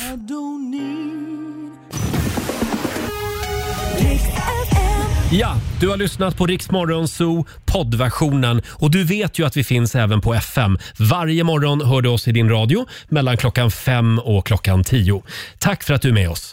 Speaker 1: Ja, du har lyssnat på Rix Morgon Zoo poddversionen och du vet ju att vi finns även på FM. Varje morgon hör du oss i din radio mellan klockan fem och klockan tio. Tack för att du är med oss.